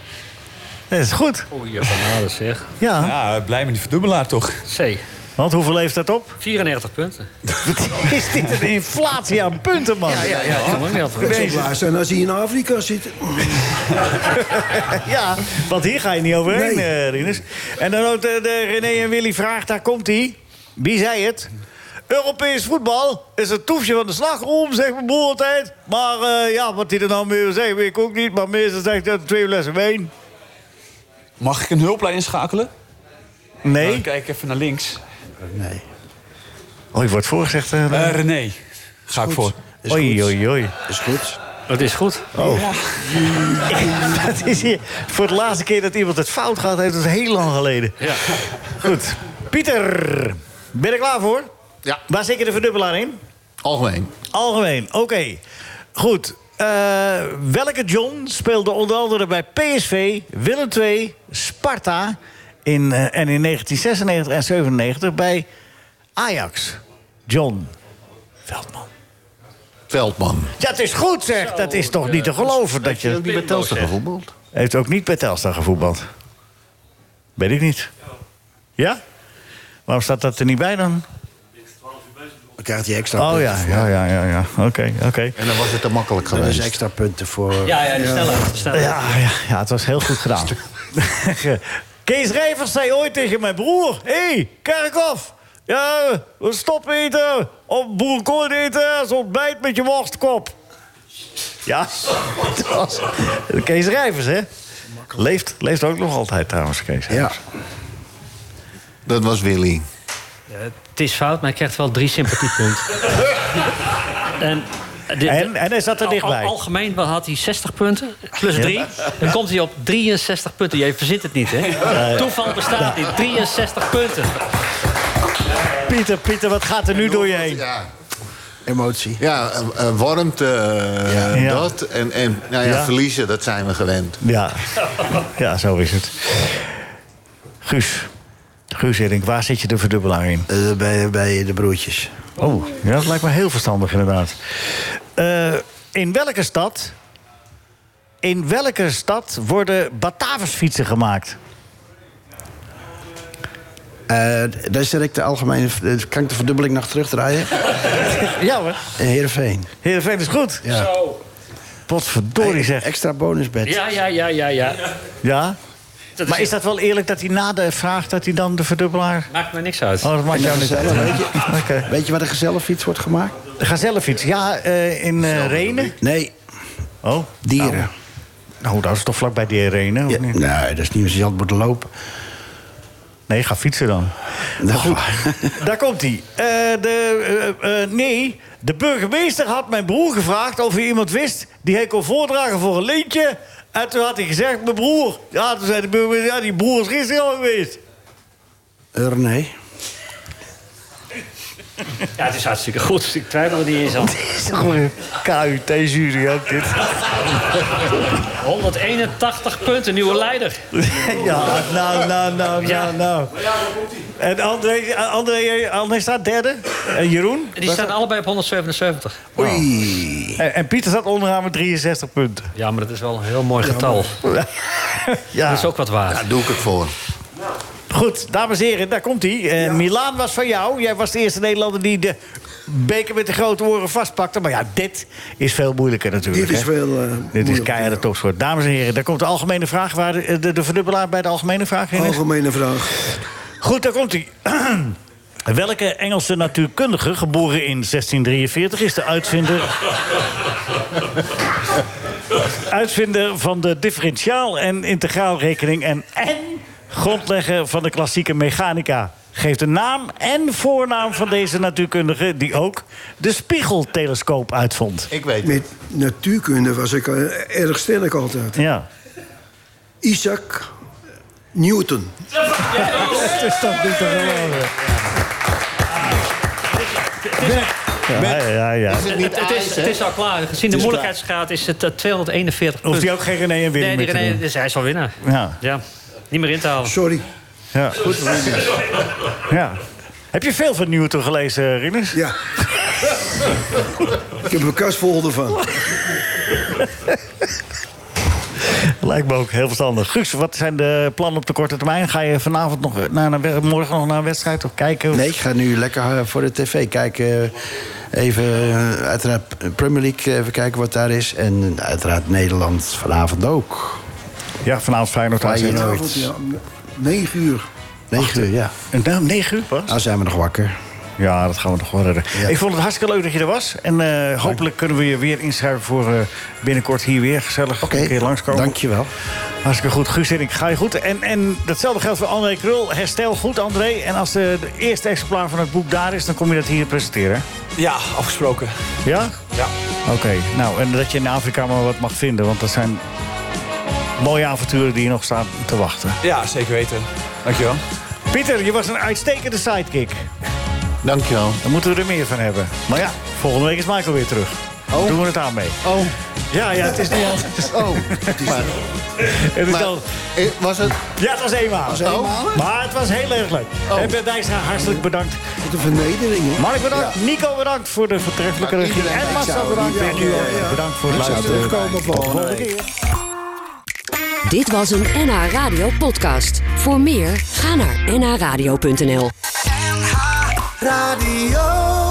S3: Dat is goed.
S12: Oeh, Japanade zeg.
S3: Ja.
S12: ja, blij met die verdubbelaar toch?
S6: C.
S3: Want hoeveel leeft dat op?
S6: 94 punten.
S3: [LAUGHS] Is dit een inflatie aan punten, man?
S6: Ja, ja, ja, ik kan ook niet
S8: Het
S6: altijd.
S8: zou blij zijn als hij in Afrika zit.
S3: [LAUGHS] ja, want hier ga je niet overheen,
S8: Nee.
S3: eh, Rinus. En dan ook de, de René en Willy vraag, daar komt hij. Wie zei het? Europees voetbal is het toefje van de slagroom, zegt mijn broer altijd. Maar eh, ja, wat hij er nou meer wil zeggen, weet ik ook niet. Maar meestal zegt hij twee lessen wijn.
S12: Mag ik een hulplijn inschakelen? Nou,
S3: Nee.
S12: Dan kijk ik even naar links.
S3: Nee. Oh, je wordt voorgezegd. eh
S12: Eh, René, ga ik voor.
S3: Oei, oei, oei.
S12: Is goed.
S6: Dat is goed.
S3: Oh. [LAUGHS] dat is hier voor de laatste keer dat iemand het fout gaat, heeft dat is heel lang geleden.
S6: Ja.
S3: Goed. Pieter, ben ik klaar voor?
S13: Ja.
S3: Waar zit je de verdubbelaar in?
S13: Algemeen.
S3: Algemeen, oké. Goed. Eh, welke John speelde onder andere bij PSV, Willem II, Sparta... In, eh, en in 1996 en 97 bij Ajax? John.
S13: Veldman.
S3: Ja, het is goed zeg. Dat is toch niet te geloven dat je...
S13: Heeft hij ook niet bij Telstar gevoetbald?
S3: Heeft ook niet bij Telstar gevoetbald. Weet ik niet. Ja? Waarom staat dat er niet bij dan?
S5: Dan krijgt hij extra
S3: Oh
S5: punten
S3: ja,
S5: voor.
S3: ja, ja, ja. ja. Oké, oké.
S13: En dan was het te makkelijk
S5: Dat is
S13: geweest.
S5: extra punten voor...
S6: Ja, ja, die sneller.
S3: Ja, ja, ja, het was heel goed gedaan. Kees Rijvers zei ooit tegen mijn broer... Hé, hey, Kerkhoff, ja, we stoppen eten. Of boerenkool eten, als ontbijt met je worstkop. Ja, [LAUGHS] dat was Kees Rijvers, hè? Leeft, leeft ook nog altijd trouwens, Kees. Ja.
S13: Dat was Willy.
S6: Het is fout, maar hij krijgt wel drie
S3: [LAUGHS]
S6: sympathiepunten. en, eh, dit-
S3: En- en hij zat er
S6: al-
S3: dichtbij.
S6: al- Algemeen wel had hij 60 punten, plus
S3: Ja.
S6: 3. Dan komt hij op 63 punten. Jij verzint het niet, hè? Toeval bestaat niet. 63 punten.
S3: Pieter, Pieter, wat gaat er nu door je heen?
S5: Emotie.
S13: Ja, eh, eh, warmte, eh,
S3: Ja.
S13: dat. En, en nou ja,
S3: Ja.
S13: verliezen, dat zijn we gewend.
S3: Ja. ja, zo is het. Guus. Guus Hiddink, waar zit je de verdubbelaar in?
S5: Eh, bij, bij de broertjes.
S3: Oh, ja, dat lijkt me heel verstandig inderdaad. Eh, in welke stad... In welke stad worden Bataversfietsen gemaakt?
S5: [LAUGHS] Eh, daar zet ik de algemene... eh, Kan ik de verdubbeling nog terugdraaien?
S3: Ja hoor.
S5: Eh, Heerenveen.
S3: Heerenveen is goed.
S5: Ja.
S3: Potverdorie zeg.
S5: Extra bonusbed.
S6: Ja, ja, ja, ja, ja.
S3: Ja?
S6: Dat is-
S3: Maar is dat wel eerlijk dat hij na de vraag... dat hij dan de verdubbelaar...
S6: Maakt me niks uit.
S3: Oh, dat maakt
S5: En
S3: jou
S5: een
S3: niet uit.
S5: gazelle, weet je?
S3: Oké.
S5: Weet je waar de gezellenfiets wordt gemaakt?
S3: De Gazellenfiets, ja, eh, in eh Renen.
S5: Nee,
S3: Oh,
S5: dieren.
S3: nou, dat is toch vlakbij die Renen? of
S5: Ja,
S3: niet?
S5: nee, dat is niet meer zo moeten lopen. Nou.
S3: Nee, ga fietsen dan.
S5: Dat goed.
S3: Daar komt hij. Eh, de, eh, eh, nee, de burgemeester had mijn broer gevraagd of hij iemand wist die hij kon voordragen voor een lintje. En toen had hij gezegd, mijn broer. Ja, toen zei de burgemeester, ja, die broer is gisteren al geweest.
S5: Eh, René.
S6: Ja, het is hartstikke goed. Ik twijfel er niet
S3: [LAUGHS]
S6: eens aan.
S3: Is toch wel een KUT-jury ook dit?
S6: 181 punten, nieuwe leider.
S3: ja, nou, nou, nou, nou, nou. En André, André, André staat derde. En Jeroen.
S6: Die staan allebei op 177.
S5: Oei.
S3: En, en Pieter staat onderaan met 63 punten.
S6: Ja, maar dat is wel een heel mooi getal. [LAUGHS]
S3: Ja.
S6: Dat is ook wat waard.
S13: Daar doe ik het voor.
S3: Goed, dames en heren, daar komt hij. Eh, Milaan was van jou. Jij was de eerste Nederlander die de beker met de grote oren vastpakte. Maar ja, dit is veel moeilijker natuurlijk.
S8: Dit is
S3: hè?
S8: veel. eh,
S3: Dit is
S8: moeilijk.
S3: keiharde topsport. Dames en heren, daar komt de algemene vraag. Waar de, de, de verdubbelaar bij de algemene vraag in is.
S8: Algemene vraag.
S3: Goed, daar komt hij. [CLEARS THROAT] Welke Engelse natuurkundige, geboren in 1643, is de uitvinder... uitvinder van de differentiaal- en integraalrekening en, en grondlegger van de klassieke mechanica? geeft de naam en voornaam van deze natuurkundige... die ook de spiegeltelescoop uitvond.
S13: Ik weet
S8: Met natuurkunde was ik eh, erg sterk altijd.
S3: Ja.
S8: Isaac Newton.
S3: Het is toch niet te geloven. Ja, ja, ja.
S6: Het, het- het is, het is al klaar. Gezien de moeilijkheidsgraad is het eh, 241
S3: Hoeft hij ook geen René en Willy
S6: Nee,
S3: meer
S6: die
S3: te
S6: René,
S3: doen?
S6: dus hij is al winnaar.
S3: Ja.
S6: ja. Niet meer in te halen.
S8: Sorry.
S3: Ja. ja. Heb je veel van Newton gelezen, eh, Rinus?
S8: Ja. Ik heb een kast vol ervan.
S3: Lijkt me ook heel verstandig. Guus, wat zijn de plannen op de korte termijn? Ga je vanavond nog naar, een we- morgen nog naar een wedstrijd of kijken?
S5: Nee, ik ga nu lekker eh, voor de tv kijken. Even eh, uiteraard Premier League eh, even kijken wat daar is. En eh, uiteraard Nederland vanavond ook.
S3: Ja, vanavond Feyenoord AZ.
S5: Feyenoord.
S8: Ja, om 9 uur.
S5: 9 uur, ja.
S3: En daarom 9 uur pas?
S5: Nou zijn we nog wakker.
S3: Ja, dat gaan we nog wel redden. Ik vond het hartstikke leuk dat je er was. En eh, hopelijk kunnen we je weer inschrijven voor eh, binnenkort hier weer. Gezellig een keer langskomen.
S5: Dankjewel.
S3: Hartstikke goed. Guus en ik ga je goed. En, en datzelfde geldt voor André Krul. Herstel goed, André. En als de, de eerste exemplaar van het boek daar is... dan kom je dat hier presenteren.
S12: Ja, afgesproken.
S3: Ja?
S12: Ja.
S3: Oké. Nou, en dat je in Afrika maar wat mag vinden. Want dat zijn mooie avonturen die je nog staan te wachten.
S12: Ja, zeker weten. Dankjewel.
S3: Pieter, je was een uitstekende sidekick.
S13: Dankjewel.
S3: Daar moeten we er meer van hebben. Maar ja, volgende week is Michael weer terug. Dan doen we het aan mee.
S13: Oh.
S3: Ja, ja, het is
S13: [LAUGHS]
S3: niet anders.
S13: Oh. Maar,
S3: Het is
S13: maar,
S3: al-
S13: eh, was het...
S3: Ja, het was eenmaal.
S13: Was het Oh.
S3: Oh. Maar het was heel erg leuk. En Ben Dijkstra, hartelijk bedankt.
S8: Wat een vernedering, hoor.
S3: Mark bedankt, Nico bedankt voor de voortreffelijke
S13: Maar
S3: regie.
S13: iedereen,
S3: En
S13: ik
S3: Marcel
S13: zou
S3: bedankt.
S13: niet
S3: En u
S13: weten,
S3: ook. bedankt voor het luisteren.
S8: Terugkomen volgende week.
S1: Dit was een NH Radio podcast. Voor meer, ga naar nhradio.nl.
S2: Radio.